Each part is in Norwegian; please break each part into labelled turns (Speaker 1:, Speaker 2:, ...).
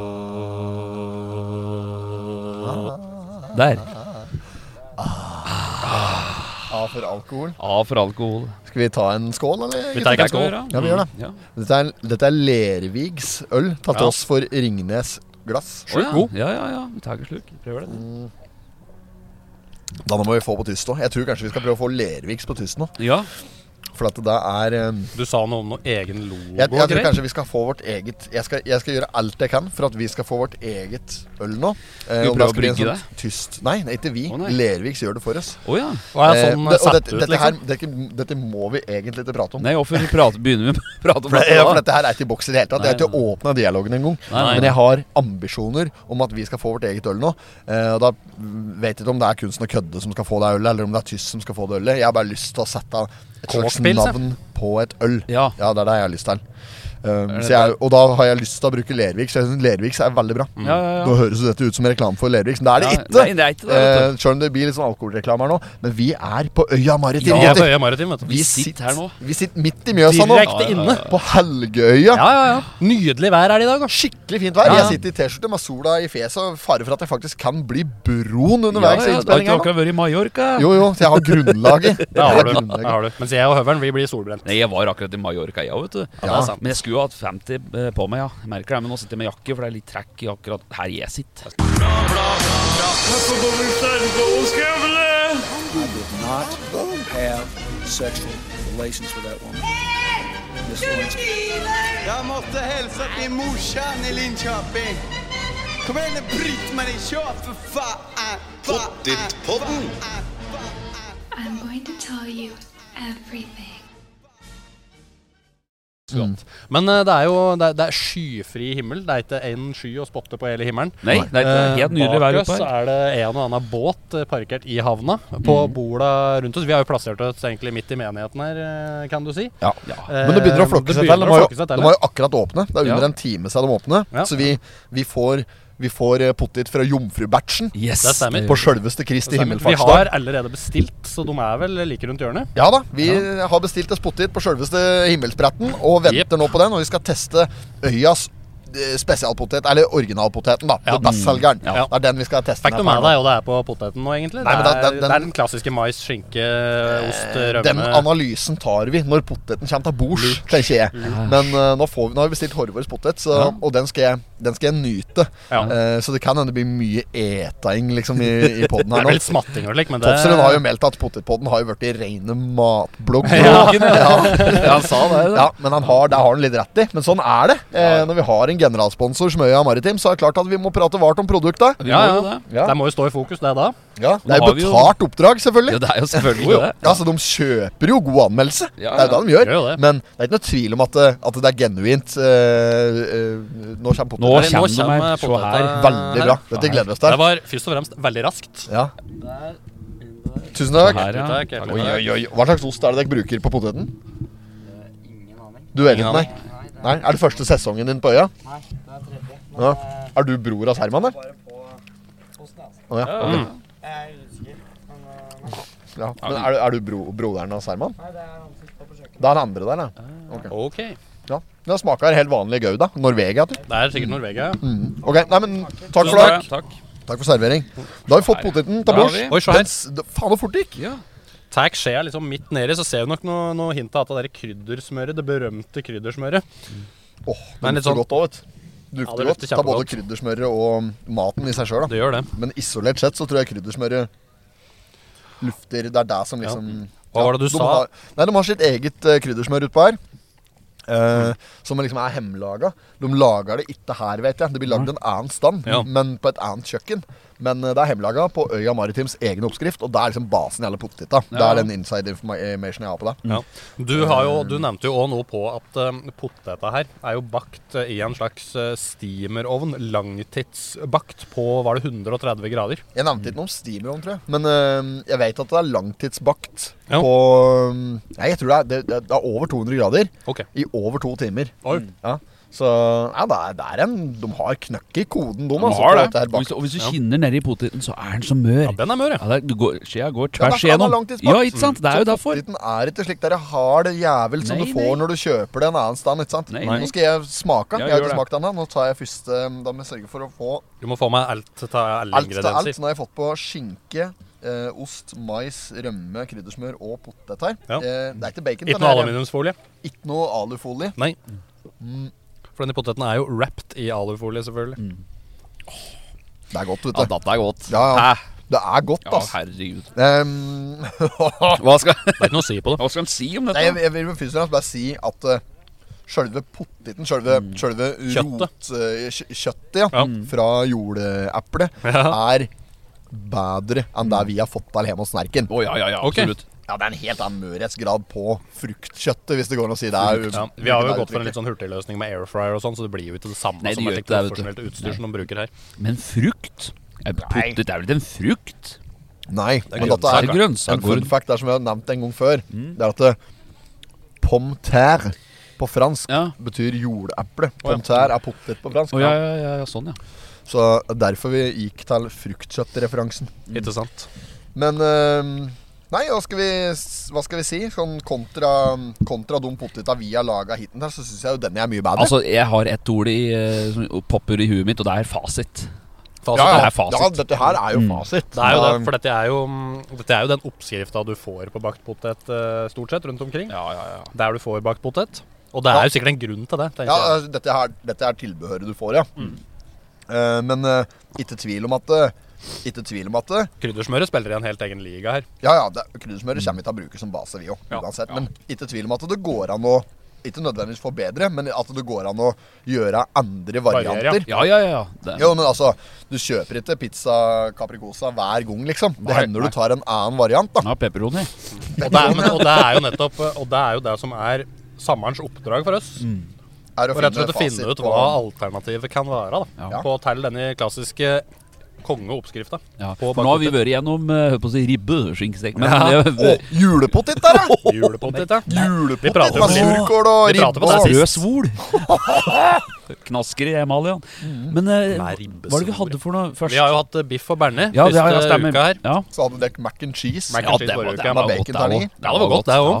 Speaker 1: Ah.
Speaker 2: Der.
Speaker 1: A for alkohol.
Speaker 2: A for alkohol.
Speaker 1: Skal vi ta en skål, eller?
Speaker 2: Vi tar ikke
Speaker 1: gutter?
Speaker 2: en skål.
Speaker 1: Ja, vi gjør det.
Speaker 2: Ja.
Speaker 1: Dette er, dette er Lervigs øl, tatt til
Speaker 2: Ja.
Speaker 1: oss for Ringnes glass.
Speaker 2: Slurk god. Ja, ja, ja. Vi tar ikke slurk. Prøver det.
Speaker 1: Da må vi få på tyst òg. Jeg tror kanskje vi skal prøve å få Lervigs på tyst nå.
Speaker 2: Ja,
Speaker 1: For at det da er eh,
Speaker 3: Du sa noe om noe egen
Speaker 1: jeg,
Speaker 3: logo
Speaker 1: jeg
Speaker 3: og
Speaker 1: tror
Speaker 3: greier.
Speaker 1: kanskje vi skal få vårt eget jeg skal, jeg skal gjøre alt jeg kan for at vi skal få vårt eget øl nå. Eh,
Speaker 2: Skal vi
Speaker 1: om
Speaker 2: prøve å
Speaker 1: skal bli en
Speaker 2: brygge
Speaker 1: sånn Tyst. Nei, nei, ikke vi.
Speaker 2: Å, nei.
Speaker 1: Lerviks gjør det for oss. Eh,
Speaker 2: Å ja.
Speaker 3: Hva er sånn
Speaker 1: det- og
Speaker 3: satt
Speaker 1: dette,
Speaker 3: ut,
Speaker 1: dette, her,
Speaker 3: liksom?
Speaker 1: dette, dette må vi egentlig ikke prate om.
Speaker 2: Nei, hvorfor prate, begynner vi å prate om
Speaker 1: For, det, ja,
Speaker 2: dette da?
Speaker 1: for dette her er ikke i boks i det hele tatt. Jeg har
Speaker 2: Nei,
Speaker 1: ikke åpna dialogen engang.
Speaker 2: Nei, nei.
Speaker 1: Men jeg har ambisjoner om at vi skal få vårt eget øl nå. Eh, og da vet jeg ikke om det er kunsten å kødde som skal få det ølet, eller om det er tyst som skal få det ølet. Jeg har bare lyst til å sette et slags
Speaker 3: Kårspils, ja.
Speaker 1: navn på et øl.
Speaker 2: Ja.
Speaker 1: Ja, det er det jeg har lyst til. Um,
Speaker 2: det Mm.
Speaker 1: så jeg, og da har jeg lyst til å bruke Lerviks. Jeg synes Lerviks er veldig bra.
Speaker 2: Ja, ja, ja.
Speaker 1: Nå høres jo dette ut som reklame for Lerviks, men det er det
Speaker 2: Ja, nei,
Speaker 1: ikke.
Speaker 2: det er ikke det, vet
Speaker 1: Eh, Selv om det blir litt sånn alkoholreklame her nå, men vi er på øya Maritim.
Speaker 3: Ja,
Speaker 1: gutter.
Speaker 3: Øya Maritim, vet du.
Speaker 2: Vi sitter her nå.
Speaker 1: Vi sitter midt i Mjøsa nå.
Speaker 3: Direkte inne.
Speaker 1: På Helgøya.
Speaker 2: Ja, ja, ja.
Speaker 3: Nydelig vær er det i dag, da.
Speaker 1: Skikkelig fint vær.
Speaker 2: Ja, ja.
Speaker 1: Jeg sitter i T-skjorte med sola i fjeset og fare for at jeg faktisk kan bli brun
Speaker 2: ja,
Speaker 1: underveis i
Speaker 2: ja. Du har
Speaker 1: innspillinga.
Speaker 2: ikke akkurat vært i Mallorca?
Speaker 1: Jo, jo, så jeg har grunnlaget.
Speaker 3: Det
Speaker 1: Jeg
Speaker 3: har du.
Speaker 1: grunnlaget.
Speaker 3: Det har du. Mens jeg og høveren, vi blir solbrent.
Speaker 2: Nei, jeg var akkurat i Mallorca, jeg vet du.
Speaker 1: Ja.
Speaker 2: er sant. Men jeg skulle jo hatt 50 på meg, ja. Jeg merker det, men nå sitter jeg med jakke, for det er litt trekk i akkurat her jeg sitter.
Speaker 4: not have sexual relations with that woman. Miss Lewinsky.
Speaker 5: Jeg måtte hilse til morsan i Linköping. Kom igjen, Britt-Marie, kjør, for faen! Pottit-podden!
Speaker 6: I'm going to tell you everything.
Speaker 3: Men eh, det er jo det er, det er skyfri himmel. Det er ikke én sky å spotte på hele himmelen.
Speaker 2: Nei, det er
Speaker 3: Eh,
Speaker 2: ikke helt nydelig vær
Speaker 3: bak
Speaker 2: oppe
Speaker 3: oss
Speaker 2: her.
Speaker 3: er det en og annen båt eh, parkert i havna. På
Speaker 1: Mm.
Speaker 3: borda rundt oss. Vi har jo plassert oss egentlig midt i menigheten her, eh, kan du si. Eh,
Speaker 1: Ja.
Speaker 2: Ja.
Speaker 1: Men det
Speaker 2: Eh,
Speaker 1: begynner å flokke seg til. De
Speaker 3: begynner å
Speaker 1: var jo,
Speaker 3: flokke seg til,
Speaker 1: de var jo akkurat åpne. Det er
Speaker 2: Ja.
Speaker 1: under en time siden de åpne.
Speaker 3: Ja.
Speaker 1: Så vi, vi får, vi får eh, pottit fra Jomfrubatchen
Speaker 2: Yes.
Speaker 3: Det stemmer.
Speaker 1: på sjølveste Kristi
Speaker 3: Vi har
Speaker 1: himmelfartsdag.
Speaker 3: allerede bestilt, så de er vel like rundt hjørnet.
Speaker 1: Ja da, vi har bestilt oss pottit på sjølveste himmelspretten og venter
Speaker 3: Jepp.
Speaker 1: nå på den. Og vi skal teste øyas eh, spesialpotet, eller originalpoteten, da.
Speaker 3: Ja. Mm,
Speaker 1: Ja. Bestselgeren.
Speaker 3: Ja.
Speaker 1: Det er den vi skal teste.
Speaker 3: Fikk du
Speaker 1: den her på
Speaker 3: med deg
Speaker 1: her nå.
Speaker 3: jo det er på poteten nå, egentlig?
Speaker 1: Nei, men
Speaker 3: det,
Speaker 1: den-
Speaker 3: er,
Speaker 1: den- Eh,
Speaker 3: det er den klassiske mais, skinke, ost,
Speaker 1: Den
Speaker 3: rømme
Speaker 1: analysen tar vi når poteten kommer til bords, tenker jeg. Men eh, nå, får vi, nå har vi bestilt Horvors potet, så, og den skal, jeg, den skal jeg nyte.
Speaker 3: Ja.
Speaker 1: Eh, så det kan hende det blir mye eting liksom, i, i poden
Speaker 3: Det
Speaker 1: her
Speaker 3: er
Speaker 1: nå.
Speaker 3: vel smatting og slik, men det
Speaker 1: Topsrud har jo meldt at potetpodden har jo blitt i rene matblogg.
Speaker 3: Ja.
Speaker 2: Ja, han sa det.
Speaker 1: Ja, men han har, det har han litt rett i. Men sånn er det. Eh, når vi har en generalsponsor som Øya Maritim, så er det klart at vi må prate vart om produkta.
Speaker 2: Vi
Speaker 3: ja,
Speaker 2: må
Speaker 3: ja.
Speaker 2: jo det.
Speaker 1: Ja.
Speaker 3: Det må jo stå i fokus, det da.
Speaker 1: Ja, det
Speaker 2: Nå
Speaker 1: er jo
Speaker 2: har vi jo-
Speaker 1: betalt oppdrag, selvfølgelig.
Speaker 2: Ja, det er jo selvfølgelig
Speaker 1: Jo, jo.
Speaker 2: det.
Speaker 1: Ja, så de kjøper jo god anmeldelse.
Speaker 2: Ja,
Speaker 1: Det er jo
Speaker 2: ja.
Speaker 1: det de gjør.
Speaker 3: Gjør jo det.
Speaker 1: Men det er ikke noe tvil om at, det- at det er genuint. eh, eh, nå kommer poteten.
Speaker 2: Nå
Speaker 3: Nei, nå
Speaker 2: kommer de
Speaker 3: kommer
Speaker 2: her. Se
Speaker 3: poteten.
Speaker 2: her.
Speaker 1: Veldig bra. Dette gleder vi oss
Speaker 3: Det
Speaker 1: til.
Speaker 3: var først og fremst veldig raskt.
Speaker 1: Ja. Tusen takk.
Speaker 2: Her, ja.
Speaker 3: Takk,
Speaker 1: Oi, oi, oi. Hva slags ost er det dere bruker på poteten? Du vet ikke, nei? nei? Er det første sesongen din på øya? Nei, det er tredje. eh, Ja. Er du bror av Herman, eller? Å ja. ok. ja. Men er du, er du bro, broderen av Herman? eh, Nei, det er han som står på kjøkkenet. Det er han andre der, da.
Speaker 3: Ok.
Speaker 1: Ja. Det smaker helt vanlig gouda. Norvegia, typ.
Speaker 3: Det er sikkert Norvegia.
Speaker 1: Mm.
Speaker 3: Mm.
Speaker 1: Ok, nei, men takk for det.
Speaker 2: Takk. Takk.
Speaker 1: Takk for servering. Da har vi fått poteten til
Speaker 2: Da har
Speaker 1: bords.
Speaker 2: vi.
Speaker 3: Oi, se her.
Speaker 1: Den s- d- Faen, så fort det gikk.
Speaker 2: Ja.
Speaker 3: Tar skjea liksom midt nedi, så ser du nok noe, noe hint av at det der kryddersmøret, det berømte kryddersmøret.
Speaker 1: Åh, det
Speaker 3: Men litt
Speaker 1: lukter
Speaker 3: sånn-
Speaker 1: godt òg, vet du. Det
Speaker 3: Ja,
Speaker 1: Lukter godt.
Speaker 3: det lukter
Speaker 1: Det er både
Speaker 3: kjempegodt.
Speaker 1: kryddersmøret og maten i seg sjøl, da.
Speaker 3: Det gjør det.
Speaker 1: Men isolert sett så tror jeg kryddersmøret lufter Det er det som liksom
Speaker 3: Hva var det du
Speaker 1: de
Speaker 3: sa?
Speaker 1: Har, nei, de har sitt eget eh, kryddersmør utpå her.
Speaker 3: Mm.
Speaker 1: eh, som liksom er hjemmelaga. De lager det ikke her, vet jeg. Det blir lagd en annen stand,
Speaker 3: Ja.
Speaker 1: men på et annet kjøkken. Men eh, det er hjemmelaga på Øya Maritims egen oppskrift, og det er liksom basen i alle potteta. Det
Speaker 2: Ja.
Speaker 1: er den inside eh, information jeg har på det.
Speaker 3: Ja. Du, har jo, du nevnte jo òg noe på at eh, poteta her er jo bakt eh, i en slags eh, steamerovn. Langtidsbakt på var det 130 grader.
Speaker 1: Jeg nevnte ikke noe om steamerovn, tror jeg. Men øh, jeg vet at det er langtidsbakt
Speaker 3: Ja.
Speaker 1: på mm, øh, Nei, jeg tror det er, det, det er over 200 grader
Speaker 3: Ok.
Speaker 1: i over to timer.
Speaker 3: Oi.
Speaker 1: Ja. Så ja, det er, det er en De har knøkk i koden,
Speaker 2: De
Speaker 1: de. altså,
Speaker 2: har
Speaker 1: på
Speaker 2: det.
Speaker 1: dette her
Speaker 2: Og
Speaker 1: bak-
Speaker 2: hvis, og hvis du kinner nedi poteten, så er den så mør.
Speaker 3: Ja, den er mør, ja.
Speaker 2: Ja, det er, du går, skjea går
Speaker 1: Ja,
Speaker 2: tvers
Speaker 1: derfor han Mm. har
Speaker 2: igjennom.
Speaker 1: langtidsbakt.
Speaker 2: Ja, ikke sant? Det er jo derfor.
Speaker 1: Potteten er ikke slik der hard jævel som
Speaker 2: Nei,
Speaker 1: du får
Speaker 2: nei.
Speaker 1: når du kjøper det en annen stand. ikke sant?
Speaker 2: Nei, nei.
Speaker 1: Nå skal jeg smake.
Speaker 2: Ja,
Speaker 1: jeg har
Speaker 2: gjør
Speaker 1: ikke
Speaker 2: det.
Speaker 1: smakt den da. Nå tar jeg først eh, Da må jeg sørge for å få
Speaker 3: Du må få med alt til alle
Speaker 1: alt til alt.
Speaker 3: ingredienser.
Speaker 1: Så nå har jeg fått på skinke, eh, ost, mais, rømme, kryddersmør og potet her.
Speaker 3: Ja.
Speaker 1: Eh, det er ikke bacon.
Speaker 3: Ikke
Speaker 1: den
Speaker 3: noe
Speaker 1: her.
Speaker 3: aluminiumsfolie.
Speaker 1: Ikke noe alufolie.
Speaker 3: Nei. For denne poteten er jo wrapped i alufolie, selvfølgelig.
Speaker 1: Det er godt, vet
Speaker 2: Ja,
Speaker 1: du.
Speaker 2: dette er godt.
Speaker 1: Ja, ja.
Speaker 2: Hæ?
Speaker 1: Det er godt,
Speaker 2: Ja,
Speaker 1: ass.
Speaker 2: herregud.
Speaker 1: Ehm,
Speaker 2: Hva skal,
Speaker 3: Det er ikke noe å si på det.
Speaker 2: hva skal han si om
Speaker 1: nei, jeg,
Speaker 2: dette?
Speaker 1: jeg vil først og fremst bare si at uh, sjølve poteten, sjølve,
Speaker 2: Mm.
Speaker 1: sjølve
Speaker 3: Kjøttet.
Speaker 1: rot, eh, kjø- kjøttet ja,
Speaker 3: Ja.
Speaker 1: fra jordeeplet,
Speaker 3: Ja.
Speaker 1: er bedre enn det vi har fått til hjemme hos Snerken.
Speaker 2: Mm. Å ja, ja, ja,
Speaker 3: Ok.
Speaker 2: absolutt.
Speaker 1: Ja, det er en helt annen mørhetsgrad på fruktkjøttet, hvis det går an å si det. Er,
Speaker 3: Ja, vi har jo gått for en litt sånn hurtigløsning med air fryer og sånn, så det blir jo ikke det samme
Speaker 2: Nei, det
Speaker 3: som
Speaker 2: gjør
Speaker 3: et
Speaker 2: ikke det, vet du.
Speaker 3: profesjonelt utstyr som de bruker her.
Speaker 2: Men frukt? Eh, Potet er vel ikke en frukt?
Speaker 1: Nei, men
Speaker 3: grønnsaker.
Speaker 1: dette
Speaker 2: Det
Speaker 1: er
Speaker 2: er Mm.
Speaker 1: en
Speaker 2: grønnsaker.
Speaker 1: fun fact der som vi har nevnt en gang før. Det er at det, pomme terre på fransk
Speaker 2: Ja.
Speaker 1: betyr jordeple. Pomme terre er potet på fransk.
Speaker 2: Å ja, ja, ja, ja, sånn, ja.
Speaker 1: Så derfor vi gikk til fruktkjøttreferansen.
Speaker 3: Ikke sant?
Speaker 1: Men øhm, Nei, hva skal vi, s- hva skal vi si? Sånn kontra, kontra de potetene vi har laga hittil, her, så syns jeg jo den er mye bedre.
Speaker 2: Altså, jeg har ett ord i, eh, som popper i huet mitt, og det er fasit.
Speaker 3: Fasit.
Speaker 1: ja,
Speaker 2: altså, det
Speaker 1: ja,
Speaker 2: er fasit. Mm.
Speaker 1: ja, dette her er jo fasit.
Speaker 3: Det er jo det,
Speaker 1: Da-
Speaker 3: for dette er jo, mm, dette er jo den oppskrifta du får på bakt potet eh, stort sett rundt omkring.
Speaker 2: Ja, ja, ja.
Speaker 3: Der du får bakt potet. Og det er jo sikkert en grunn til det. tenker
Speaker 1: Ja,
Speaker 3: jeg.
Speaker 1: altså, dette, her, dette er tilbehøret du får, ja. Eh, men eh, ikke tvil om at eh, Ikke tvil om at eh,
Speaker 3: Kryddersmøret spiller i en helt egen liga her.
Speaker 1: Ja, ja, det- kryddersmøret kommer vi til å bruke som base, vi òg.
Speaker 2: Ja,
Speaker 1: Uansett.
Speaker 2: ja.
Speaker 1: Men ikke tvil om at det går an å Ikke nødvendigvis forbedre, men at det går an å gjøre andre
Speaker 3: Variere, ja.
Speaker 1: varianter.
Speaker 2: Ja, ja, ja. Det,
Speaker 1: Jo, men altså, du kjøper ikke pizza capricosa hver gang, liksom. Det
Speaker 2: Nei,
Speaker 1: hender
Speaker 2: nei.
Speaker 1: du tar en annen variant, da.
Speaker 2: ja, pepperoni.
Speaker 3: Og det er, men, og det er jo nettopp eh, Og det er jo det som er sommerens oppdrag for oss.
Speaker 1: Er å
Speaker 3: Og rett og slett å
Speaker 1: fasit
Speaker 3: finne ut hva
Speaker 1: på-
Speaker 3: alternativet kan være da,
Speaker 2: Ja.
Speaker 3: på å telle denne klassiske kongeoppskrifta.
Speaker 2: Ja.
Speaker 3: På
Speaker 2: For nå har vi
Speaker 3: bakpotet.
Speaker 2: vært igjennom eh, hør på å si ribbe, skinkstek Men eh,
Speaker 3: Ja.
Speaker 2: det-
Speaker 1: Å, julepotet der, ja!
Speaker 3: Julepotet, ja. Vi
Speaker 1: Julepotet
Speaker 3: prater
Speaker 1: med
Speaker 3: om liv.
Speaker 1: surkål og
Speaker 3: Vi prater
Speaker 1: ribbe
Speaker 3: om
Speaker 1: og
Speaker 3: det
Speaker 2: Rød
Speaker 3: sist.
Speaker 2: svol. Knasker i emaljen.
Speaker 1: Mm.
Speaker 2: Men eh,
Speaker 3: Nei,
Speaker 2: hva var det vi hadde for noe først?
Speaker 3: Vi har jo hatt eh, biff og bearnés
Speaker 2: ja, det
Speaker 3: siste
Speaker 2: har, ja, stemmer.
Speaker 3: uka her.
Speaker 2: Ja.
Speaker 1: Så hadde dere mac and cheese.
Speaker 3: Mac-
Speaker 2: Ja, det var,
Speaker 3: forrige
Speaker 2: det
Speaker 3: uke,
Speaker 2: var
Speaker 1: med
Speaker 2: godt, det
Speaker 1: baconterning.
Speaker 2: òg.
Speaker 3: Ja, det var godt, det òg.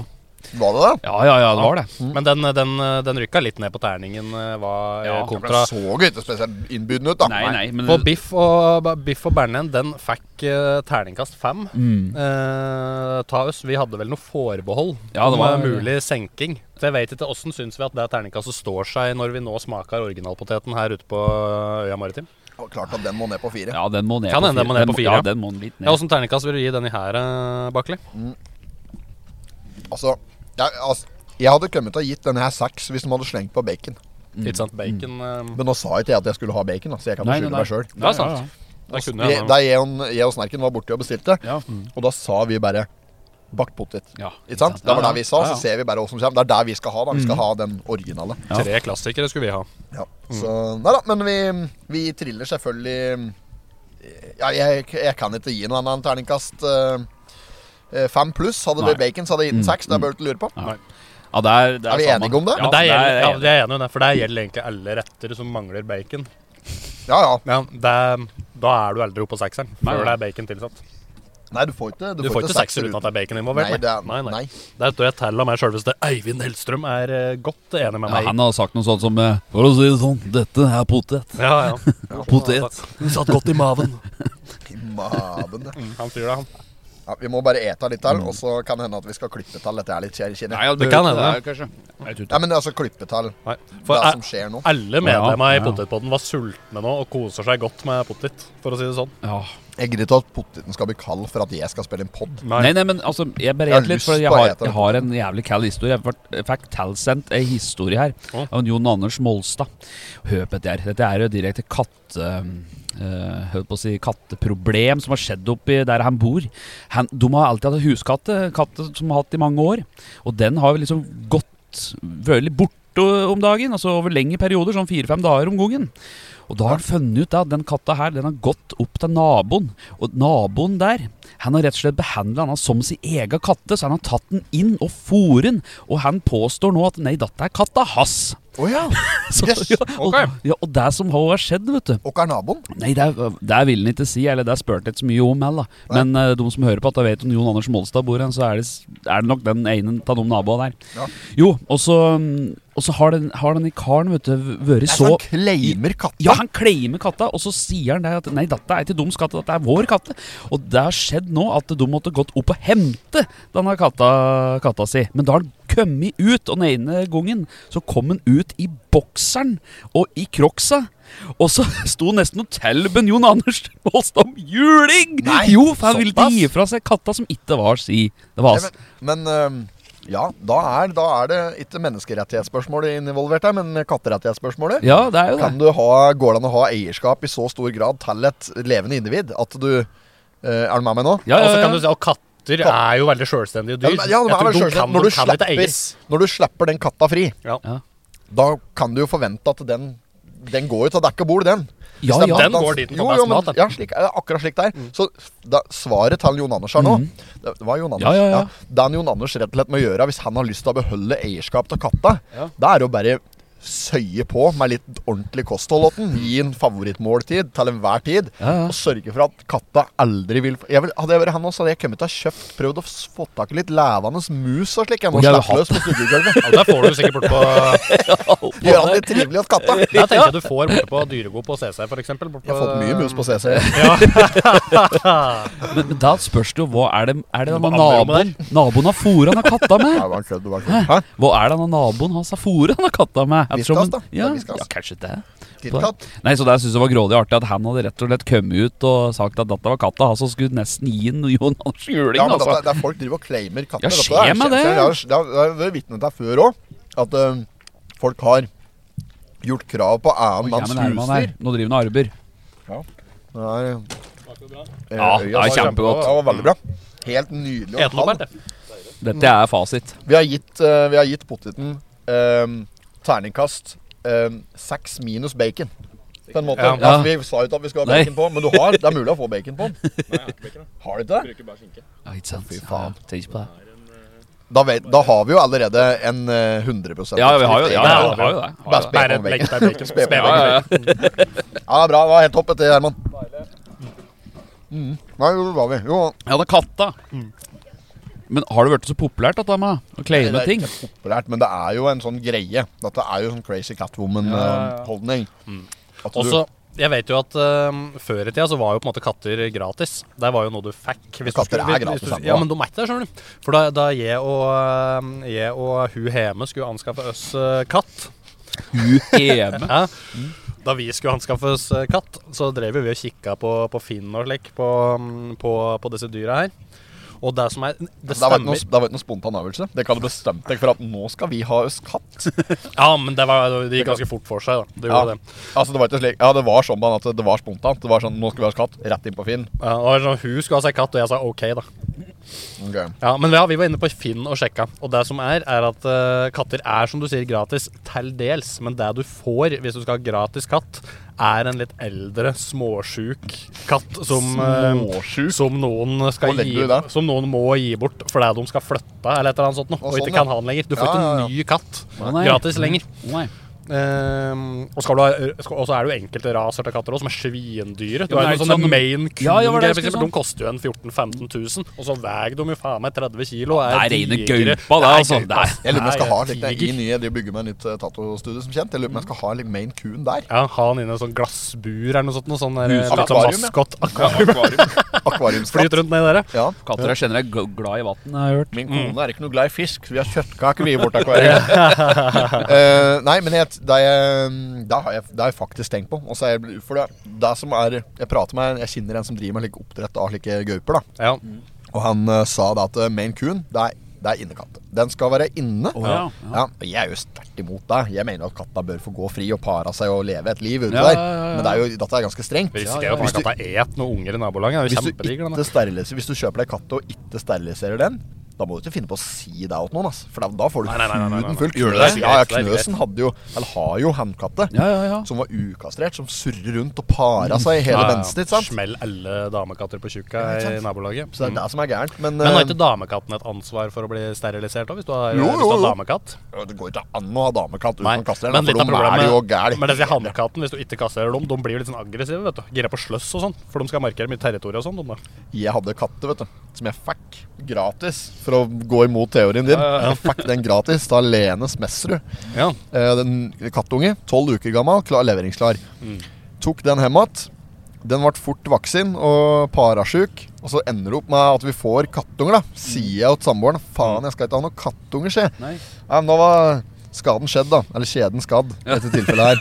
Speaker 1: Var det det?
Speaker 2: Ja, ja, ja, det var det.
Speaker 3: Men den, eh, den, eh, den rykka litt ned på terningen, eh, var eh,
Speaker 2: Ja, det ble
Speaker 1: Det
Speaker 3: kontra
Speaker 1: så jo ikke spesielt innbydende ut, da.
Speaker 2: Nei, nei, men
Speaker 3: På biff og, biff og bearnés, den fikk eh, terningkast fem.
Speaker 2: Mm.
Speaker 3: Eh, ta oss, vi hadde vel noe forbehold
Speaker 2: Ja, det var-
Speaker 3: om eh, mulig senking. Så jeg vet ikke, Åssen syns vi at det terningkastet står seg når vi nå smaker originalpoteten her ute på eh, øya Maritim?
Speaker 1: Det var Klart at den må ned på fire.
Speaker 2: Ja, den må ned
Speaker 3: Kan
Speaker 2: på
Speaker 3: hende den må ned på fire,
Speaker 2: Ja,
Speaker 3: ja.
Speaker 2: den må litt ned.
Speaker 3: Ja, Åssen terningkast vil du gi denne her, eh, Bakli?
Speaker 1: Altså, jeg, altså, jeg hadde kommet til å gitt denne her seks hvis de hadde slengt på bacon.
Speaker 3: Ikke sant, bacon eh,
Speaker 1: Men nå sa ikke jeg at jeg skulle ha bacon, da, så jeg kan
Speaker 2: Nei,
Speaker 1: jo skylde
Speaker 2: nei,
Speaker 1: meg
Speaker 2: nei.
Speaker 1: sjøl.
Speaker 3: Det er sant. Da kunne
Speaker 1: Jeg-
Speaker 3: jeg,
Speaker 1: Da jeg og, jeg og Snerken var borte og bestilte,
Speaker 2: Ja, ja.
Speaker 3: Mm.
Speaker 1: og da sa vi bare Bakt potet.
Speaker 2: Ja,
Speaker 1: Ikke sant?
Speaker 2: ikke sant.
Speaker 1: Det var
Speaker 2: Ja,
Speaker 1: det vi sa,
Speaker 2: ja, ja.
Speaker 1: så ser vi bare hva som kommer. Det er der vi skal ha, da. Vi skal ha den originale.
Speaker 3: Tre klassikere skulle vi ha.
Speaker 1: Ja. Så Nei da, men vi, vi triller selvfølgelig ja, jeg, jeg kan ikke gi noe annet enn terningkast eh, eh, fem pluss. Hadde det
Speaker 2: Nei.
Speaker 1: vært bacon, så hadde jeg gitt den seks. Det bør du ikke lure på.
Speaker 2: Nei. Ja, det er, det
Speaker 1: Er vi
Speaker 2: samme.
Speaker 1: enige om det?
Speaker 2: Ja,
Speaker 3: Men det
Speaker 2: det
Speaker 3: gjelder, ja,
Speaker 2: er,
Speaker 3: det er enig, i det, for det gjelder egentlig alle retter som mangler bacon.
Speaker 1: Ja, ja.
Speaker 3: Ja, det, da er du aldri oppe på sekseren
Speaker 2: Nei,
Speaker 3: før det
Speaker 2: nei.
Speaker 3: er bacon tilsatt.
Speaker 1: Nei, du får ikke
Speaker 3: Du får ikke sekser uten at det er bacon involvert.
Speaker 1: Nei, det er- nei.
Speaker 3: Der tror jeg til og med selveste Eivind Hellstrøm er eh, godt enig med
Speaker 2: ja,
Speaker 3: meg.
Speaker 2: han har sagt noe sånt som eh, For å si det sånn, dette er potet.
Speaker 3: Ja, ja.
Speaker 2: Potet.
Speaker 3: Hun satt godt i maven.
Speaker 1: I maven, ja.
Speaker 3: Han sier det, han.
Speaker 1: ja. Vi må bare ete litt til, og så kan det hende at vi skal klippe til dette her litt, kjære kine.
Speaker 2: ja,
Speaker 3: Det kan hende.
Speaker 2: det er kanskje. Jeg tror
Speaker 1: Ja, men altså klippe til
Speaker 3: Nei. For
Speaker 1: det
Speaker 3: eh,
Speaker 1: som skjer nå.
Speaker 3: alle medlemmer
Speaker 2: Ja,
Speaker 3: i
Speaker 2: ja.
Speaker 3: Potetpodden var sultne nå og koser seg godt med potet, for å si det sånn.
Speaker 2: Ja.
Speaker 1: Jeg gidder ikke at poteten skal bli kald for at jeg skal spille en pod.
Speaker 2: Nei, nei, men altså, jeg bare
Speaker 1: Jeg har
Speaker 2: gjetter litt,
Speaker 1: lyst
Speaker 2: for jeg
Speaker 1: på å
Speaker 2: har,
Speaker 1: gjette det.
Speaker 2: jeg har en jævlig kald historie. Jeg ble- Jeg fikk tilsendt ei historie her
Speaker 3: Å.
Speaker 2: av en Jon Anders Molstad. Hør på dette her. Dette er jo direkte katte... eh, hør på å si katteproblem som har skjedd oppi der han bor. Han, de har alltid hatt huskatte, katte som har hatt i mange år. Og den har jo liksom gått veldig borte om dagen, altså over lengre perioder, sånn fire-fem dager om gangen. Og da har han funnet ut da, at den katta her den har gått opp til naboen. Og naboen der han har rett og slett behandla han som sin egen katte, så han har tatt den inn og fôret den. Og han påstår nå at nei, dette er katta hans.
Speaker 1: Å ja.
Speaker 2: Så,
Speaker 1: Yes.
Speaker 2: ja, og,
Speaker 3: Ok.
Speaker 2: ja, og det som har skjedd, vet du
Speaker 1: Og hva er naboen?
Speaker 2: Nei, det, er- det vil han ikke si, eller det er spurt ikke så mye om heller. da. Men eh, de som hører på at jeg vet om Jon Anders Molstad bor hen, så er det, s- er det nok den ene av de naboene der.
Speaker 1: Ja.
Speaker 2: Jo, og så mm, og så har den, har den i karen, vet du, vært
Speaker 1: Så
Speaker 2: så
Speaker 1: Altså, han claimer katta?
Speaker 2: ja, han kleimer katta, og så sier han det at Nei, dette er ikke deres katt, dette er vår katte. Og det har skjedd nå at de måtte gått opp og hente denne katta, katta si. Men da har han kommet ut, og den ene gangen så kom han ut i bokseren og i crocsa. Og så sto nesten og tilbød Jon Anders Molstad om juling!
Speaker 1: Nei,
Speaker 2: jo, for han ville ikke
Speaker 1: såpass.
Speaker 2: gi fra seg katta som ikke var si. Det var
Speaker 1: Nei,
Speaker 2: hans.
Speaker 1: Men, men øhm, ja, da er, da er det ikke menneskerettighetsspørsmålet involvert her, men katterettighetsspørsmålet.
Speaker 2: Ja, det er jo det.
Speaker 1: Kan du ha, går det an å ha eierskap i så stor grad til et levende individ at du øh, Er du med meg nå?
Speaker 2: Ja,
Speaker 3: Og
Speaker 2: ja,
Speaker 3: så kan
Speaker 2: ja.
Speaker 3: du si, og katter er jo veldig selvstendige
Speaker 1: Ja,
Speaker 3: dyr.
Speaker 1: men- ja, men
Speaker 3: Jeg
Speaker 1: er
Speaker 3: tror
Speaker 1: vel
Speaker 3: de
Speaker 1: selvsagt,
Speaker 3: kan-
Speaker 1: når,
Speaker 3: de
Speaker 1: du
Speaker 3: kan ikke
Speaker 1: slipper,
Speaker 3: eies.
Speaker 1: når du slipper den katta fri,
Speaker 3: Ja.
Speaker 2: Ja.
Speaker 1: da kan du jo forvente at den den går jo til dekk og bord, den.
Speaker 2: Ja,
Speaker 1: Stemmer
Speaker 2: ja.
Speaker 1: det?
Speaker 3: Den går dit den
Speaker 1: Jo,
Speaker 3: får
Speaker 1: jo,
Speaker 3: best
Speaker 1: men-
Speaker 3: mat, den.
Speaker 1: Ja, slik, Mm. ja, akkurat slik der. Så da, svaret til Jon Anders her nå Det det var Jon Anders.
Speaker 2: Mm. Ja, ja, ja.
Speaker 1: Det han Jon Anders rett og slett må gjøre hvis han har lyst til å beholde eierskap til katta, det er å bare søye på med litt ordentlig kosthold åt den. Gi en favorittmåltid til enhver tid.
Speaker 2: Ja, ja.
Speaker 1: Og sørge for at katta aldri vil jeg vil, Hadde jeg vært han også, hadde jeg kommet til å ha kjøpt, prøvd å s- få tak i litt levende mus og slik. Jeg må
Speaker 2: Og jeg hadde
Speaker 1: slippe løs på studiegulvet.
Speaker 3: Ja, Der får du sikkert bort på
Speaker 1: Gjøre han litt trivelig hos katta.
Speaker 3: Der tenker jeg du får borte på Dyregod på CC, for eksempel. Borte
Speaker 1: Jeg har fått mye mus på CC.
Speaker 2: Men, men da spørs det jo hva er det, er det
Speaker 3: Det var
Speaker 2: denne
Speaker 3: andre
Speaker 2: naboen, naboen har fôret han har katta med?
Speaker 1: Nei, det var en kødd, det var en kødd. Hæ?
Speaker 2: Hva er det han naboen hans har fôret han har katta med? Jeg tror
Speaker 1: Whiskas,
Speaker 2: han-
Speaker 1: da. Det er
Speaker 2: Ja,
Speaker 1: whiskas.
Speaker 2: ja, kanskje det.
Speaker 1: KitKat?
Speaker 2: Nei, så det jeg synes jeg var grådig artig at han hadde rett og slett kommet ut og sagt at dette var katta hans, og skulle nesten gi en Jon Anders juling,
Speaker 1: Ja, men det,
Speaker 2: altså.
Speaker 1: det er folk driver og claimer katter.
Speaker 2: Ja,
Speaker 1: vet du.
Speaker 2: skjer
Speaker 1: er-
Speaker 2: meg det.
Speaker 1: Det har- det har det har vært vitne til før òg, at øhm, folk har gjort krav på annen
Speaker 2: Ja,
Speaker 1: manns
Speaker 2: men Herman
Speaker 1: husdyr.
Speaker 2: her, nå driver han og arbeider.
Speaker 1: Nei, eh,
Speaker 2: Ja, det
Speaker 1: øya
Speaker 2: er
Speaker 1: sa-
Speaker 2: kjempegodt.
Speaker 1: Ja, Det var veldig bra. Helt nydelig. å
Speaker 3: Eten
Speaker 1: ta.
Speaker 3: opp her, det.
Speaker 2: Dette er fasit.
Speaker 1: Vi har gitt, eh, vi har gitt potteten øhm, terningkast øhm, seks minus bacon. På en måte.
Speaker 3: Ja.
Speaker 1: Altså, vi sa jo ikke at vi skulle ha
Speaker 2: Nei.
Speaker 1: bacon på, men du har, det er mulig å få bacon på den. Har du ikke det?
Speaker 2: Ja, ikke sant?
Speaker 1: faen.
Speaker 2: Ja, tenk på det.
Speaker 1: Da, vet, da har vi jo allerede en eh, 100
Speaker 2: Ja, vi har jo, ja, vi
Speaker 3: ja,
Speaker 2: har jo det. Har
Speaker 1: Bare
Speaker 2: jo det.
Speaker 1: spe
Speaker 3: Bare
Speaker 1: på
Speaker 3: legg
Speaker 1: veggen.
Speaker 3: deg bacon.
Speaker 1: Spe på
Speaker 3: Spe
Speaker 1: veggen.
Speaker 3: på
Speaker 2: Ja, ja, ja.
Speaker 1: Ja, det er bra. Det var helt topp etter, Herman. Mm. Nei, jo, det var vi. Jo,
Speaker 2: Ja, det er katta. Men har det vært så populært, dette med å
Speaker 1: det
Speaker 2: claime
Speaker 1: er
Speaker 2: ting?
Speaker 1: ikke populært, men det er jo en sånn greie. Dette er jo sånn crazy Catwoman-holdning. At
Speaker 3: Og så, jeg vet jo at øhm, før i tida så var jo på en måte katter gratis. Det var jo noe du fikk. hvis
Speaker 1: Katter
Speaker 3: du
Speaker 1: er
Speaker 3: skulle,
Speaker 1: gratis,
Speaker 3: hvis
Speaker 1: sant,
Speaker 3: du, Ja,
Speaker 1: da.
Speaker 3: men de er ikke det, skjønner du. For da, da jeg og, øhm, jeg og hun hjemme skulle anskaffe oss øh, katt
Speaker 2: Du hjemme.
Speaker 3: Hæ? Mm. Da vi skulle anskaffe oss eh, katt, så drev jo vi og kikka på, på Finn og slik på, mm, på, på disse dyra her. Og det som er Det
Speaker 1: Det var ikke
Speaker 3: stemmer.
Speaker 1: noe, det var ikke noe spontan avgjørelse. Det kan du bestemt deg for at nå skal vi ha oss katt.
Speaker 3: Ja, men det, var, det gikk ganske fort for seg, da. Det gjorde
Speaker 1: Ja.
Speaker 3: det.
Speaker 1: Altså, det var ikke slik. Ja, det var sånn at det var spontant. Det var sånn, nå skal vi ha oss katt. Rett inn på Finn.
Speaker 3: Ja, og det var sånn, hun skulle ha seg katt, og jeg sa OK, da.
Speaker 1: Ok.
Speaker 3: Ja, Men ja, vi var inne på Finn og sjekka. Og det som er, er at eh, katter er som du sier gratis til dels. Men det du får hvis du skal ha gratis katt, er en litt eldre, småsjuk katt som eh,
Speaker 1: Småsjuk?
Speaker 3: Som noen skal
Speaker 1: Hvor legger
Speaker 3: gi
Speaker 1: du det?
Speaker 3: Som noen må gi bort fordi de skal flytte eller et eller annet sånt. noe,
Speaker 1: Å,
Speaker 3: Og
Speaker 1: sånn,
Speaker 3: ikke
Speaker 1: ja.
Speaker 3: kan ha den lenger. Du får
Speaker 1: Ja,
Speaker 3: ikke
Speaker 1: ja, ja.
Speaker 3: en ny katt
Speaker 2: Å, nei.
Speaker 3: gratis lenger.
Speaker 2: Nei.
Speaker 3: Ehm, og, skal du ha, skal, og så er det jo enkelte raser til katter også, som er svindyre. Du
Speaker 2: Ja, men
Speaker 3: har
Speaker 2: er
Speaker 3: jo
Speaker 2: det
Speaker 3: sånne
Speaker 2: sånn-
Speaker 3: main
Speaker 2: Ja, ja, var det
Speaker 3: Coon-greier,
Speaker 2: jeg
Speaker 3: for
Speaker 2: skulle
Speaker 3: eksempel.
Speaker 2: si?
Speaker 3: De koster jo en 14 000-15 000, og så veier de jo faen meg 30 kilo. og
Speaker 2: Det er rene
Speaker 3: digre.
Speaker 2: gaupa, det,
Speaker 3: er
Speaker 2: altså.
Speaker 3: gaupa.
Speaker 2: Det er-
Speaker 1: Jeg lurer på om jeg skal ha
Speaker 3: Det er
Speaker 1: litt eh, i
Speaker 3: tiger.
Speaker 1: nye De bygger meg nytt eh, tattoo-studio, som kjent. Jeg lurer på om jeg skal ha litt main coon der.
Speaker 3: Ja, ha han inne i en sånn glassbur eller noe sånt. Noe sånn der,
Speaker 1: Hus-
Speaker 3: litt sånn
Speaker 1: akvarium, ja.
Speaker 3: maskott-akvarium.
Speaker 1: Akvariumskatt.
Speaker 3: Flyt rundt nedi der. ja.
Speaker 1: Ja.
Speaker 2: Katter er generelt gl- glad i vann, har jeg hørt.
Speaker 1: Min kone er ikke noe glad i fisk, så vi har kjøttkaker vi i vårt akvarium. Eh, nei, men jeg, det, er- det, har jeg, det har jeg faktisk tenkt på. Og så er jeg, for det, det som er, jeg prater med Jeg kjenner en som driver med like oppdrett av slike gauper. da
Speaker 3: Ja.
Speaker 1: Og han eh, sa da at eh, maine coon, det er, det er innekatt. Den skal være inne.
Speaker 2: ja,
Speaker 1: ja. og Jeg er jo sterkt imot det. Jeg mener at katta bør få gå fri og pare seg og leve et liv ute
Speaker 2: Ja,
Speaker 1: der.
Speaker 2: ja, ja, ja.
Speaker 1: Men det er jo, dette er ganske strengt.
Speaker 3: Vi risikerer jo
Speaker 1: Hvis
Speaker 3: at
Speaker 1: du-
Speaker 3: han kan ta et noen unger i nabolaget. Det er jo
Speaker 1: hvis du,
Speaker 3: kjempedigre. den, da.
Speaker 1: ikke steriliser, hvis du kjøper deg katt og ikke steriliserer den, Da må du ikke finne på å si det til noen, ass. for da, da får du
Speaker 3: Nei, nei, nei, nei, nei, nei.
Speaker 1: huden full.
Speaker 3: Gjør du det?
Speaker 1: Knøsen- Ja, ja,
Speaker 3: Det er greit.
Speaker 1: Knøsen hadde jo, eller har jo, handkatte.
Speaker 2: Ja, ja, ja.
Speaker 1: Som var ukastrert, som surrer rundt og parer seg i hele
Speaker 3: Ja, ja, ja.
Speaker 1: mensen ditt. sant?
Speaker 3: Smell alle damekatter på tjukka
Speaker 1: Ja, ikke
Speaker 3: i
Speaker 1: sant?
Speaker 3: nabolaget. Mm.
Speaker 1: Så det er det som er gærent. Men,
Speaker 3: Men har
Speaker 1: eh,
Speaker 3: ikke damekatten et ansvar for å bli sterilisert òg, hvis du har,
Speaker 1: Jo,
Speaker 3: hvis du
Speaker 1: jo,
Speaker 3: har
Speaker 1: jo.
Speaker 3: damekatt?
Speaker 1: Ja, Det går ikke an å ha damekatt uten
Speaker 3: Nei,
Speaker 1: å kaste den,
Speaker 3: men
Speaker 1: for
Speaker 3: litt av
Speaker 1: de er jo
Speaker 3: problemet
Speaker 1: gæli.
Speaker 3: Men det sier hannkatten, hvis du ikke kasterer dem, de blir jo litt sånn aggressive, vet du. Gira på sløss og sånn, for de skal markere mye territorium og sånn, de da.
Speaker 1: Jeg hadde katte, vet du, som jeg fikk gratis for å gå imot teorien din.
Speaker 3: Ja, ja, ja.
Speaker 1: Jeg fikk den gratis av Lene Smesrud.
Speaker 3: Ja.
Speaker 1: Eh, Den kattunge, tolv uker gammel, klar, leveringsklar.
Speaker 2: Mm.
Speaker 1: Tok den hjem igjen. Den ble fort vaksin og parasjuk. Og så ender det opp med at vi får
Speaker 2: Mm.
Speaker 1: kattunger, da. Sier jeg til samboeren faen, jeg skal ikke ha noen kattunger, sier jeg.
Speaker 2: Nei.
Speaker 1: Ja, men nå var skaden skjedd, da. Eller kjeden skadd, i dette tilfellet her.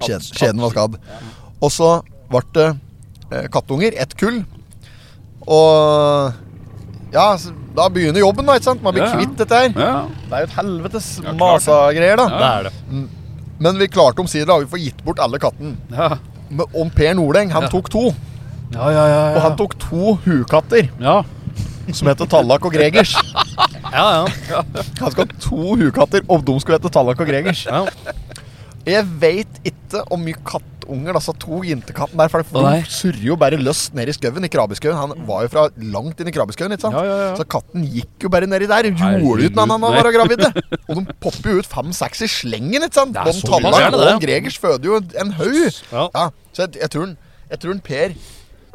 Speaker 1: Kjeden, kjeden var skadd. Og så ble det eh, kattunger, ett kull. Og Ja, så, da begynner jobben, da, ikke sant? Man blir
Speaker 2: Ja, ja.
Speaker 1: kvitt dette her.
Speaker 2: Ja.
Speaker 1: Det er jo et helvetes
Speaker 2: Ja, klart det.
Speaker 1: masagreier, da.
Speaker 3: Det er det.
Speaker 1: Men vi klarte omsider, da. Vi får gitt bort alle katten.
Speaker 2: Ja.
Speaker 1: Men om Per Nordeng, han
Speaker 2: Ja.
Speaker 1: tok to.
Speaker 2: Ja, ja, ja,
Speaker 1: Og han tok to hukatter
Speaker 2: ja.
Speaker 1: som heter Tallak og Gregers.
Speaker 3: Ja, ja.
Speaker 1: Han skal ha to hukatter, og de skulle hete Tallak og Gregers.
Speaker 3: ja.
Speaker 1: Jeg veit ikke om mye kattunger disse to jentekattene der For
Speaker 2: Nei.
Speaker 1: de surrer jo bare løst ned i skauen. I krabbeskauen. Han var jo fra langt inn i krabbeskauen, ikke sant?
Speaker 2: Ja, ja, ja.
Speaker 1: Så katten gikk jo bare nedi der. Gjorde
Speaker 2: Herregud,
Speaker 1: ut når han
Speaker 2: nei.
Speaker 1: var gravid. det. Og de popper jo ut fem-seks i slengen, ikke sant?
Speaker 2: Det er
Speaker 1: Både
Speaker 2: så
Speaker 1: Tallak
Speaker 3: mye, er det det?
Speaker 1: og Gregers føder jo en haug.
Speaker 3: Ja.
Speaker 1: Ja, så jeg, jeg, tror han, jeg tror han Per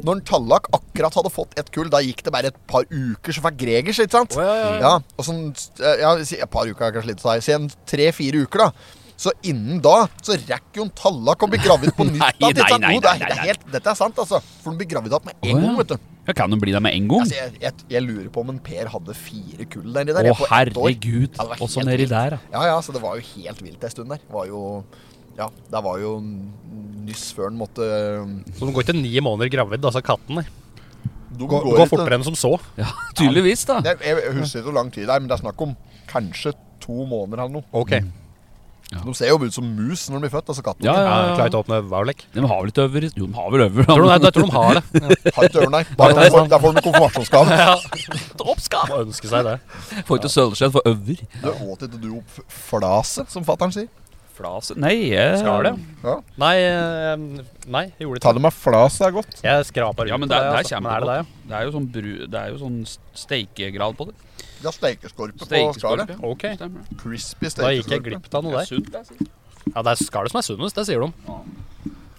Speaker 1: når han Tallak akkurat hadde fått ett kull, da gikk det bare et par uker, så fikk Gregers, ikke sant?
Speaker 2: Å, ja, ja, ja.
Speaker 1: og sånn, ja, si- et par uker er kanskje litt å ta i. Si en tre-fire uker, da. Så innen da så rekker jo en Tallak å bli gravid på nytt.
Speaker 2: Nei,
Speaker 1: da, ikke sant?
Speaker 2: nei, nei,
Speaker 1: Jo, det er-
Speaker 2: nei,
Speaker 1: det er
Speaker 2: nei.
Speaker 1: helt, dette er sant, altså. For han blir gravid igjen med en
Speaker 2: Å, ja.
Speaker 1: gang, vet du.
Speaker 2: Ja, Kan de bli der med en gang?
Speaker 1: Altså, jeg, jeg, jeg lurer på om en Per hadde fire kull der. i der
Speaker 2: Å,
Speaker 1: jeg, på ett år.
Speaker 2: herregud.
Speaker 1: Ja, det var
Speaker 2: Også
Speaker 1: helt
Speaker 2: nedi
Speaker 1: vilt.
Speaker 2: der, ja.
Speaker 1: Ja, ja, så det var jo helt vilt en stund der. Det var jo, ja, det var jo nyss før han måtte eh,
Speaker 3: Så de går ikke ni måneder gravid, altså kattene.
Speaker 1: Du
Speaker 3: Går, går fortere enn som så.
Speaker 2: ja. Tydeligvis, da.
Speaker 1: Jeg, jeg husker ikke hvor lang tid det er, men det er snakk om kanskje to måneder eller noe.
Speaker 3: Ok.
Speaker 1: De ser jo ut som mus når de blir født, altså katten.
Speaker 2: Ja,
Speaker 3: Ja,
Speaker 2: ja,
Speaker 3: jeg
Speaker 2: ja.
Speaker 3: klarer ikke å åpne Vaulek.
Speaker 2: De har vel ikke øver? Jo, de har vel øver.
Speaker 3: Tror du, nei, jeg tror de har det.
Speaker 1: Har ikke ørene, nei. Bare
Speaker 3: Nei, det er
Speaker 1: for,
Speaker 3: sant.
Speaker 1: der får de konfirmasjonsgave.
Speaker 3: Ja. Må ønske seg det.
Speaker 2: Får ikke sølvskjell for øver.
Speaker 1: Du åt ikke du opp f- flaset, som fatter'n sier?
Speaker 2: Flase Nei, jeg...
Speaker 3: Skal det?
Speaker 1: Ja.
Speaker 3: Nei, eh, nei, jeg gjorde
Speaker 1: Ta
Speaker 3: ikke det.
Speaker 1: det med flaset, det er godt.
Speaker 3: Jeg skraper
Speaker 2: Ja, men
Speaker 3: på
Speaker 2: der, der
Speaker 3: altså.
Speaker 2: kommer
Speaker 3: Men er det det,
Speaker 2: Det er jo sånn, bru, det er jo sånn steikegrad på det.
Speaker 1: Ja, steikeskorpe på skallet.
Speaker 2: Steikeskorpe.
Speaker 3: ja? Ok.
Speaker 2: Stemmer det.
Speaker 1: Crispy
Speaker 3: Da gikk jeg
Speaker 1: steikeskorpe.
Speaker 3: glipp av
Speaker 2: Det
Speaker 3: noe
Speaker 2: altså. er
Speaker 3: der.
Speaker 2: sunt, det. sikkert.
Speaker 3: Ja, det er skallet som er sunnest, det sier de.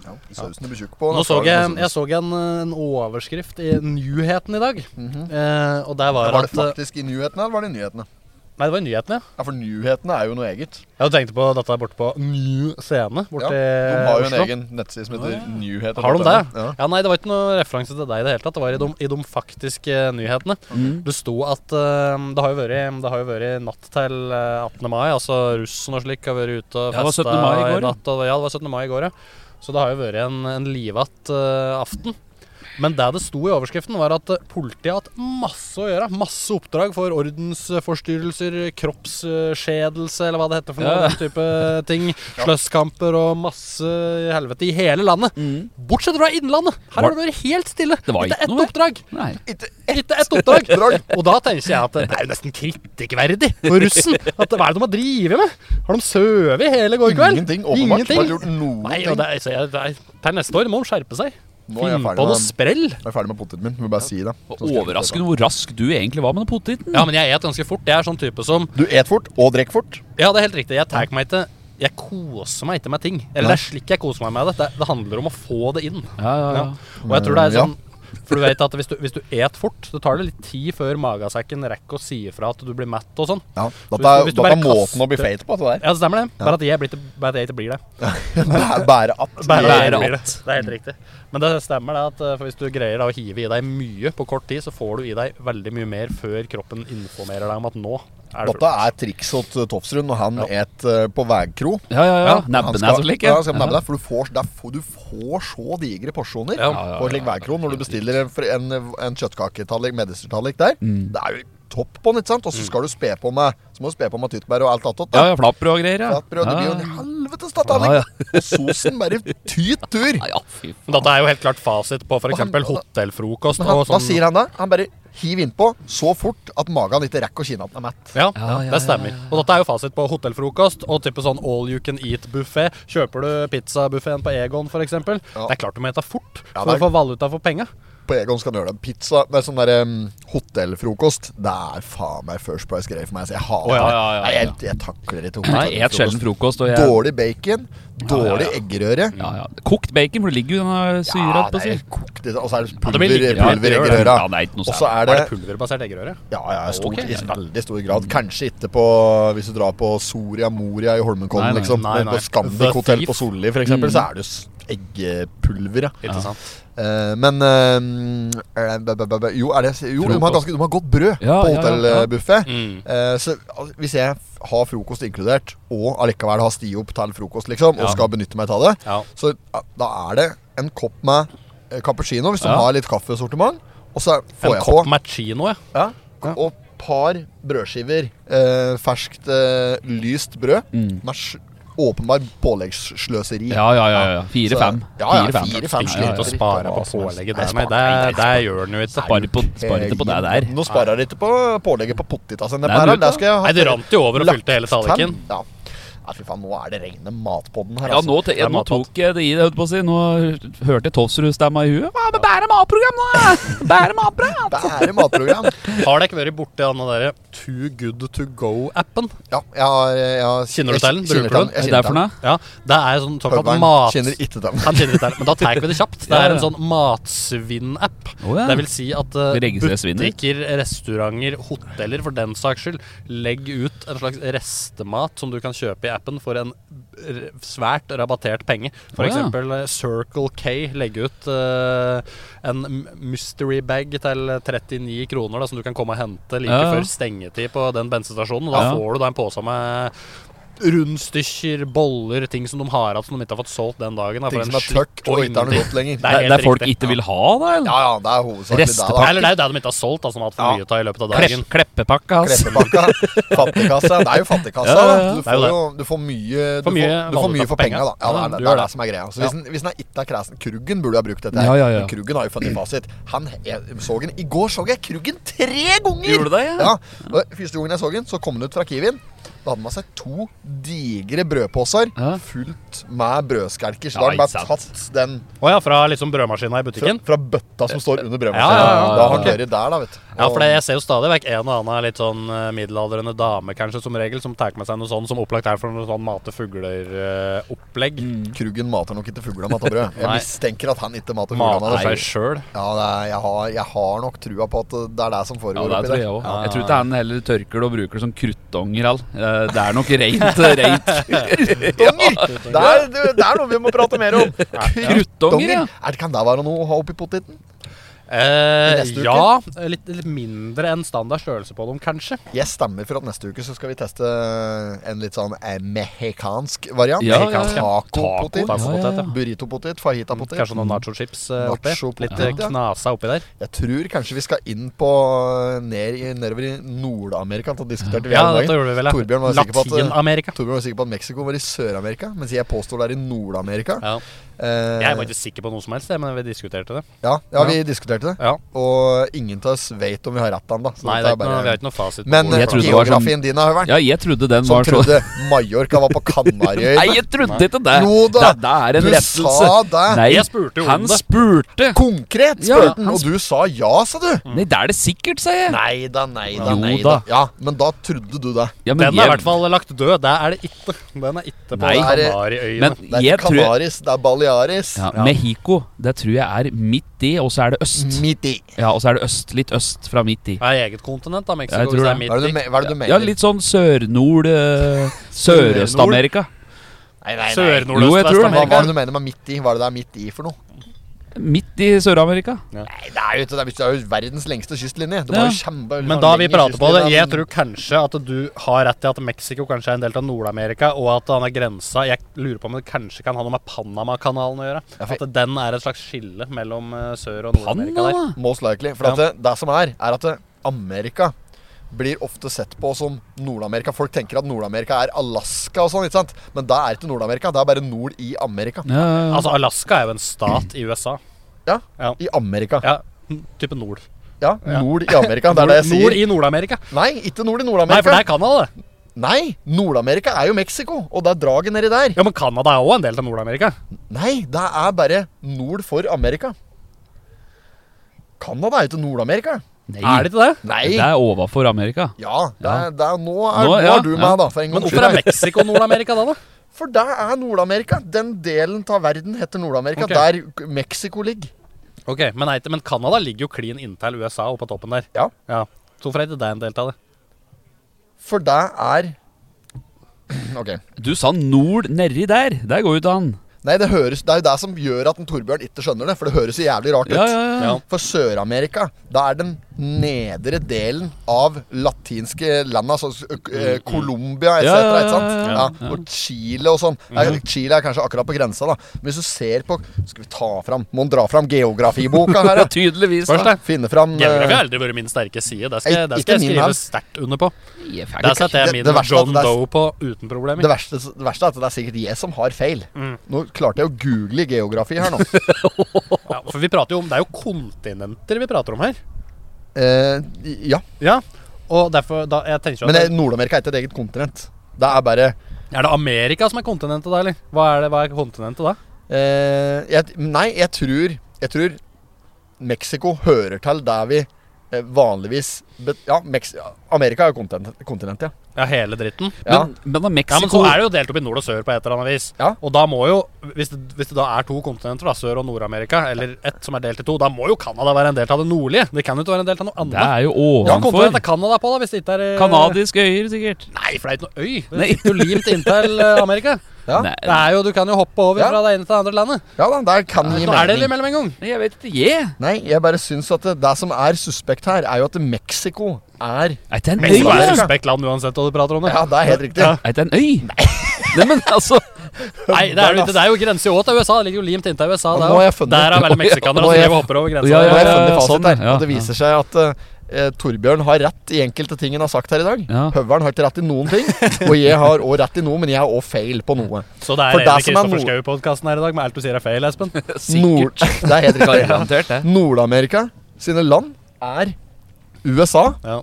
Speaker 1: Ja, sausen du blir tjukk på.
Speaker 3: Nå
Speaker 1: da
Speaker 3: så
Speaker 1: skal
Speaker 3: jeg,
Speaker 1: du-
Speaker 3: jeg så en, en overskrift i nyheten i dag. eh, og der var,
Speaker 1: Mhm. Var det
Speaker 3: at eh,
Speaker 1: faktisk i nyhetene, eller var det i nyhetene?
Speaker 3: Nei, det var i nyhetene. ja.
Speaker 1: Ja, for nyhetene er jo noe eget.
Speaker 3: Jeg tenkte på dette borte på Ny Scene.
Speaker 1: Ja,
Speaker 3: Borte
Speaker 1: de har
Speaker 3: i
Speaker 1: jo en
Speaker 3: Oslo.
Speaker 1: egen nettside som heter nyheter.
Speaker 3: Har de det?
Speaker 1: Ja.
Speaker 3: Ja, nei, det var ikke noe referanse til deg i det hele tatt. Det var i de, i de faktiske eh, nyhetene.
Speaker 2: Mm.
Speaker 3: Det sto at eh, det, har jo vært, det har jo vært natt til eh, 18. mai. Altså russen og slik har vært ute og
Speaker 2: Ja, det var
Speaker 3: festa
Speaker 2: 17. mai i går, ja.
Speaker 3: natt. Og, ja, det var 17. mai i går, ja. Så det har jo vært en, en livatt eh, aften. Men det det sto i overskriften, var at eh, politiet har hatt masse å gjøre. Masse oppdrag for ordensforstyrrelser, kroppsskjedelse, eller hva det heter for noe.
Speaker 2: Ja.
Speaker 3: Den type ting. Sløsskamper og masse i helvete i hele landet. Bortsett fra Innlandet! Her har det vært helt stille.
Speaker 2: Mm. Det var
Speaker 3: ikke
Speaker 2: ikke
Speaker 3: ett
Speaker 2: noe, ja.
Speaker 3: oppdrag.
Speaker 2: Nei.
Speaker 1: Ikke
Speaker 3: Ikke ett oppdrag. Og da tenker jeg at det er jo nesten kritikkverdig for russen. At Hva er det de har drevet med? Har de sovet hele går kveld?
Speaker 1: Ingenting, åpenbart. Har ikke gjort noen
Speaker 3: Nei, og
Speaker 1: ting.
Speaker 3: det er, så jeg, det er, til neste år må de skjerpe seg.
Speaker 1: Nå er jeg
Speaker 3: Finn
Speaker 1: ferdig
Speaker 3: på noe
Speaker 1: med den.
Speaker 3: sprell.
Speaker 1: Jeg er ferdig med poteten min. Må bare si det. Så skal jeg-
Speaker 2: Overraskende hvor rask du egentlig var med den poteten.
Speaker 3: Ja, men jeg et ganske fort. Jeg er sånn type som
Speaker 1: Du et fort, og drikk fort.
Speaker 3: Ja, det er helt riktig. Jeg tar meg ikke Jeg koser meg ikke med ting. Eller det er slik jeg koser meg med det. Det, det handler om å få det inn.
Speaker 2: Ja, ja, ja.
Speaker 3: Ja. Og jeg tror det er
Speaker 1: Ja.
Speaker 3: sånn For du vet at hvis du, hvis du et fort, det tar det litt tid før magesekken rekker å si ifra at du blir mett og sånn.
Speaker 1: Ja,
Speaker 3: Så
Speaker 1: Dette er,
Speaker 3: hvis du- hvis du
Speaker 1: dette er
Speaker 3: bare
Speaker 1: måten å bli
Speaker 3: kaster-
Speaker 1: feit på, det der.
Speaker 3: Ja, det stemmer det. Bare at jeg, blir, ikke- bare at jeg ikke blir det.
Speaker 1: Bæ- Bære at.
Speaker 3: Bare at jeg
Speaker 2: Bare
Speaker 3: ikke blir det. Det er helt riktig. Men det stemmer det at eh, for hvis du greier da å hive i deg mye på kort tid, så får du i deg veldig mye mer før kroppen informerer deg om at nå er det
Speaker 1: Dette er trikset til Tofsrud når han et eh, på veikro.
Speaker 2: Ja, ja, ja.
Speaker 3: Ja,
Speaker 1: Han
Speaker 2: Nebben
Speaker 1: skal-
Speaker 2: Ah, er så lik.
Speaker 1: Ja, han skal nebbe deg, for du får, det er, få- du får så digre porsjoner
Speaker 3: Ja.
Speaker 2: ja,
Speaker 1: på en slik veikro når du bestiller en, for en, en kjøttkaketallerk, medistertallerk der.
Speaker 2: Mm.
Speaker 1: Det er jo topp på den, ikke sant? Og så skal du spe på med Så må du spe på med tyttebær og alt annet. da.
Speaker 2: Ja, ja, flapper og greier, ja.
Speaker 1: Flatbrød, det blir
Speaker 2: Ja,
Speaker 1: jo en helvetes tallerken.
Speaker 2: Ja,
Speaker 1: Og sosen bare tyt tur.
Speaker 2: ja. ja, fy faen.
Speaker 3: Men Dette er jo helt klart fasit på f.eks.
Speaker 1: Og han-
Speaker 3: hotellfrokost
Speaker 1: Men han,
Speaker 3: og
Speaker 1: hva
Speaker 3: sånn.
Speaker 1: sier han da? Han bare hiv innpå så fort at magen ikke rekker å kine at den er mett.
Speaker 3: Ja,
Speaker 2: Ja, ja,
Speaker 3: det stemmer. Og dette er jo fasit på hotellfrokost og type sånn all you can eat-buffé. Kjøper du pizzabuffeen på Egon f.eks., eksempel
Speaker 1: Ja.
Speaker 3: det er klart du må ete fort, så
Speaker 1: det er-
Speaker 3: du får valuta for penga.
Speaker 1: På Egon skal du gjøre det. Pizza det er sånn der, em, hotellfrokost. Det er faen meg First Price-greier for meg. Så jeg hater
Speaker 3: Å, ja, ja, ja,
Speaker 1: det. Nei, jeg, jeg takler ikke
Speaker 2: Nei, et sjelden frokost. Og jeg,
Speaker 1: Dårlig bacon, dårlig eggerøre.
Speaker 2: Ja, ja. Kokt bacon, for det ligger jo den syra på
Speaker 1: det er
Speaker 2: siden.
Speaker 1: kokt i- Og så er det
Speaker 3: det blir
Speaker 1: pulver,
Speaker 3: litt- ja, det
Speaker 1: pulver i
Speaker 3: gjør det.
Speaker 1: grøra.
Speaker 2: Ja, det er ikke noe
Speaker 1: Og så er
Speaker 3: Er
Speaker 1: det
Speaker 3: det pulverbasert eggerøre?
Speaker 1: Ja, ja, stort,
Speaker 2: Ok.
Speaker 1: i veldig stor grad. Kanskje ikke på hvis du drar på Soria Moria i Holmenkollen,
Speaker 2: Nei, nei.
Speaker 1: liksom.
Speaker 3: Nei,
Speaker 1: Men
Speaker 3: nei.
Speaker 1: på
Speaker 3: The
Speaker 1: Scandic hotell på
Speaker 3: Thief.
Speaker 1: Solli, f.eks., eksempel
Speaker 2: Mm.
Speaker 1: så er det jo s- eggepulver, ja.
Speaker 3: Ikke sant?
Speaker 1: Eh, men eh, eh, b- b- b- Jo, er det Jo, de har, ganske, de har godt brød
Speaker 2: Ja, ja, ja,
Speaker 1: på
Speaker 2: ja.
Speaker 1: hotellbuffé.
Speaker 3: Mm.
Speaker 1: Eh, så al- hvis jeg f- har frokost inkludert, og allikevel har sti opp til frokost, liksom, og
Speaker 3: Ja.
Speaker 1: skal benytte meg av det,
Speaker 3: Ja.
Speaker 1: så ja, da er det en kopp med eh, cappuccino, hvis
Speaker 2: Ja.
Speaker 1: de har litt kaffesortiment, og så får
Speaker 3: En
Speaker 1: jeg på
Speaker 3: kopp machino, ja.
Speaker 1: ja, og par brødskiver eh, ferskt, eh, lyst brød med sj- åpenbar påleggssløseri.
Speaker 2: Mm. Ja, ja, ja. ja.
Speaker 1: Så-
Speaker 2: Fire-fem.
Speaker 1: Ja, ja, fire-fem.
Speaker 3: Slutt å spare på pålegget der, nei. Det, det gjør den jo ikke.
Speaker 2: Sparer på- sparer ikke på det der.
Speaker 1: Eh, Nå sparer jeg ikke på pålegget på pottita
Speaker 2: Nei,
Speaker 1: sine. Der,
Speaker 2: du-
Speaker 1: der skal jeg ha
Speaker 3: Nei, det rant jo over og
Speaker 1: lagt
Speaker 3: fylte hele
Speaker 1: fem.
Speaker 3: tallerkenen.
Speaker 1: Ja. Nei, fy faen, nå er det regne matpodden her, altså.
Speaker 2: Ja, nå, te,
Speaker 3: Det er
Speaker 2: nå
Speaker 3: matpott.
Speaker 2: tok jeg det i det, holdt på å si. Nå hørte jeg Tofsrud-stemma i huet. Hva med bære matprogram nå? ja? Bære matprat!
Speaker 1: Det er matprogram.
Speaker 3: Har dere ikke vært borti den derre Too Good To Go-appen?
Speaker 1: Ja, jeg har, jeg har
Speaker 3: Kjenner du til den?
Speaker 1: jeg kjenner
Speaker 3: Bruker du
Speaker 1: Jeg
Speaker 3: den?
Speaker 2: Er det
Speaker 1: kjenner
Speaker 2: derfor
Speaker 1: til
Speaker 2: nå?
Speaker 3: Ja, det er sånn såkalt
Speaker 1: Høgvang
Speaker 3: mat...
Speaker 1: kjenner ikke til den.
Speaker 3: Han kjenner ikke til den, men da tar vi det kjapt. Det
Speaker 2: Ja, ja.
Speaker 3: er en sånn matsvinn-app.
Speaker 2: Å, ja.
Speaker 3: Det vil si at eh,
Speaker 2: Vi registrerer svinnet.
Speaker 3: butikker, restauranter, hoteller for den saks skyld, legg ut en slags restemat som du kan kjøpe i appen for en r- svært rabattert penge. For
Speaker 2: Å, ja.
Speaker 3: eksempel eh, Circle K legger ut eh, en m- mystery bag til 39 kroner da, som du kan komme og hente like
Speaker 2: Ja, ja.
Speaker 3: før stengetid på den bensinstasjonen. Da
Speaker 2: Ja.
Speaker 3: får du da en pose med rundstykker, boller, ting som de har igjen som de ikke har fått solgt den dagen. da, for
Speaker 1: Ting
Speaker 3: en
Speaker 1: som er
Speaker 3: slikk
Speaker 1: tørt og ikke er noe
Speaker 3: ingenting.
Speaker 1: godt lenger.
Speaker 3: Det
Speaker 2: Det
Speaker 3: er
Speaker 2: er
Speaker 3: helt
Speaker 2: det folk
Speaker 3: riktig.
Speaker 2: ikke vil ha, da? eller?
Speaker 1: Ja, ja, det er hovedsakelig der, da.
Speaker 2: Restepakke.
Speaker 3: Eller det er jo det de ikke har solgt, da, som de har hatt for
Speaker 1: Ja.
Speaker 3: mye av i løpet av
Speaker 2: Klepp,
Speaker 3: dagen.
Speaker 2: kleppepakka, ass.
Speaker 1: Kleppepakka, fattigkassa. Det er jo fattigkassa,
Speaker 2: Ja, ja, ja.
Speaker 1: da. Du
Speaker 3: Det er jo
Speaker 1: får
Speaker 3: det.
Speaker 1: jo du får mye Du får,
Speaker 3: For
Speaker 1: du
Speaker 3: mye
Speaker 1: får mye
Speaker 3: valuta
Speaker 1: for
Speaker 3: for
Speaker 1: penga, da. Ja, det
Speaker 3: penga. Ja,
Speaker 1: er det,
Speaker 3: du
Speaker 1: det,
Speaker 3: gjør
Speaker 1: er det
Speaker 3: det.
Speaker 1: som er greia. Så hvis, den, hvis den er ikke er kresen Kruggen burde ha brukt dette. her.
Speaker 2: Ja, ja, ja.
Speaker 1: Men Kruggen har jo funnet fasit. Han jeg så den I går så jeg Kruggen tre ganger!
Speaker 2: Gjorde du det, ja?
Speaker 1: og Første gangen jeg så den, så kom den ut fra Kiwien. Da hadde han med seg to digre brødposer
Speaker 2: Ja.
Speaker 1: fullt med brødskalker.
Speaker 2: Ja,
Speaker 1: Så da hadde han
Speaker 2: ikke
Speaker 1: bare tatt den
Speaker 3: Å ja, fra liksom brødmaskina i
Speaker 1: fra,
Speaker 3: butikken?
Speaker 1: fra bøtta som står under brødmaskinen.
Speaker 3: Ja, ja, ja,
Speaker 1: Da har han
Speaker 3: ok.
Speaker 1: vært der, da, vet du.
Speaker 3: Ja, for
Speaker 1: Og-
Speaker 3: det, jeg ser jo stadig vekk en og annen litt sånn eh, middelaldrende dame, kanskje, som regel, som tar med seg noe sånn som opplagt er for noe sånn mate-fugler-opplegg.
Speaker 1: Kruggen mater nok ikke fuglene mat og brød. Jeg
Speaker 3: Nei.
Speaker 1: mistenker at han ikke mater fuglene.
Speaker 3: Mater
Speaker 1: altså.
Speaker 3: seg sjøl.
Speaker 1: Ja, det er, jeg, har, jeg har nok trua på at eh, det er det som
Speaker 2: Ja,
Speaker 1: foregår
Speaker 2: det tror
Speaker 1: oppi
Speaker 2: jeg
Speaker 1: der.
Speaker 2: òg. Jeg tror ikke han heller tørker det og bruker det som kruttonger. all. Eh, Det er nok rent, rent
Speaker 1: Kruttonger! Det er, det det er noe vi må prate mer om.
Speaker 2: kruttonger, ja.
Speaker 1: Er det, kan det være noe å ha oppi poteten? I
Speaker 3: Eh,
Speaker 1: neste uke?
Speaker 3: ja, litt, litt mindre enn standard størrelse på dem, kanskje.
Speaker 1: Jeg stemmer for at neste uke så skal vi teste en litt sånn eh, mehikansk variant.
Speaker 2: Ja, ja, ja.
Speaker 1: Taco-potet.
Speaker 3: Taco,
Speaker 2: Ja, ja, sånn. ja.
Speaker 1: Burrito-potet. Fajita-potet.
Speaker 3: Mm, Kanskje noen nacho-chips eh, oppi.
Speaker 1: Nacho-potet,
Speaker 3: Litt eh,
Speaker 1: ja.
Speaker 3: knasa oppi der.
Speaker 1: Jeg tror kanskje vi skal inn på eh, ned, i- nedover i Nord-Amerika. Det diskuterte vi her
Speaker 3: Ja,
Speaker 1: om
Speaker 3: dette
Speaker 1: dagen.
Speaker 3: gjorde vi vel. ja.
Speaker 1: Torbjørn var sikker på at-
Speaker 3: Latin-Amerika.
Speaker 1: Torbjørn var sikker på at Mexico var i Sør-Amerika, mens jeg påstår det er i Nord-Amerika.
Speaker 3: Ja.
Speaker 1: Eh,
Speaker 3: Jeg var ikke sikker på noe som helst, jeg, men vi diskuterte det.
Speaker 1: Ja, ja, vi diskuterte det.
Speaker 3: Ja.
Speaker 1: Og ingen av oss vet om vi har rett ennå.
Speaker 3: Nei, det er ikke noe, vi har ikke noe fasit. på
Speaker 1: Men
Speaker 3: hvor
Speaker 2: Jeg
Speaker 1: eh,
Speaker 3: det
Speaker 2: trodde
Speaker 3: er.
Speaker 2: det var sånn-
Speaker 1: geografien din har jo vært
Speaker 2: Ja, jeg trodde den
Speaker 1: som
Speaker 2: var sånn- så
Speaker 1: trodde Mallorca var på
Speaker 2: Nei,
Speaker 1: Kanariøyene.
Speaker 2: jeg trodde ikke det.
Speaker 1: Jo da,
Speaker 2: Det, det er en
Speaker 1: Du
Speaker 2: rettelse.
Speaker 1: sa det
Speaker 2: Nei,
Speaker 3: Jeg spurte jo om
Speaker 2: han
Speaker 3: det.
Speaker 2: spurte.
Speaker 1: konkret,
Speaker 2: Ja,
Speaker 1: spurte han,
Speaker 2: han
Speaker 1: og du sa ja, sa du.
Speaker 3: Mm.
Speaker 2: Nei, det er det sikkert, sa jeg.
Speaker 1: Nei da, nei
Speaker 2: Jo da.
Speaker 1: Ja, men da trodde du det.
Speaker 2: Ja, men
Speaker 3: Den er i
Speaker 2: jeg-
Speaker 3: hvert fall lagt død. Det er det ikke. Den er ikke på
Speaker 2: Nei.
Speaker 3: Kanariøyene.
Speaker 2: Men
Speaker 1: Det er
Speaker 2: jeg
Speaker 1: ikke
Speaker 2: tror
Speaker 1: Kanaris, det er Balearis.
Speaker 2: ja, Mexico, det tror jeg er midt i, og så er det øst.
Speaker 1: Midt i.
Speaker 2: Ja, og så er det øst. Litt øst fra midt i.
Speaker 3: Det er eget kontinent, da. Mexico.
Speaker 2: Jeg tror
Speaker 3: hvis det er
Speaker 2: det.
Speaker 1: Hva er det du,
Speaker 3: midt i.
Speaker 1: me- hva er det du mener?
Speaker 2: Ja, litt sånn sør-nord eh, Sørøst-Amerika.
Speaker 1: Nei, nei, nei.
Speaker 3: Sør-nordøst
Speaker 2: Jo, jeg tror det.
Speaker 1: Hva hva
Speaker 3: Vest-Amerika.
Speaker 1: er det du mener med midt i? Hva er det det er midt i for noe?
Speaker 2: Midt i Sør-Amerika.
Speaker 1: Nei, det er jo, ikke det det er jo verdens lengste kystlinje. Det
Speaker 2: Ja.
Speaker 1: var jo kjempe
Speaker 3: Men da vi
Speaker 1: lengre
Speaker 3: prater på det,
Speaker 1: kystlinje
Speaker 3: jeg
Speaker 1: enn-
Speaker 3: tror kanskje at du har rett i at Mexico kanskje er en del av Nord-Amerika, og at han er grensa Jeg lurer på om det kanskje kan ha noe med Panamakanalen å gjøre.
Speaker 1: Ja, for-
Speaker 3: At den er et slags skille mellom eh, Sør- og Nord-Amerika der.
Speaker 2: Panama?
Speaker 1: Most likely. For
Speaker 3: Ja.
Speaker 1: at det, det som er, er at det, Amerika blir ofte sett på som Nord-Amerika. Folk tenker at Nord-Amerika er Alaska og sånn, ikke sant? Men det er ikke Nord-Amerika, det er bare nord i Amerika.
Speaker 2: Ja, ja, ja.
Speaker 3: Altså, Alaska er jo en stat i USA.
Speaker 1: Ja,
Speaker 3: Ja.
Speaker 1: i Amerika.
Speaker 3: Ja, type nord.
Speaker 1: Ja, nord i Amerika. Det er det jeg
Speaker 3: Nord
Speaker 1: sier.
Speaker 3: i Nord-Amerika.
Speaker 1: Nei, ikke nord i
Speaker 3: Nei, for
Speaker 1: Nord-Amerika.
Speaker 3: det er Canada, det.
Speaker 1: Nei, Nord-Amerika er jo Mexico, og det er draget nedi der.
Speaker 3: Ja, men Canada er òg en del av Nord-Amerika.
Speaker 1: Nei, det er bare nord for Amerika. Canada er jo ikke Nord-Amerika.
Speaker 2: Nei.
Speaker 3: Er det ikke det?
Speaker 1: Nei.
Speaker 2: Det er overfor Amerika.
Speaker 1: Ja, det
Speaker 2: Ja.
Speaker 1: er, det er, nå er,
Speaker 2: Nå,
Speaker 1: nå,
Speaker 2: ja,
Speaker 1: er du
Speaker 2: ja.
Speaker 1: med, da. For en
Speaker 3: Men
Speaker 1: gangs
Speaker 3: hvorfor er
Speaker 1: skyld.
Speaker 3: Mexico Nord-Amerika da, da?
Speaker 1: For det er Nord-Amerika. Den delen av verden heter Nord-Amerika.
Speaker 3: Ok.
Speaker 1: Der Mexico ligger.
Speaker 3: Ok, Men, nei, men Canada ligger jo klin inntil USA oppe på toppen der.
Speaker 1: Ja.
Speaker 3: ja. Så hvorfor er ikke det en del av det?
Speaker 1: For det er Ok.
Speaker 2: Du sa nord nedi der. Der går jo ikke an.
Speaker 1: Nei, det, høres, det er jo det som gjør at en Torbjørn ikke skjønner det, for det høres så jævlig rart ut.
Speaker 2: Ja, ja, ja.
Speaker 3: Ja.
Speaker 1: For Sør-Amerika, da er den nedre delen av latinske landa, sånn som eh, Colombia etc.
Speaker 2: Ja, ja, ja,
Speaker 1: ikke sant?
Speaker 2: ja,
Speaker 1: Ja,
Speaker 2: ja.
Speaker 1: og Chile og sånn. Nei, Chile er kanskje akkurat på grensa, da. Men hvis du ser på Skal vi ta fram Må en dra fram geografiboka her,
Speaker 2: Ja,
Speaker 1: ja?
Speaker 2: tydeligvis.
Speaker 3: Først, da.
Speaker 1: Finne fram eh,
Speaker 3: Geografi har aldri vært min sterke side. Det skal, jeg- det
Speaker 1: Ikke
Speaker 3: skal jeg
Speaker 1: min
Speaker 3: skrive
Speaker 1: heller.
Speaker 3: sterkt under på.
Speaker 2: Jeg er ferdig.
Speaker 3: Der setter
Speaker 1: det-
Speaker 3: jeg min
Speaker 1: det verste er at
Speaker 3: John
Speaker 1: det er-
Speaker 3: Doe på uten problemer.
Speaker 1: det verste, det verste er at det er sikkert jeg som har feil.
Speaker 2: Mm.
Speaker 1: Nå klarte jeg å google geografi her nå.
Speaker 3: Ja, for vi prater jo om, Det er jo kontinenter vi prater om her.
Speaker 1: Eh, ja.
Speaker 3: Ja, og derfor da, jeg tenker jo
Speaker 1: Men
Speaker 3: at
Speaker 1: eh, Nord-Amerika er ikke et eget kontinent. Det er bare
Speaker 3: Er det Amerika som er kontinentet da, eller? Hva er, det, hva er kontinentet da?
Speaker 1: Eh, jeg, nei, jeg tror Jeg tror Mexico hører til der vi eh, vanligvis bet, Ja, Mex ja, Amerika er jo kontinent, kontinentet, ja.
Speaker 3: Ja, hele dritten?
Speaker 1: ja.
Speaker 2: Men, men da
Speaker 3: Ja, men så
Speaker 2: Mexico
Speaker 3: er det jo delt opp i nord og sør på et eller annet vis.
Speaker 1: Ja.
Speaker 3: Og da må jo, hvis det, hvis det da er to kontinenter, da, Sør- og Nord-Amerika, eller ett som er delt i to, da må jo Canada være en del av det nordlige. Det kan jo ikke være en del av noe
Speaker 2: Det
Speaker 3: annet.
Speaker 2: er jo
Speaker 3: Hva kontinent
Speaker 2: ovenfor.
Speaker 3: er Canada på, da, hvis det ikke er eh,
Speaker 2: Kanadiske øyer, sikkert.
Speaker 3: Nei, for det er ikke noe øy. Det
Speaker 2: Nei.
Speaker 3: sitter jo limt inntil eh, Amerika.
Speaker 1: Ja.
Speaker 2: Nei,
Speaker 3: Det er jo, Du kan jo hoppe over
Speaker 1: Ja.
Speaker 3: fra det ene til det andre landet.
Speaker 1: ja da, der kan
Speaker 3: Det er
Speaker 1: gi
Speaker 3: ikke noe elg
Speaker 1: mening.
Speaker 3: imellom engang.
Speaker 2: nei, jeg vet ikke. Jeg?
Speaker 1: Nei, jeg bare syns at det, det som er suspekt her, er jo at Mexico er
Speaker 2: Er det en øy?
Speaker 3: Mexico er
Speaker 2: da?
Speaker 3: et respektland uansett hva du prater om. det.
Speaker 1: Ja, det er helt riktig.
Speaker 3: Ja.
Speaker 2: Er det en øy? Nei. men altså
Speaker 3: Nei, det er, jo ikke- det er jo grense jo til USA. Det ligger jo limt inntil USA.
Speaker 1: Og
Speaker 3: Det er
Speaker 1: nå har jeg
Speaker 3: jo,
Speaker 1: funnet-
Speaker 3: der er vel meksikanere
Speaker 1: Nå
Speaker 3: som
Speaker 1: har jeg-
Speaker 3: driver og hopper over grensa.
Speaker 2: Ja,
Speaker 1: Nå
Speaker 2: ja,
Speaker 1: har jeg funnet
Speaker 2: ja,
Speaker 1: fasit
Speaker 2: sånn,
Speaker 1: her.
Speaker 2: ja,
Speaker 1: og det viser seg at eh, eh, Torbjørn har rett i enkelte ting han har sagt her i dag.
Speaker 2: Ja.
Speaker 1: Høveren har ikke rett i noen ting. Og jeg har òg rett i noe, men jeg har òg feil på noe.
Speaker 3: Så det er
Speaker 1: For
Speaker 3: hele
Speaker 1: deg som er
Speaker 3: Kristoffer
Speaker 1: nord-
Speaker 3: Schou-podkasten her i dag, med alt du sier er feil, Espen.
Speaker 1: Nord det er helt riktig.
Speaker 2: Garantert det.
Speaker 1: Nord-Amerika sine land er USA,
Speaker 3: Ja,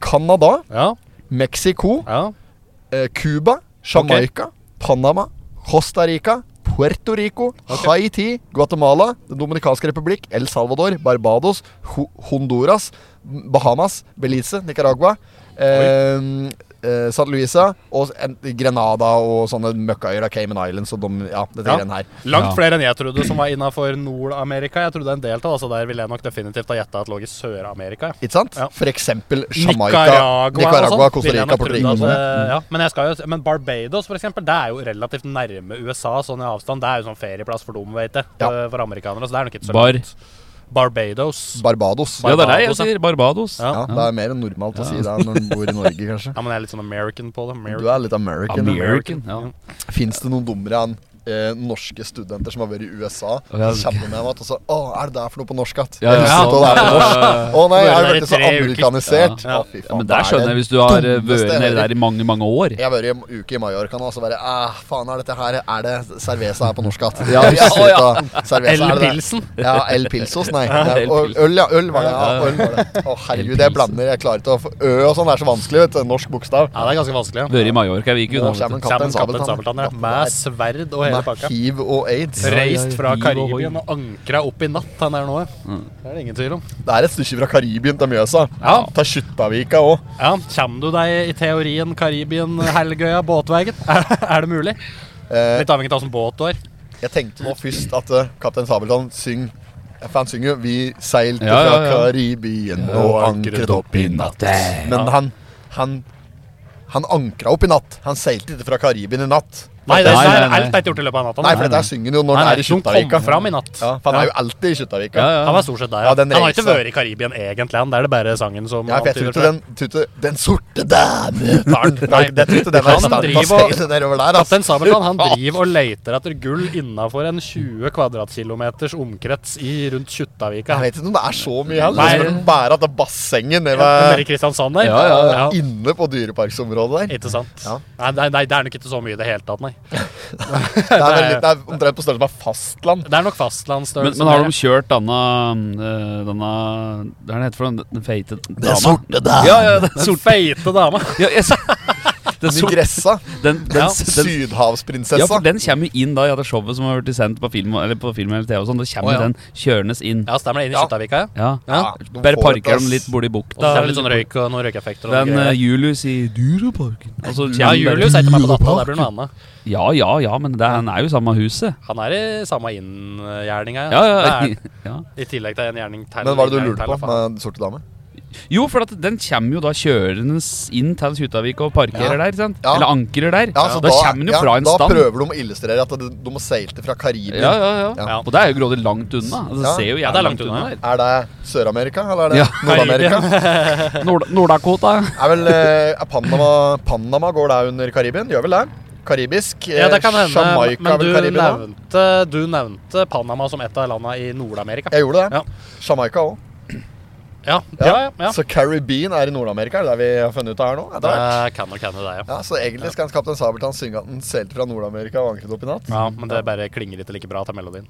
Speaker 1: Canada,
Speaker 3: ja,
Speaker 1: Mexico,
Speaker 3: ja.
Speaker 1: eh, Cuba, Jamaica, Panama, Costa Rica, Puerto Rico, Haiti, Guatemala, Den dominikanske republikk, El Salvador, Barbados, Ho Honduras, Bahamas, Belize, Nicaragua, eh, eh, St. Louisa og en- Grenada og sånne møkkaøyer av Cayman Islands og de, ja, dette
Speaker 3: Ja.
Speaker 1: greiene her.
Speaker 3: Langt
Speaker 2: Ja.
Speaker 3: flere enn jeg trodde som var innafor Nord-Amerika. Jeg trodde en del av altså der ville jeg nok definitivt ha gjetta at lå i Sør-Amerika. ja.
Speaker 1: Ikke sant?
Speaker 3: Ja.
Speaker 1: For eksempel Jamaica,
Speaker 3: Nicaragua,
Speaker 1: Nicaragua
Speaker 3: og sånn,
Speaker 1: Costa
Speaker 3: ville jeg
Speaker 1: Rica,
Speaker 3: nok
Speaker 1: Puerto
Speaker 3: trodd
Speaker 1: Rico. sånn.
Speaker 3: at, eh, ja, men, jeg skal jo, men Barbados for eksempel, det er jo relativt nærme USA sånn i avstand. Det er jo sånn ferieplass for dem, vet jeg,
Speaker 1: Ja.
Speaker 3: eh, for amerikanere. Så det er nok ikke så
Speaker 2: Bar.
Speaker 3: langt. Barbados.
Speaker 1: Barbados.
Speaker 2: Ja, det er det jeg
Speaker 3: Barbados, ja.
Speaker 2: sier. Barbados.
Speaker 3: Ja.
Speaker 1: Ja, det er mer enn normalt å si det enn når en bor i Norge, kanskje.
Speaker 3: Ja, men jeg er litt sånn American på det.
Speaker 1: Du
Speaker 3: American.
Speaker 1: er litt American.
Speaker 2: American. Ja.
Speaker 1: Fins det noen dummere enn eh, norske studenter som har vært i USA?
Speaker 2: ja,
Speaker 1: Så kommer de hjem igjen og så Å, er det der for noe på norsk att?
Speaker 2: Ja, ja,
Speaker 1: Jeg husker ikke hva det er på norsk. Å nei,
Speaker 3: Du
Speaker 1: jeg er
Speaker 3: er der i
Speaker 1: blitt så
Speaker 3: tre uker.
Speaker 1: amerikanisert.
Speaker 2: Ja.
Speaker 1: Å, fy
Speaker 2: Ja,
Speaker 1: faen.
Speaker 2: men der skjønner jeg, hvis du har eh, vært
Speaker 1: dummeste
Speaker 2: nede
Speaker 1: jeg hører.
Speaker 2: der i mange, mange år.
Speaker 1: Jeg har vært i en uke i Mallorca nå, og så bare Æh, faen, er dette her Er det cerveza her på norsk att?
Speaker 2: Ja,
Speaker 1: Jeg husker
Speaker 2: å, ja.
Speaker 1: ikke hva cerveza er
Speaker 3: Eller
Speaker 1: det der.
Speaker 3: Pilsen.
Speaker 1: Ja, El Pilsos, nei.
Speaker 2: El
Speaker 1: Og
Speaker 2: Pils.
Speaker 1: øl, ja. Øl var det. Ja, øl var det. Å,
Speaker 2: El
Speaker 1: herregud,
Speaker 2: Pils.
Speaker 1: jeg blander. Jeg klarer ikke å få Ø og sånn. Det er så vanskelig, vet du. Norsk bokstav.
Speaker 3: Ja, det er ganske vanskelig. Ja.
Speaker 2: Vært i Mallorca, vi gikk jo
Speaker 1: Nå
Speaker 2: nå, vet
Speaker 1: kommer
Speaker 2: du.
Speaker 1: en Kaptein
Speaker 3: Kaptein Sabeltann,
Speaker 1: Sabeltann,
Speaker 3: ja.
Speaker 1: ja.
Speaker 3: Med sverd og hele
Speaker 1: Med
Speaker 3: pakka.
Speaker 1: hiv og aids.
Speaker 2: Ja, ja,
Speaker 3: Reist fra
Speaker 2: hiv og Mm. hoi.
Speaker 3: Karibien og ankra opp i natt, han er nå. ja. Det er det ingen tvil om.
Speaker 1: Det er et stykke fra Karibien til Mjøsa.
Speaker 3: Ja.
Speaker 1: Ta Kjuttaviga òg.
Speaker 3: Ja, Kommer du deg i teorien Karibien-Helgøya båtveien? Er, er det mulig?
Speaker 1: Eh,
Speaker 3: Litt avhengig av åssen båt du har.
Speaker 1: jeg tenkte nå først at eh, Kaptein Sabeltann syng For han synger jo 'Vi seilte
Speaker 2: Ja, ja, ja.
Speaker 1: fra Karibien og ankret opp i natt'. Men han han, han ankra opp i natt. Han seilte ikke fra Karibien i natt.
Speaker 3: Nei, det,
Speaker 2: Nei,
Speaker 3: det
Speaker 2: nei,
Speaker 3: er
Speaker 2: nei.
Speaker 3: alt er ikke gjort i løpet av natta.
Speaker 1: Nei, for dette her synger han jo når
Speaker 3: Nei,
Speaker 1: han
Speaker 3: nei,
Speaker 1: er i
Speaker 3: Hun
Speaker 1: Kjuttaviga.
Speaker 3: kom fram i natt.
Speaker 1: Ja, for han er jo alltid i Kjuttaviga.
Speaker 2: Ja,
Speaker 3: Han
Speaker 2: ja.
Speaker 3: er stort sett
Speaker 1: Ja,
Speaker 3: der. Ja,
Speaker 1: den
Speaker 3: han har ikke
Speaker 1: reisa.
Speaker 3: vært i Karibien egentlig, han. Det er det bare sangen som
Speaker 1: Ja, for jeg tror ikke
Speaker 3: antyder
Speaker 1: den, tror ikke den sorte dame tar den. Nei, jeg tror ikke den
Speaker 3: Han
Speaker 1: er stand på
Speaker 3: driver og-
Speaker 1: stedet nedover der, altså.
Speaker 3: Kaptein Sabeltann han driver og leter etter gull innafor en 20 kvadratkilometers omkrets i rundt Kjuttaviga.
Speaker 1: Jeg vet ikke om det er så mye heller.
Speaker 3: Nei.
Speaker 1: Nei. Skal den bære at det er bassenget nede
Speaker 3: Ja,
Speaker 1: ved
Speaker 3: Nede i Kristiansand der?
Speaker 1: ja, ja,
Speaker 3: Ja,
Speaker 1: Inne på dyreparksområdet der.
Speaker 3: Ikke sant?
Speaker 1: Ja.
Speaker 3: Nei, nei, nei, det er nok ikke så mye i det hele tatt, nei.
Speaker 1: Det er, veldig, det er omtrent på størrelse med fastland.
Speaker 3: Det sånn er nok fastlandsstørrelse.
Speaker 2: Men, men har de kjørt denne øh, Denne Hva er det heter for den, den feite dama?
Speaker 1: der.
Speaker 2: Ja, ja, den,
Speaker 3: Den feite dama.
Speaker 2: ja, yes. den, sorte-
Speaker 1: Nigressa.
Speaker 2: den, den,
Speaker 3: Ja,
Speaker 2: den, ja,
Speaker 1: Sydhavsprinsessa.
Speaker 2: for den kommer jo inn da i det showet som har blitt sendt på film eller, på film eller TV. og sånn Da kommer
Speaker 3: Å, ja.
Speaker 2: den kjørendes inn.
Speaker 3: Ja, stemmer det. Inn i
Speaker 1: Ja.
Speaker 3: Skjøttaviga, ja.
Speaker 2: Ja.
Speaker 1: Ja,
Speaker 3: ja.
Speaker 1: de
Speaker 2: Bare
Speaker 1: får et,
Speaker 2: parker
Speaker 1: ass.
Speaker 2: dem litt borti
Speaker 3: Og så
Speaker 2: bukta.
Speaker 3: er det litt sånn røyk og noen røykeffekter. og noen
Speaker 2: Den
Speaker 3: greier.
Speaker 2: eh, Julius i Dyreparken. Og så
Speaker 3: ja,
Speaker 2: kommer
Speaker 3: Julius er ikke med på data. Det blir noe annet.
Speaker 2: bare- Ja, ja, ja, men det, han er jo samme huset.
Speaker 3: Han er i samme inngjerninga.
Speaker 2: Ja, ja,
Speaker 3: Det
Speaker 2: ja.
Speaker 3: er I tillegg til en gjerning til.
Speaker 1: Men hva er det du
Speaker 3: en
Speaker 1: lurte
Speaker 3: gjerning til,
Speaker 1: på
Speaker 3: faen.
Speaker 1: med Den sorte dame?
Speaker 2: Jo, for at den kommer jo da kjørende inn til Skjuttavik og parkerer der. sant?
Speaker 1: Ja.
Speaker 2: Eller ankerer der.
Speaker 1: Ja, så
Speaker 2: da, kommer den jo
Speaker 1: ja,
Speaker 2: fra en
Speaker 1: da
Speaker 2: stand.
Speaker 1: prøver de å illustrere at de, de seilte fra Karibia.
Speaker 2: Ja, ja, ja,
Speaker 1: Ja.
Speaker 2: Og det er jo grådig langt unna. Altså,
Speaker 1: Ja.
Speaker 2: Det ser jo jævlig
Speaker 3: Ja, det er
Speaker 2: langt
Speaker 3: langt
Speaker 2: unna.
Speaker 3: unna.
Speaker 2: der.
Speaker 1: Er det Sør-Amerika, eller er det
Speaker 2: Ja.
Speaker 1: Nord-Amerika?
Speaker 2: Nord- Nord-Dakota.
Speaker 1: Er vel eh, er Panama, Panama går der under Karibien? Gjør vel det? Karibisk? eh,
Speaker 3: Ja, det kan hende.
Speaker 1: Jamaica
Speaker 3: men
Speaker 1: er vel
Speaker 3: du
Speaker 1: Karibien? da?
Speaker 3: nevnte, du nevnte Panama som et av landene i Nord-Amerika.
Speaker 1: Jeg gjorde det.
Speaker 3: Ja.
Speaker 1: Jamaica òg.
Speaker 3: Ja, ja, ja. ja.
Speaker 1: Så Caribbean er i Nord-Amerika, er det det vi har funnet ut av her nå? Etter hvert.
Speaker 3: Det kan nok hende, det, ja.
Speaker 1: Ja, Så egentlig skal Kaptein Sabeltann synge at han seilte fra Nord-Amerika og ankret opp i natt?
Speaker 3: Ja, Men det bare klinger ikke like bra til melodien.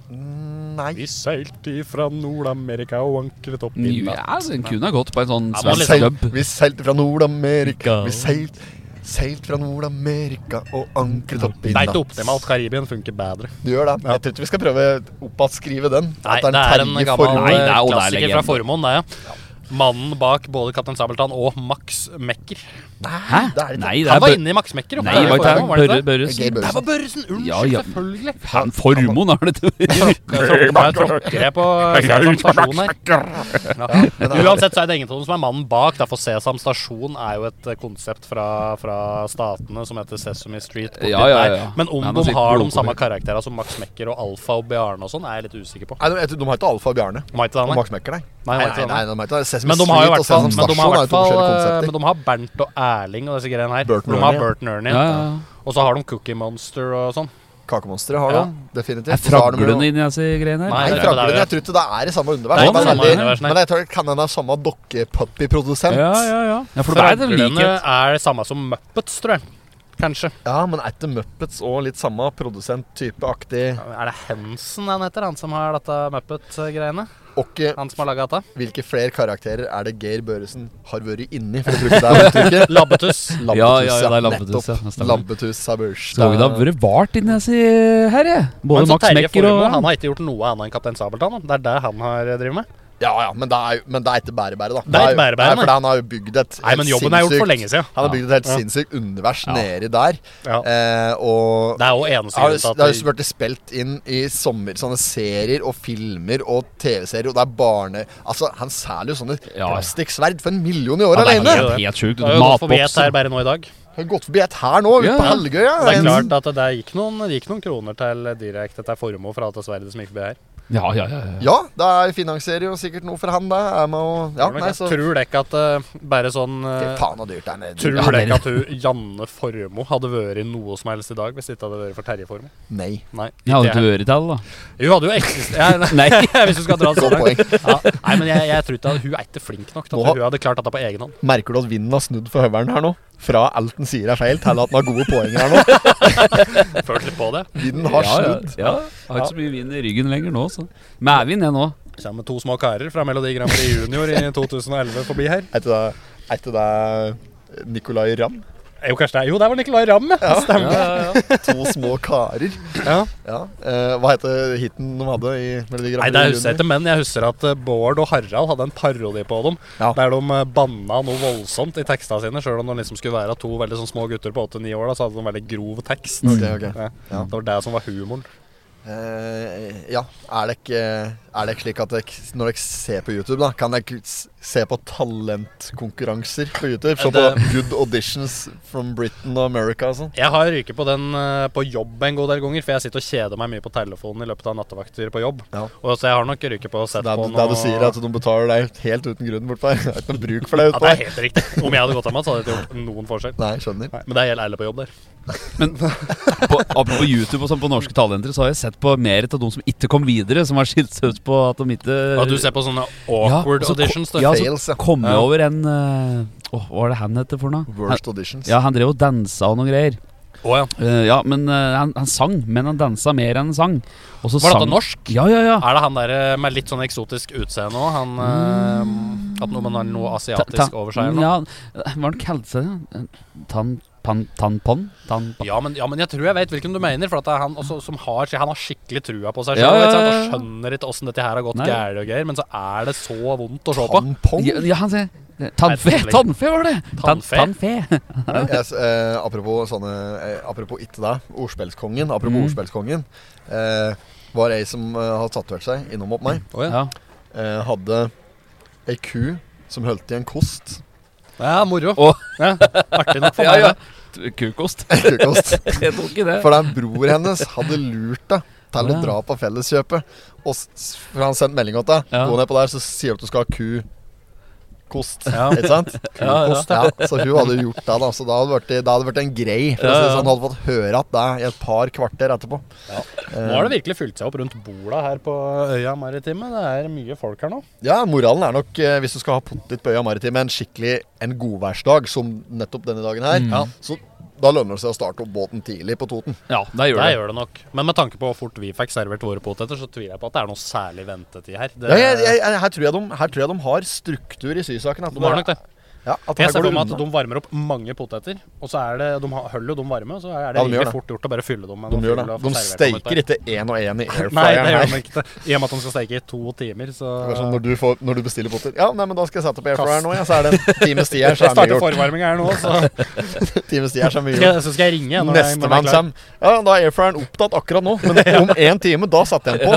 Speaker 1: Nei.
Speaker 3: Vi seilte fra Nord-Amerika og ankret opp i
Speaker 2: Ja, altså, den kunne ha gått på en sånn
Speaker 3: Ja, man
Speaker 1: Vi
Speaker 2: svensk klubb.
Speaker 3: liksom-
Speaker 1: seilte, vi seilte fra Nord-Amerika,
Speaker 2: Amerika.
Speaker 1: vi seilte Seilt fra Nord-Amerika og ankret opp i
Speaker 3: Nei, ikke
Speaker 1: natt.
Speaker 3: optimalt. Karibien funker bedre.
Speaker 1: Du gjør det. Jeg tror ikke vi skal prøve oppskrive den.
Speaker 3: Nei,
Speaker 1: At
Speaker 3: det er en
Speaker 1: Terje
Speaker 3: gammel eh,
Speaker 1: Formoe-
Speaker 2: Nei, det er- og det er
Speaker 3: klassiker fra
Speaker 2: legenden.
Speaker 3: Formoen, det, ja. Mannen bak både Kaptein Sabeltann og Max Mekker.
Speaker 2: Hæ?
Speaker 1: det er det ikke.
Speaker 2: Nei, det
Speaker 3: Han
Speaker 2: er
Speaker 3: var
Speaker 2: Bør-
Speaker 3: inne i Max Mekker.
Speaker 2: Nei, det var ikke
Speaker 3: Formoen, var det
Speaker 2: Børre
Speaker 3: ikke det?
Speaker 1: Geir
Speaker 2: Børresen.
Speaker 3: Det var
Speaker 1: Børresen.
Speaker 3: Børresen! Unnskyld,
Speaker 2: Ja, ja.
Speaker 3: selvfølgelig.
Speaker 2: Faen, Formoen er dette
Speaker 3: Jeg tråkker bare- tråkker jeg på Sesam stasjon her. Ja. Uansett så er det ingen av dem som er mannen bak. da, For Sesam stasjon er jo et eh, konsept fra, fra statene som heter Sesame Street. borti
Speaker 2: Ja, ja, ja.
Speaker 3: der. Men om
Speaker 2: Nei, men altså,
Speaker 3: de
Speaker 2: sikkert
Speaker 3: har de
Speaker 2: blodkopi.
Speaker 3: samme karakterene som Max Mekker og Alfa og Bjarne og sånn, er jeg litt usikker på.
Speaker 1: Nei, de, de har ikke Alfa og Bjarne.
Speaker 3: Må ikke det,
Speaker 1: Og
Speaker 3: nei.
Speaker 1: Max Mekker, nei.
Speaker 3: Nei, de har ikke det, nei.
Speaker 1: de har ikke Sesame
Speaker 3: Men de har jo i
Speaker 1: Street
Speaker 3: hvert
Speaker 1: og
Speaker 3: fall
Speaker 1: Sesam
Speaker 3: men de har, i
Speaker 1: Stasjon er jo
Speaker 3: hvert
Speaker 1: to
Speaker 3: fall,
Speaker 1: forskjellige
Speaker 3: eh, men
Speaker 1: konsepter.
Speaker 3: de har Bernt og Erling og disse greiene her.
Speaker 1: Bert og
Speaker 3: de har
Speaker 1: Ernie, ja.
Speaker 3: Bert og Ernie.
Speaker 2: Ja, ja, ja.
Speaker 3: Og så har de Cookie Monster og sånn.
Speaker 1: Kakemonsteret har
Speaker 3: Ja.
Speaker 1: de definitivt.
Speaker 2: Er
Speaker 1: Og så har de jo-
Speaker 2: fraglene inni disse greiene her?
Speaker 3: Nei,
Speaker 1: Nei,
Speaker 3: det er-
Speaker 1: fraglene.
Speaker 3: det er-
Speaker 1: Jeg tror ikke det er i samme univers.
Speaker 3: Det
Speaker 2: er
Speaker 1: Det er
Speaker 2: samme
Speaker 1: veldig-
Speaker 3: univers, nei.
Speaker 1: Men jeg tror det kan hende det er samme dokkepuppyprodusent.
Speaker 2: Ja, ja, ja. ja for det er en
Speaker 3: Fraglene
Speaker 2: likhet.
Speaker 3: er det samme som Muppets, tror jeg. Kanskje.
Speaker 1: Ja, men er ikke Muppets og litt samme produsent-typeaktig
Speaker 3: Er det Hensen han heter, han som har dette Muppet-greiene?
Speaker 1: Og ikke
Speaker 3: Han som har laga dette?
Speaker 1: hvilke flere karakterer er det Geir Børresen har vært inni, for å bruke det uttrykket?
Speaker 3: Labbetuss.
Speaker 1: Lampetus,
Speaker 2: Ja, ja, ja, det er Lampetus,
Speaker 1: nettopp.
Speaker 2: ja, det stemmer.
Speaker 1: Lampetus er
Speaker 2: Skal vi da ha
Speaker 1: bursdag.
Speaker 2: vært vart inni disse her, jeg? Både
Speaker 3: Men så
Speaker 2: Max
Speaker 3: Terje
Speaker 2: Mekker og
Speaker 3: Formoe, han har ikke gjort noe annet enn Kaptein Sabeltann. da. Det er det han har drevet med.
Speaker 1: Ja, ja, men det er, jo- men det er ikke bærebæret, da.
Speaker 3: Det er ikke bære bære,
Speaker 1: nei,
Speaker 3: nei.
Speaker 1: for han har jo bygd et
Speaker 3: Nei, men jobben er gjort for lenge siden.
Speaker 1: Han har bygd et helt
Speaker 3: Ja.
Speaker 1: sinnssykt univers nedi der.
Speaker 3: Ja.
Speaker 1: Eh, og
Speaker 3: Det er jo eneste
Speaker 1: har,
Speaker 3: grunn
Speaker 1: det har jo
Speaker 3: til at
Speaker 1: blitt spilt inn i sommer sånne serier og filmer og TV-serier, og det er barne... Altså, han selger jo sånne
Speaker 2: Ja.
Speaker 1: plastikksverd for en million i
Speaker 2: Ja,
Speaker 1: året
Speaker 2: det er
Speaker 1: alene!
Speaker 2: helt,
Speaker 3: det.
Speaker 2: helt sjukt.
Speaker 3: Det har jo gått forbi et her
Speaker 2: Matbokser.
Speaker 3: bare nå i dag.
Speaker 1: Har gått forbi et her nå, ute
Speaker 2: Ja,
Speaker 1: på
Speaker 2: ja.
Speaker 1: Helgøya.
Speaker 3: Det er
Speaker 1: En-
Speaker 3: klart at det der gikk noen, det gikk noen kroner til direkte til Formoe fra Atas Sverd som gikk forbi her.
Speaker 2: Ja, ja, ja. ja.
Speaker 1: Ja, det er- finansierer jo sikkert noe for han, det. Er med og, ja, nei,
Speaker 3: Jeg
Speaker 1: så
Speaker 3: Tror dere ikke at eh, bare sånn
Speaker 1: Fy
Speaker 3: eh,
Speaker 1: faen så dyrt det er nede.
Speaker 3: Tror
Speaker 2: Ja,
Speaker 3: dere
Speaker 2: dere-
Speaker 3: ikke at hun, Janne Formoe hadde vært noe som helst i dag hvis det ikke hadde vært for Terje Formoe?
Speaker 1: Nei.
Speaker 3: Nei.
Speaker 2: Jeg hadde
Speaker 3: ikke
Speaker 2: ikke øretall, da.
Speaker 3: jeg. Hun hadde jo eksistert
Speaker 2: Nei.
Speaker 3: Hvis du skal dra det
Speaker 1: Så
Speaker 3: så langt.
Speaker 1: poeng.
Speaker 3: Ja. Nei, men jeg, jeg tror ikke at hun er ikke flink nok til
Speaker 1: Nå
Speaker 3: at
Speaker 1: har-
Speaker 3: hun hadde klart dette på egen hånd.
Speaker 1: Merker du at vinden har snudd for høvelen her nå? Fra alt den sier er feil, til at den har gode poeng her nå.
Speaker 3: Følt litt på det.
Speaker 1: Vinden har
Speaker 2: ja, ja,
Speaker 1: snudd.
Speaker 2: ja. Jeg har ikke så mye vind i ryggen lenger nå, så. Mævin, jeg nå.
Speaker 3: Kommer to små karer fra Melodi Grand Prix Junior i 2011 forbi her.
Speaker 1: Er ikke det- er ikke det Nicolay Ramm?
Speaker 3: Jo, kanskje det er Jo, der var Nicolay Ramm, ja. Stemmer.
Speaker 1: To små karer.
Speaker 3: Ja.
Speaker 1: Ja, eh, Hva heter hiten de hadde i Melodi
Speaker 3: Nei,
Speaker 1: Grand
Speaker 3: det
Speaker 1: Prix?
Speaker 3: husker jeg ikke, men jeg husker at eh, Bård og Harald hadde en parodi på dem.
Speaker 1: Ja.
Speaker 3: Der de eh, banna noe voldsomt i tekstene sine. Sjøl om de liksom skulle være to veldig sånn små gutter på åtte-ni år, da, så hadde de en veldig grov tekst.
Speaker 1: Ok, ok.
Speaker 3: Ja.
Speaker 1: Ja.
Speaker 3: Det var det som var humoren.
Speaker 1: Eh, ja, er det ikke Er det ikke slik at dere, når dere ser på YouTube, da kan dere s- se på talentkonkurranser på YouTube? Se på
Speaker 3: Det-
Speaker 1: Good Auditions from Britain og America og sånn.
Speaker 3: Jeg har ryket på den eh, på jobb en god del ganger, for jeg sitter og kjeder meg mye på telefonen i løpet av nattevakter på jobb.
Speaker 1: Ja.
Speaker 3: Og så jeg har nok ryket på og
Speaker 1: Det,
Speaker 3: sett
Speaker 1: er-
Speaker 3: på
Speaker 1: det du sier, er at de betaler deg helt uten grunn bortpå her. Det er ikke noe bruk for deg
Speaker 3: Ja, det
Speaker 1: utpå
Speaker 3: er
Speaker 1: her.
Speaker 3: helt riktig. Om jeg hadde gått av meg, så hadde det ikke gjort noen forskjell.
Speaker 1: Nei, skjønner.
Speaker 3: Nei, men det er helt ærlig på jobb der.
Speaker 2: Men på, apropos YouTube og sånn på norske talenter, så har jeg sett på mer av de som ikke kom videre, som har skilt seg ut på at de ikke
Speaker 3: Og du ser på sånne
Speaker 2: Ja,
Speaker 3: awkward
Speaker 2: og så ko-
Speaker 3: auditions, du.
Speaker 2: Ja,
Speaker 1: Fails,
Speaker 2: så
Speaker 1: ja.
Speaker 2: kom jeg
Speaker 3: Ja.
Speaker 2: over en eh, Åh, hva var det han heter for noe? Han-
Speaker 1: Worst Auditions.
Speaker 2: Ja, han drev og dansa og noen greier.
Speaker 3: Å ja.
Speaker 2: Eh, ja, men eh, han, han sang, men han dansa mer enn han sang. Og så
Speaker 3: Var dette
Speaker 2: sang-
Speaker 3: norsk?
Speaker 2: Ja, ja, ja.
Speaker 3: Er det han der eh, med litt sånn eksotisk utseende òg? Han eh, At noe, har noe
Speaker 2: Ta-
Speaker 3: asiatisk
Speaker 2: ta-
Speaker 3: over seg? Eller noe?
Speaker 2: Ja, hva var det han kalte seg? da? Tan... Pan, tanpon? Tanpon?
Speaker 3: Ja, men, ja, men jeg tror jeg vet hvilken du mener. For at det er han også, som har, han har skikkelig trua på seg
Speaker 2: Ja, ja,
Speaker 3: sjøl.
Speaker 2: ja,
Speaker 3: Og
Speaker 2: ja.
Speaker 3: skjønner ikke åssen dette her har gått
Speaker 2: Nei.
Speaker 3: gærent og greier. Men så er det så vondt å se på.
Speaker 1: Tampong?
Speaker 2: Ja, ja, han sier Tannfe!
Speaker 3: Nei,
Speaker 2: Tannfe var det! Tan-
Speaker 3: Tannfe?
Speaker 2: Tannfe.
Speaker 1: Jeg s- eh, apropos sånne eh, Apropos ikke deg, ordspillskongen. Apropos
Speaker 2: Mm.
Speaker 1: ordspillskongen. Eh, var ei som eh, har tatovert seg innom opp meg.
Speaker 3: Å ja.
Speaker 2: Ja.
Speaker 1: Eh, hadde ei ku som holdt i en kost.
Speaker 3: ja, moro.
Speaker 2: Å.
Speaker 3: Ja, artig nok for
Speaker 2: Ja,
Speaker 3: meg.
Speaker 2: ja.
Speaker 3: det.
Speaker 2: Kukost.
Speaker 1: Kukost.
Speaker 2: Jeg tok ikke det.
Speaker 1: For den bror hennes hadde lurt deg til å
Speaker 2: Ja.
Speaker 1: dra på felleskjøpet. Og s- s- for han sendte melding til deg.
Speaker 2: Ja.
Speaker 1: Gå ned på der, så sier du at du skal ha ku. Kost,
Speaker 3: Ja.
Speaker 1: ikke sant?
Speaker 2: Ja, ja.
Speaker 1: Kost, ja. Så hun hadde gjort det, da. Så da hadde det vært- da hadde det vært en grei. For å si
Speaker 2: Ja,
Speaker 1: det
Speaker 2: ja.
Speaker 1: sånn, hun hadde fått høre at det i et par kvarter etterpå.
Speaker 3: Ja.
Speaker 1: Eh,
Speaker 3: Nå har det virkelig fylt seg opp rundt borda her på øya Maritime. Det er mye folk her nå.
Speaker 1: Ja, moralen er nok eh, hvis du skal ha potet på øya maritime en skikkelig en godværsdag, som nettopp denne dagen her,
Speaker 2: Mm.
Speaker 1: ja, så da lønner det seg å starte opp båten tidlig på Toten.
Speaker 2: Ja, det gjør
Speaker 3: Det
Speaker 2: det.
Speaker 3: gjør det nok. Men med tanke på hvor fort vi fikk servert våre poteter, så tviler jeg på at det er noe særlig ventetid her. Det,
Speaker 1: Ja, jeg, jeg, jeg, her, tror jeg de, her tror jeg de har struktur i sysaken. At
Speaker 3: de har nok det.
Speaker 1: Ja, at her
Speaker 3: Jeg ser
Speaker 1: går
Speaker 3: for
Speaker 1: det
Speaker 3: meg at
Speaker 1: unna.
Speaker 3: de varmer opp mange poteter, og så er det, de har- holder jo de varme, og så er det
Speaker 1: Ja, de gjør
Speaker 3: egentlig
Speaker 1: det.
Speaker 3: fort gjort å bare fylle dem. med
Speaker 1: De
Speaker 3: noe
Speaker 1: gjør
Speaker 3: fyll
Speaker 1: det.
Speaker 3: og få
Speaker 1: De
Speaker 3: servert dem et par.
Speaker 1: steiker ikke én og én i air
Speaker 3: Nei, det gjør
Speaker 1: fryeren.
Speaker 3: de ikke. I og med at de skal steike i to timer, så
Speaker 1: Det er sånn når, du får, når du bestiller potet Ja, nei, men da skal jeg sette på air fryer nå, ja. Så er det en times tid her, så er
Speaker 3: Jeg
Speaker 1: det mye
Speaker 3: starter
Speaker 1: gjort.
Speaker 3: forvarminga her nå, så
Speaker 1: Times tid her, så er det mye gjort.
Speaker 3: skal, så skal jeg ringe. når jeg- når jeg er
Speaker 1: Nestemann
Speaker 3: klar.
Speaker 1: kommer. Ja, da er airfryeren opptatt akkurat nå, men om én time, da satte jeg den på.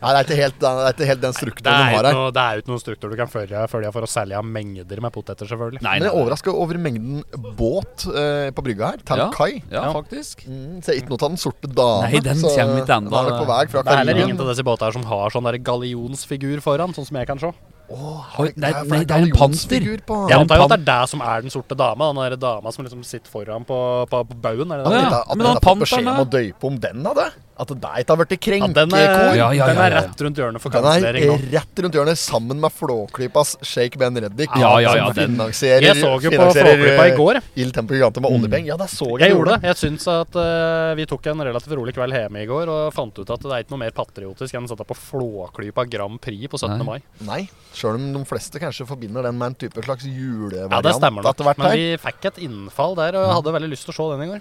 Speaker 1: Nei, det er ikke helt, det er ikke helt den
Speaker 3: Det
Speaker 1: strukturen de
Speaker 3: er jo
Speaker 1: har
Speaker 3: ikke
Speaker 1: her.
Speaker 3: noe, det er jo ikke noe struktur du kan følge, følge for å selge mengder med poteter, selvfølgelig.
Speaker 2: Nei,
Speaker 1: Men jeg
Speaker 2: nei.
Speaker 1: er overraska over mengden båt eh, på brygga her, til
Speaker 2: Ja.
Speaker 1: kai.
Speaker 2: Ja, faktisk.
Speaker 1: Mm, ser ikke noe til den sorte dame.
Speaker 2: Nei, den
Speaker 1: så
Speaker 2: kommer ikke enda.
Speaker 1: Da er det på vei fra
Speaker 3: Det er heller
Speaker 1: Karibien.
Speaker 3: ingen av disse båtene her som har sånn der gallionsfigur foran, sånn som jeg kan se.
Speaker 2: Oi, nei,
Speaker 1: for
Speaker 2: nei, det er en panser.
Speaker 1: gallionsfigur på-
Speaker 2: Ja,
Speaker 3: Jeg
Speaker 2: en
Speaker 3: antar jo at det
Speaker 2: pan-
Speaker 3: er deg som er den sorte dama, den der dama som liksom sitter foran på, på, på baugen. Er det
Speaker 2: Å,
Speaker 3: det?
Speaker 2: ja.
Speaker 1: At
Speaker 2: men han
Speaker 1: dere har fått
Speaker 2: panteren
Speaker 1: beskjed om å døype om den av det? At det der ikke har blitt
Speaker 3: Ja,
Speaker 1: krenkekor?
Speaker 3: den, er,
Speaker 2: Ja, ja,
Speaker 3: den
Speaker 2: ja, ja,
Speaker 3: er
Speaker 2: ja.
Speaker 3: rett rundt hjørnet for
Speaker 1: Den
Speaker 3: kansellering nå.
Speaker 1: er rett rundt hjørnet, sammen med Flåklypas Shake Ben Reddik.
Speaker 2: Ja, ja, ja,
Speaker 1: som
Speaker 2: den-
Speaker 1: finansierer,
Speaker 3: Jeg så jo på
Speaker 1: finansierer, eh,
Speaker 3: Flåklypa i går.
Speaker 1: Il Tempo Gigante med oljepenger. Ja, det så jeg,
Speaker 3: Jeg gjorde det. Jeg syns at eh, vi tok en relativt rolig kveld hjemme i går og fant ut at det er ikke noe mer patriotisk enn å sette på Flåklypa Grand Prix på 17.
Speaker 2: Nei.
Speaker 3: mai.
Speaker 1: Nei, sjøl om de fleste kanskje forbinder den med en type slags julevariant.
Speaker 3: Ja, det stemmer nok.
Speaker 1: etter hvert
Speaker 3: Men
Speaker 1: her.
Speaker 3: vi fikk et innfall der, og jeg hadde veldig lyst til å se den i går.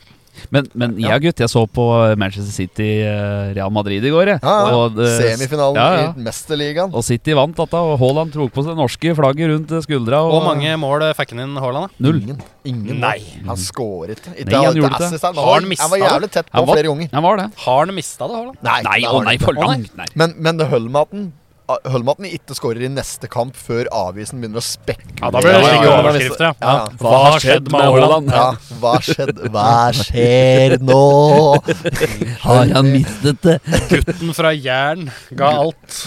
Speaker 2: Men, men jeg, gutt, jeg så på Manchester City eh, Real Madrid i går, jeg.
Speaker 1: Ja, ja.
Speaker 2: Og, eh,
Speaker 1: Semifinalen
Speaker 2: ja, ja.
Speaker 1: i Mesterligaen.
Speaker 2: Og City vant dette, og Haaland tok på seg det norske flagget rundt eh, skuldra. Og,
Speaker 3: Hvor mange mål fikk han inn, Haaland? da?
Speaker 2: Null.
Speaker 1: Ingen. Ingen
Speaker 3: Nei.
Speaker 1: mål. Han scoret ikke. Ikke
Speaker 2: Nei, han
Speaker 1: ikke
Speaker 2: gjorde det.
Speaker 1: assist her, men
Speaker 3: Har
Speaker 1: Han var
Speaker 3: han mistet
Speaker 1: jævlig tett
Speaker 2: Han
Speaker 1: på
Speaker 2: var-
Speaker 1: flere ganger.
Speaker 2: Ja, var det.
Speaker 3: Har han mista det, Haaland?
Speaker 2: Nei, å
Speaker 1: det har han
Speaker 2: nei,
Speaker 1: ikke.
Speaker 2: for langt. Nei.
Speaker 1: Men, men det holder med at den Holder med at den ikke skårer i neste kamp før avisen begynner å spekke
Speaker 3: Ja, da blir det
Speaker 2: Ja, ja,
Speaker 3: slike
Speaker 2: ja.
Speaker 3: overskrifter, ja.
Speaker 1: Ja, ja.
Speaker 3: Hva har skjedd med Haaland?
Speaker 1: Ja, hva skjedde? Hva skjer nå?
Speaker 2: Har han mistet det?
Speaker 3: Gutten fra Jæren ga alt.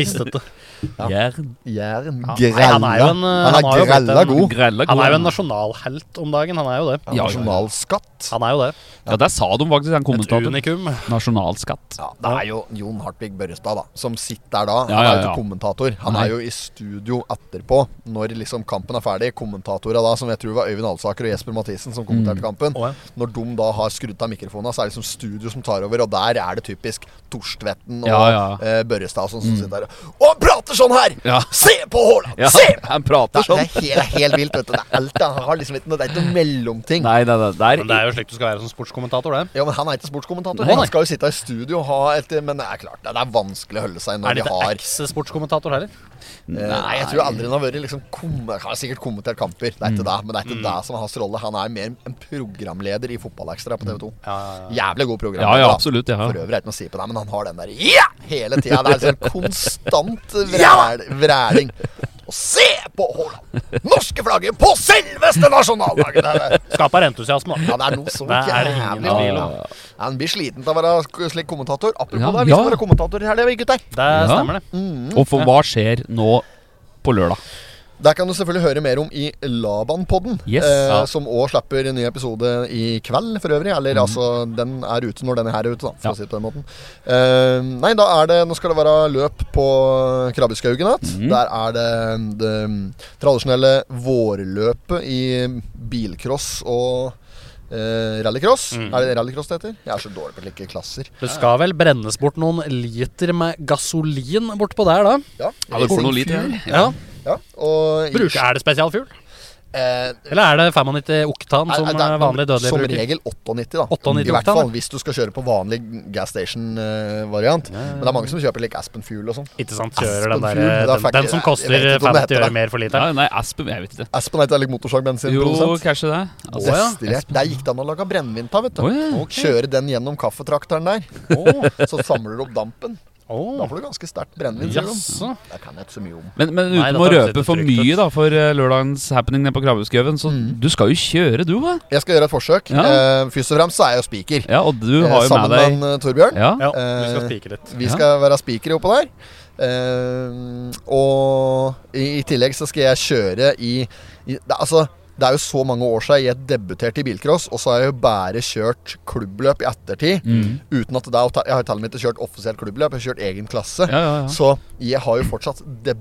Speaker 3: Mistet det.
Speaker 1: Ja.
Speaker 2: Jern.
Speaker 1: Jæren.
Speaker 3: Ja, nei,
Speaker 1: Grella.
Speaker 3: han er jo en, eh,
Speaker 1: Han
Speaker 3: han har
Speaker 1: er
Speaker 3: jo blitt
Speaker 1: grella
Speaker 3: en-
Speaker 1: god.
Speaker 2: Grella
Speaker 3: Han er jo en
Speaker 2: god.
Speaker 3: nasjonalhelt om dagen, han er jo det.
Speaker 1: Ja,
Speaker 2: ja, ja.
Speaker 1: Nasjonalskatt.
Speaker 3: Han er jo det.
Speaker 2: Ja, der sa de faktisk, han
Speaker 3: Et
Speaker 2: kommentatoren.
Speaker 3: unikum.
Speaker 2: Nasjonalskatt.
Speaker 1: Ja, det er jo Jon Hartvig Børrestad da som sitter der da. Han
Speaker 2: Ja, ja,
Speaker 1: er jo
Speaker 2: ja.
Speaker 1: ikke kommentator. Han
Speaker 2: Nei.
Speaker 1: er jo i studio etterpå, når liksom kampen er ferdig. Kommentatorene da, som jeg tror var Øyvind Alsaker og Jesper Mathisen som kommenterte kampen.
Speaker 3: Å, ja.
Speaker 1: Når de da har skrudd av mikrofonene, så er det liksom studio som tar over, og der er det typisk Torstvedten og
Speaker 2: Ja, ja.
Speaker 1: eh, Børrestad og sånn som sitter der. Og han prater sånn her!
Speaker 2: Ja.
Speaker 1: Se på Haaland!
Speaker 2: Ja,
Speaker 1: Se!
Speaker 2: han prater
Speaker 1: Det er, det
Speaker 2: sånn.
Speaker 1: er helt, det er helt vilt, vet du. Det er alt, da. han har liksom ikke noe, det er ikke noe mellomting.
Speaker 2: Nei, nei, nei, der
Speaker 3: Men det er jo slik du skal være som sportskommentator, det.
Speaker 1: Ja, men Han er ikke sportskommentator.
Speaker 3: Nei, nei.
Speaker 1: Han skal jo sitte i studio og ha et Men det er klart, det er vanskelig å holde seg
Speaker 3: Er
Speaker 1: når
Speaker 3: det
Speaker 1: de
Speaker 3: ikke
Speaker 1: har
Speaker 3: eks-sportskommentator heller?
Speaker 1: Eh, Nei, jeg tror aldri han har vært liksom kom- Han har sikkert kommentert kamper, det er
Speaker 2: Mm.
Speaker 1: ikke det. Men det er ikke det som er hans rolle. Han er mer en programleder i Fotballekstra på TV 2. Jævlig god
Speaker 2: Mm. Ja,
Speaker 1: programleder.
Speaker 2: ja,
Speaker 1: da.
Speaker 2: absolutt. Ja.
Speaker 1: For øvrig er det ikke noe å si på det, men han har den der Ja! Hele tida. Det er liksom konstant vræl, vræling. Og se på Haaland! Norske flagget på selveste nasjonaldagen! Det er det.
Speaker 3: Skaper entusiasme, da.
Speaker 1: Ja, det er noe så
Speaker 3: Det er det ingen
Speaker 1: jævlig
Speaker 3: tvil
Speaker 1: ja,
Speaker 3: om.
Speaker 1: Han blir sliten av å være sk- slik kommentator. Apropos
Speaker 2: Ja,
Speaker 1: det, vi skal
Speaker 2: ja.
Speaker 1: være kommentatorer her, det er vi gutter.
Speaker 3: Det stemmer, det.
Speaker 2: Og for hva skjer nå på lørdag?
Speaker 1: Der kan du selvfølgelig høre mer om i Laban-podden,
Speaker 2: Yes.
Speaker 1: eh,
Speaker 2: Ja.
Speaker 1: som òg slipper en ny episode i kveld for øvrig.
Speaker 2: Mhm.
Speaker 1: Eller altså, den er ute når denne her er ute, da, for
Speaker 2: Ja.
Speaker 1: å si det på den måten. Eh, nei, da er det Nå skal det være løp på Krabbeskaugen
Speaker 2: Mhm.
Speaker 1: igjen. Der er det det tradisjonelle vårløpet i bilcross og eh, rallycross.
Speaker 3: Mhm.
Speaker 1: Er det rallycross det heter? Jeg er så dårlig på like klasser.
Speaker 3: Det skal vel brennes bort noen liter med gasolin bortpå der, da.
Speaker 1: Ja,
Speaker 2: Ja, det går noen liter her.
Speaker 3: Ja.
Speaker 1: ja, og
Speaker 3: Bruk, er det spesialfugl?
Speaker 1: eh,
Speaker 3: Eller er det 95 oktan som
Speaker 1: Nei, nei, det er
Speaker 3: eh, vanlig dødelig
Speaker 1: Som
Speaker 3: bruker?
Speaker 1: regel 98, da.
Speaker 3: 98
Speaker 1: I hvert
Speaker 3: oktan,
Speaker 1: fall hvis du skal kjøre på vanlig gas station-variant. Men det er mange som kjøper like Aspen Fuel og sånn.
Speaker 3: Ikke sant, kjører den,
Speaker 1: Aspen
Speaker 3: der,
Speaker 1: Fuel, da
Speaker 3: den,
Speaker 1: fucker
Speaker 3: den som
Speaker 1: jeg-
Speaker 3: koster
Speaker 1: jeg vet ikke om det
Speaker 3: 50
Speaker 1: heter
Speaker 3: øre
Speaker 1: det.
Speaker 3: mer for
Speaker 2: Ja,
Speaker 3: literen.
Speaker 2: nei, Aspen, jeg vet ikke.
Speaker 1: Aspen er ikke like
Speaker 2: Jo,
Speaker 1: motorsagbensinprodusent.
Speaker 2: kanskje det.
Speaker 3: Å,
Speaker 2: Altså,
Speaker 3: ja.
Speaker 1: Destillert. Der gikk det an å lage brennevin av, vet du.
Speaker 2: Å, ja,
Speaker 1: Og Kjøre den gjennom kaffetrakteren der. Så samler du opp dampen. Da
Speaker 3: Åh,
Speaker 1: får du ganske sterkt brennevin. sier de.
Speaker 3: Jaså.
Speaker 1: Det kan jeg ikke så mye om.
Speaker 2: Men, men
Speaker 3: Nei,
Speaker 2: uten
Speaker 3: dette
Speaker 2: å
Speaker 3: høres
Speaker 2: røpe
Speaker 3: litt
Speaker 2: for
Speaker 3: trygt
Speaker 2: mye
Speaker 3: ut.
Speaker 2: da for eh, lørdagens happening nede på Krabbehaughaugen, så
Speaker 1: Mm.
Speaker 2: du skal jo kjøre, du, hva?
Speaker 1: Jeg skal gjøre et forsøk.
Speaker 2: Ja.
Speaker 1: Eh, først og fremst så er jeg jo spiker.
Speaker 2: Ja, og du
Speaker 1: Eh,
Speaker 2: har jo med
Speaker 1: sammen
Speaker 2: deg
Speaker 1: med en, eh, Torbjørn.
Speaker 2: Ja,
Speaker 3: Ja,
Speaker 1: Eh,
Speaker 3: du skal spike litt.
Speaker 1: Vi
Speaker 2: Ja.
Speaker 1: skal være spikere oppå der. Eh, og i, i tillegg så skal jeg kjøre i, i det, Altså, det er jo så mange år siden jeg debuterte i bilcross, og så har jeg jo bare kjørt klubbløp i ettertid.
Speaker 2: Mm.
Speaker 1: Uten at det er, å ta- Jeg har jo til og med ikke kjørt offisielt klubbløp, jeg har kjørt egen klasse.
Speaker 2: ja, ja. ja.
Speaker 1: Så jeg har jo fortsatt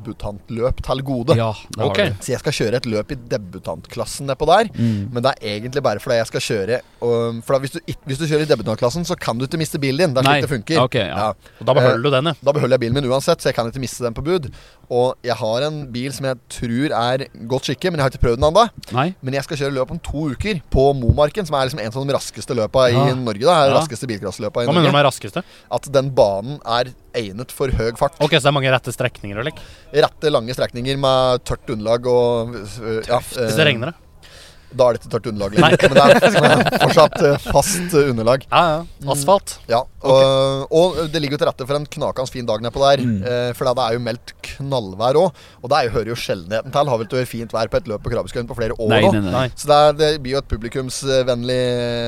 Speaker 1: debutantløp til gode.
Speaker 2: ja det har
Speaker 3: Ok.
Speaker 2: du. Mm.
Speaker 1: Så jeg skal kjøre et løp i debutantklassen nedpå der. Men det er egentlig bare fordi jeg skal kjøre um, For da, hvis, du, ikk- hvis du kjører i debutantklassen, så kan du ikke miste bilen din. Det er
Speaker 2: Nei.
Speaker 1: slik det funker.
Speaker 2: Ok, ja.
Speaker 3: Og da
Speaker 1: eh,
Speaker 3: beholder du den, ja.
Speaker 1: Da beholder jeg bilen min uansett, så jeg kan ikke miste den på bud. Og jeg har en bil som jeg tror er godt skikke, men jeg har ikke prøvd den ennå.
Speaker 2: Nei.
Speaker 1: Men jeg skal kjøre løp om to uker på Momarken, som er liksom en av de raskeste løpa
Speaker 2: Ja.
Speaker 1: i Norge. da er
Speaker 2: Ja.
Speaker 1: de raskeste bilcrossløpa i
Speaker 3: Hva mener du
Speaker 1: Norge.
Speaker 3: med raskeste?
Speaker 1: At den banen er egnet for høy fart.
Speaker 3: Ok, så det er mange rette strekninger og lik.
Speaker 1: Rette, lange strekninger med tørt underlag og øh, ja,
Speaker 3: Hvis det
Speaker 1: øh,
Speaker 3: regner, det.
Speaker 1: Da er det ikke tørt underlag lenger. Men det er, men det er fortsatt øh, fast øh, underlag.
Speaker 3: Ja, ja. Asfalt.
Speaker 1: Ja, og, og det ligger jo til rette for en knakende fin dag nedpå der.
Speaker 2: Mm.
Speaker 1: eh, For det er jo meldt knallvær òg. Og det er jo, hører jo sjeldenheten til. Har vel ikke vært fint vær på et løp på Krabbeskøyen på flere år
Speaker 2: Nei,
Speaker 1: nå.
Speaker 2: nei, nei.
Speaker 3: Nei.
Speaker 1: Så det, er, det blir jo et publikumsvennlig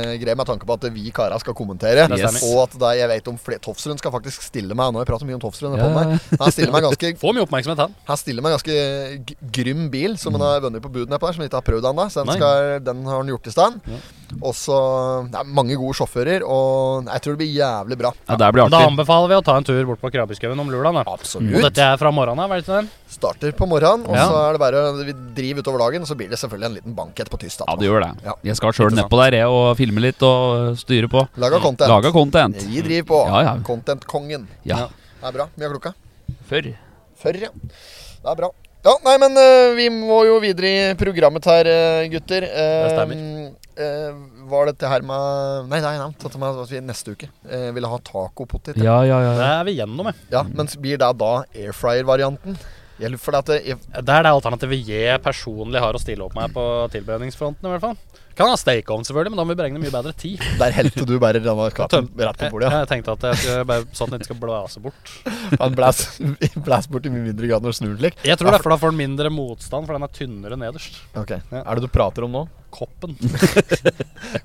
Speaker 1: eh, greie med tanke på at vi kara skal kommentere.
Speaker 3: Det stemmer.
Speaker 1: Og at det, jeg vet om flere Tofsrud skal faktisk stille meg Nå har jeg pratet mye om Tofsrud.
Speaker 2: Ja, ja, ja.
Speaker 1: Ja. Han stiller meg ganske
Speaker 3: Får mye oppmerksomhet, han.
Speaker 1: han stiller meg ganske g- grym bil som han
Speaker 2: Mm.
Speaker 1: har vunnet på buden her på der, som han ikke har prøvd ennå. Så den,
Speaker 3: Nei.
Speaker 1: skal, den har han gjort i stand. Og så Det er mange gode sjåfører, og jeg tror det blir jævlig bra.
Speaker 2: Ja, det blir
Speaker 3: Da
Speaker 2: artig.
Speaker 3: anbefaler vi å ta en tur bort på Krabbeskauen om lula. da.
Speaker 1: Absolutt.
Speaker 3: Og dette er fra morgenen av, er det ikke det?
Speaker 1: Starter på morgenen, og
Speaker 3: Ja.
Speaker 1: så er det bare vi driver utover dagen. Og så blir det selvfølgelig en liten bankett på tyst.
Speaker 2: Ja, det gjør det.
Speaker 1: Ja.
Speaker 2: Jeg skal sjøl nedpå der jeg, og filme litt og øh, styre på.
Speaker 1: Laga content.
Speaker 2: Laga content.
Speaker 1: Vi driver på.
Speaker 2: Ja, ja.
Speaker 1: Content-kongen.
Speaker 2: Ja.
Speaker 1: Det er bra. Mye av klokka.
Speaker 2: Før.
Speaker 1: Før, ja. Det er bra. Ja, nei, men eh, vi må jo videre i programmet her, eh, gutter. Eh, eh, var dette her med Nei, nei, nei. Dette med at vi neste uke eh, ville ha tacopotet. Ja.
Speaker 2: Ja, ja, ja.
Speaker 3: Det
Speaker 2: ja.
Speaker 3: er vi gjennom, ja.
Speaker 1: men blir det da airfryer-varianten? Jeg lurer for det at eh, det- jeg-
Speaker 3: Det er det alternativet jeg personlig har å stille opp meg på tilberedningsfronten. i hvert fall. Kan ha stekeovn, selvfølgelig, men da må vi beregne mye bedre tid.
Speaker 1: Der helte du bare denne katten rett på
Speaker 3: Jeg,
Speaker 1: bordet. Ja.
Speaker 3: jeg tenkte at jeg skulle bare, sånn at den ikke skal blase bort.
Speaker 1: Han blæs, blæs bort i mye mindre grad når du snur den slik.
Speaker 3: Jeg tror det er for da får den mindre motstand, for den er tynnere nederst.
Speaker 1: Ok.
Speaker 3: Ja.
Speaker 1: Er det du prater om nå?
Speaker 3: Koppen.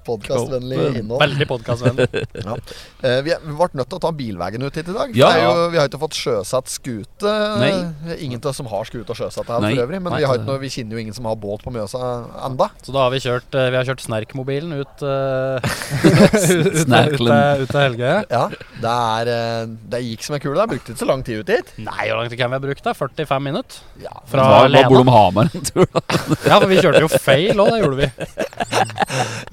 Speaker 1: Podkastvennlig innhold.
Speaker 3: Veldig podkastvennlig.
Speaker 1: Eh, vi, er- vi ble nødt til å ta bilveien ut hit i dag.
Speaker 2: Ja.
Speaker 1: Det er jo, vi har ikke fått sjøsatt skute.
Speaker 2: Nei.
Speaker 1: Ingen av oss som har skute og sjøsatt her
Speaker 2: Nei.
Speaker 1: for øvrig. Men
Speaker 2: Nei,
Speaker 1: vi, har
Speaker 2: det-
Speaker 1: ikke noe, vi kjenner jo ingen som har båt på Mjøsa enda.
Speaker 3: Så da har vi kjørt eh, Vi har kjørt Snerkmobilen ut eh, ut, ut,
Speaker 2: Snerklen.
Speaker 3: eh, ut av Helge.
Speaker 1: Ja, det, er, eh, det gikk som en kule. Det brukte ikke så lang tid ut hit.
Speaker 3: Nei, hvor lang tid kan vi ha brukt? da? 45 minutter?
Speaker 1: Ja.
Speaker 2: Hva,
Speaker 3: Fra
Speaker 2: hva
Speaker 3: Lena.
Speaker 2: bor de i Hamar en tur, da?
Speaker 3: Ja, for vi kjørte jo feil òg, det gjorde vi.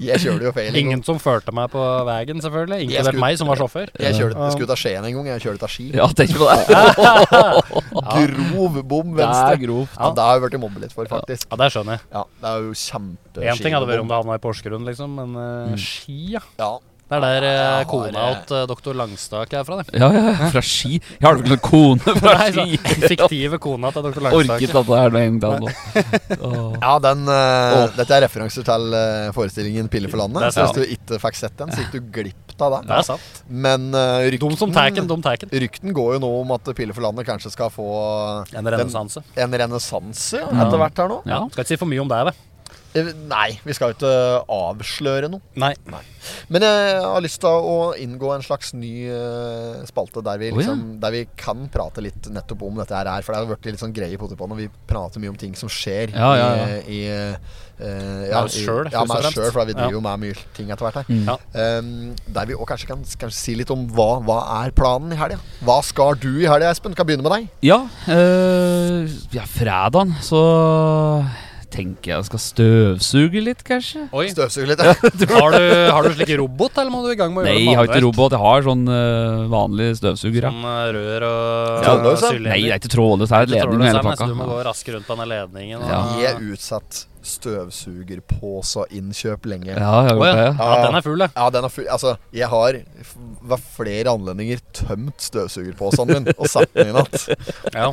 Speaker 1: Jeg kjørte jo feil. en gang.
Speaker 3: Ingen som førte meg på veien, selvfølgelig.
Speaker 1: Jeg
Speaker 3: Inkludert
Speaker 1: skulle-
Speaker 3: meg, som var sjåfør.
Speaker 1: Jeg kjørte skulle ta Skien en gang. Jeg kjørte ta Ski.
Speaker 2: Ja, tenk på det.
Speaker 1: Grov bom
Speaker 2: Det er
Speaker 1: venstre.
Speaker 2: grovt.
Speaker 1: Ja, det har jeg blitt mobbet litt for, faktisk.
Speaker 3: Ja, det skjønner jeg.
Speaker 1: Ja, det er jo kjempe
Speaker 3: Én ting hadde vært om det havna i Porsgrunn, liksom, men
Speaker 2: Mm.
Speaker 3: eh, Ski, ja.
Speaker 1: Ja.
Speaker 3: Det er der eh,
Speaker 1: Jeg har,
Speaker 3: kona
Speaker 1: eh,
Speaker 3: til doktor Langstak er fra, det.
Speaker 2: Ja, ja, ja. Fra Ski. Jeg har ikke noen kone fra
Speaker 3: Nei, så,
Speaker 2: Ski.
Speaker 3: den sånn, fiktive kona til
Speaker 2: Orket
Speaker 3: doktor Langstak.
Speaker 2: at det er det en gang nå. Åh.
Speaker 1: Ja, den, eh, Dette er referanser til eh, forestillingen 'Piller for landet'.
Speaker 3: Det er
Speaker 1: Så
Speaker 3: sant.
Speaker 1: hvis du ikke fikk sett den, så gikk du glipp av det.
Speaker 3: Det er sant.
Speaker 1: Men eh,
Speaker 3: Dum
Speaker 1: rykten,
Speaker 3: som
Speaker 2: Mm.
Speaker 3: tæken, dum tæken.
Speaker 1: rykten går jo nå om at Piller for landet kanskje skal få
Speaker 3: En renessanse.
Speaker 1: en renessanse ja, etter hvert her nå.
Speaker 2: Ja.
Speaker 3: Skal ikke si for mye om deg, det.
Speaker 1: Eh, Nei, vi skal jo ikke avsløre noe.
Speaker 3: Nei.
Speaker 1: Men jeg har lyst til å inngå en slags ny eh, spalte der
Speaker 2: Å,
Speaker 1: vi,
Speaker 2: ja.
Speaker 1: liksom, der vi kan prate litt nettopp om dette her. For det har vært litt sånn greie i Potipånd, og vi prater mye om ting som skjer
Speaker 2: Ja, ja, ja.
Speaker 1: i, i eh,
Speaker 3: Med oss
Speaker 1: i-
Speaker 3: selv,
Speaker 1: Ja,
Speaker 3: først og
Speaker 1: med oss
Speaker 3: fremst.
Speaker 1: sjøl, for vi
Speaker 3: Ja.
Speaker 1: driver jo med mye ting etter hvert her.
Speaker 2: Mm.
Speaker 3: Ja.
Speaker 1: Um, der vi òg kanskje kan, kan si litt om hva, hva er planen i helga. Hva skal du i helga, Espen? Kan begynne med deg.
Speaker 2: Ja, eh, ja fredagen øh, så tenker jeg skal støvsuge litt, kanskje.
Speaker 3: Oi,
Speaker 1: Støvsuger litt. Ja.
Speaker 3: har du, har du slik robot, eller må du i gang med å
Speaker 2: Nei,
Speaker 3: gjøre det
Speaker 2: jeg har ikke
Speaker 3: manuelt?
Speaker 2: robot. Jeg har sånn eh, vanlig støvsuger. Ja.
Speaker 3: Sånn eh, rør og
Speaker 1: Ja, det er jo sant.
Speaker 3: sylinder.
Speaker 2: Nei, det er ikke trådløst. Det er
Speaker 3: Jeg
Speaker 2: ledning
Speaker 3: tror det
Speaker 2: i
Speaker 3: er
Speaker 2: hele
Speaker 3: mens Du må gå
Speaker 2: pakka.
Speaker 3: raskere rundt på denne ledningen. Og,
Speaker 2: Ja.
Speaker 1: Jeg er utsatt støvsugerpåseinnkjøp lenge.
Speaker 2: Ja, jeg har
Speaker 3: Å,
Speaker 2: gjort det.
Speaker 3: ja.
Speaker 2: ja.
Speaker 3: ja, den er full, ja.
Speaker 1: Ja, den er full. Altså, jeg har f- ved flere anledninger tømt støvsugerposen min og satt den i natt.
Speaker 3: ja.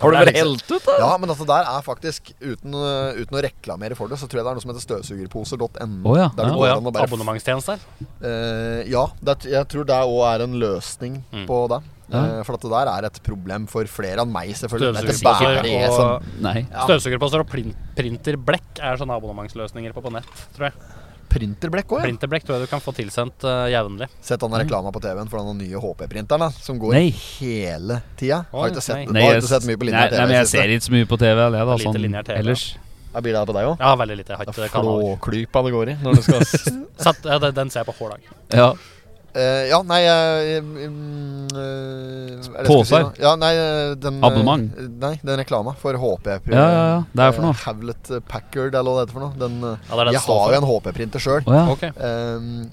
Speaker 1: Har du
Speaker 2: bare
Speaker 1: helt ut, da? liksom- Ja, men altså, der er faktisk uten, øh, uten å reklamere for det, så tror jeg det er noe som heter støvsugerposer.no.
Speaker 2: Å ja,
Speaker 1: Der det
Speaker 2: ja.
Speaker 1: går
Speaker 3: Å, ja.
Speaker 1: an å bare
Speaker 3: Abonnementstjeneste her.
Speaker 1: Eh, ja, det, er- jeg tror det òg er en løsning
Speaker 3: Mm.
Speaker 1: på det.
Speaker 2: Ja.
Speaker 1: Eh, for at det der er et problem for flere enn meg, selvfølgelig. Dette bærer i
Speaker 3: Støvsugerposer
Speaker 1: som
Speaker 3: og,
Speaker 2: Nei.
Speaker 1: Ja.
Speaker 3: støvsugerposer og plin- printerblekk er sånne abonnementsløsninger på på nett, tror jeg.
Speaker 1: printerblekk òg. Ja.
Speaker 3: Printerblekk tror jeg du kan få tilsendt uh, jevnlig.
Speaker 1: Sett den reklama på TV-en for den nye HP-printeren da, som går
Speaker 2: Mm. Nei.
Speaker 1: hele tida. Har
Speaker 3: Oi,
Speaker 1: ikke sett,
Speaker 3: nei.
Speaker 1: du har ikke sett mye på
Speaker 2: nei,
Speaker 1: linjær TV.
Speaker 2: nei, men jeg
Speaker 1: siste.
Speaker 2: ser ikke så mye på TV. eller jeg da,
Speaker 3: Lite
Speaker 2: sånn
Speaker 3: lineær TV, ja.
Speaker 2: ellers.
Speaker 1: Jeg blir det på deg òg.
Speaker 3: Jeg har veldig lite. Jeg har
Speaker 1: Det
Speaker 3: ikke
Speaker 1: er
Speaker 3: kanaler.
Speaker 1: flåklypa det går i når du skal
Speaker 3: Satt, ja, den- den ser jeg på hver dag.
Speaker 2: Ja.
Speaker 1: Eh, Ja, nei eh, mm, eh, er det jeg skulle
Speaker 2: Påser?
Speaker 1: si nå? Ja, nei, eh, den, eh,
Speaker 2: Abonnement?
Speaker 1: Nei, den reklama for HP.
Speaker 2: Ja, ja, ja. Det er for noe.
Speaker 1: Havlet Packard, eller hva det heter for noe. Den, eh,
Speaker 3: Ja, det er den
Speaker 1: jeg
Speaker 3: står
Speaker 1: har
Speaker 3: for.
Speaker 1: jo en HP-printer sjøl.
Speaker 2: Å ja.
Speaker 3: Ok.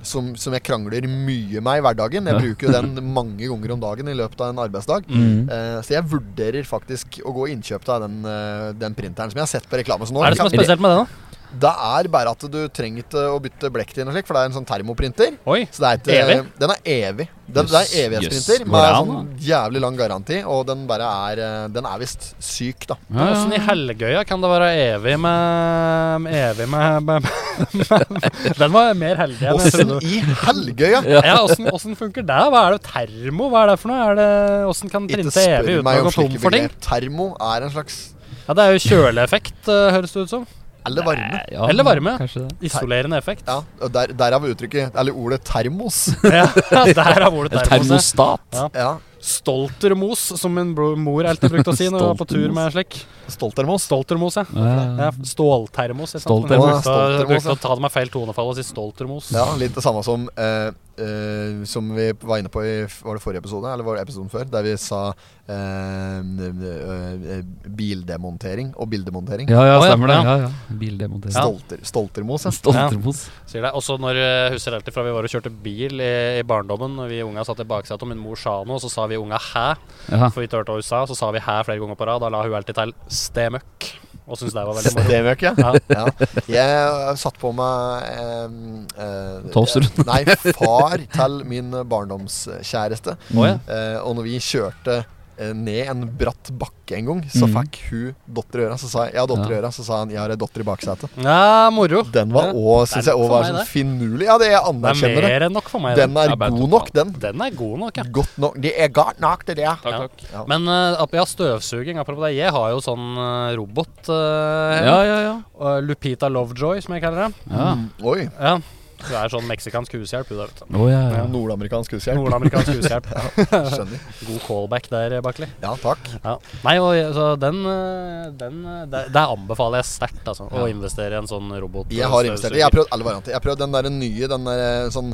Speaker 1: som, som jeg krangler mye med i hverdagen. Jeg
Speaker 2: Ja.
Speaker 1: bruker jo den mange ganger om dagen i løpet av en arbeidsdag.
Speaker 2: Mm.
Speaker 1: Eh, så jeg vurderer faktisk å gå innkjøp av den, eh, den printeren som jeg har sett på reklame. Så nå,
Speaker 3: Hva er det som er
Speaker 1: det,
Speaker 3: spesielt med den, da?
Speaker 1: er bare at du trenger ikke å bytte blekk til den, og slik, for det er en sånn termoprinter.
Speaker 3: Oi.
Speaker 1: Så det er ikke,
Speaker 3: Evig?
Speaker 1: Den er evig. Den,
Speaker 2: Jøss,
Speaker 1: det er evighetsprinter
Speaker 2: jøss,
Speaker 1: med
Speaker 2: går det an,
Speaker 1: sånn jævlig lang garanti, og den bare er eh, Den er visst syk, da.
Speaker 2: Ja, ja.
Speaker 3: Åssen i helgøya kan det være evig med med Evig med, med, med Den var mer heldig enn jeg
Speaker 1: Åssen
Speaker 3: trodde.
Speaker 1: i helgøya?
Speaker 3: Ja, åssen, åssen funker det? Hva er det termo? Hva er det for noe? Er det, åssen kan
Speaker 1: Ikke
Speaker 3: printe
Speaker 1: spør
Speaker 3: evig uten å
Speaker 1: meg om
Speaker 3: gå tom
Speaker 1: slike
Speaker 3: for ting?
Speaker 1: begrep. Termo er en slags
Speaker 3: Ja, Det er jo kjøleeffekt, eh, høres det ut som.
Speaker 1: Eller varme.
Speaker 2: Ja,
Speaker 3: Eller varme.
Speaker 2: Kanskje det.
Speaker 3: Isolerende effekt.
Speaker 1: Ja, og der, Derav uttrykket Eller ordet termos.
Speaker 3: Ja, der er ordet termos. ja.
Speaker 2: Termostat.
Speaker 1: Ja,
Speaker 3: Stoltermos, som min bro- mor alltid brukte å si når hun var på tur med slik.
Speaker 1: Stoltermos.
Speaker 3: Stoltermos, ja.
Speaker 2: Ja.
Speaker 3: ja ståltermos. ikke sant? Men
Speaker 2: Stoltermos.
Speaker 3: Jeg brukte,
Speaker 1: Stoltermos,
Speaker 3: brukte
Speaker 1: ja.
Speaker 3: å ta det med feil tonefall og si stoltermos.
Speaker 1: Ja, litt det samme som eh, eh, Som vi var inne på i Var det forrige episode, eller var det episoden før? Der vi sa eh, eh, eh, bildemontering og bildemontering.
Speaker 2: Ja, ja,
Speaker 3: Å, ja,
Speaker 2: stemmer det.
Speaker 3: ja.
Speaker 2: Ja, ja. Bildemontering.
Speaker 1: Stolter, stoltermos, ja.
Speaker 2: Stoltermos.
Speaker 3: Sier det. Også når jeg husker alltid fra vi var og kjørte bil i, i barndommen, og vi unga satt i baksetet, og min mor sa noe, og så sa vi unga 'hæ',
Speaker 2: Ja.
Speaker 3: for vi turte hva hun sa, og så sa vi 'hæ' flere ganger på rad. Da la hun alltid til 'stemøkk', og syntes det var veldig moro.
Speaker 1: Stemøk, ja.
Speaker 3: Ja.
Speaker 1: ja. Jeg satt på meg eh, eh,
Speaker 2: Toaster.
Speaker 1: Nei, far til min barndomskjæreste.
Speaker 3: Å, ja.
Speaker 1: Eh, og når vi kjørte eh, ned en bratt bakke en gang, så
Speaker 2: Mhm.
Speaker 1: fikk hun datter i øra. Så sa jeg, jeg har datter i
Speaker 2: Ja.
Speaker 1: øra, så sa han jeg har ei datter i baksetet.
Speaker 3: ja, moro.
Speaker 1: Den var
Speaker 3: Ja.
Speaker 1: òg, syns jeg,
Speaker 3: litt
Speaker 1: også
Speaker 3: for
Speaker 1: var
Speaker 3: meg,
Speaker 1: sånn
Speaker 3: det.
Speaker 1: finurlig. Ja, det jeg
Speaker 3: Det er
Speaker 1: anerkjenner det.
Speaker 3: mer enn nok for meg.
Speaker 1: Den er
Speaker 2: Ja, bare
Speaker 1: god
Speaker 2: totalt.
Speaker 1: nok, den.
Speaker 3: den er god nok, ja.
Speaker 1: Godt nok. Det er godt nok, det der.
Speaker 3: Ja.
Speaker 2: takk.
Speaker 1: Ja.
Speaker 3: Men uh, ja, støvsuging, apropos det. Jeg har jo sånn eh, robot. eh,
Speaker 2: Ja, ja, ja.
Speaker 3: eh, Lupita Lovejoy, som jeg kaller det.
Speaker 2: ja.
Speaker 1: Mm, Oi.
Speaker 3: Ja. Hun er sånn meksikansk hushjelp, hun der, vet du.
Speaker 2: Å, ja, ja.
Speaker 1: Nordamerikansk hushjelp.
Speaker 3: Nordamerikansk hushjelp.
Speaker 1: Skjønner.
Speaker 3: God callback der, Bakli.
Speaker 1: Ja, takk.
Speaker 3: Ja. Nei, og, jeg- så den, eh, den eh, Der, der anbefaler jeg sterkt altså, å investere i en sånn robot.
Speaker 1: Jeg har investert. Jeg har prøvd alle varianter. Jeg har prøvd den der nye, den der eh, sånn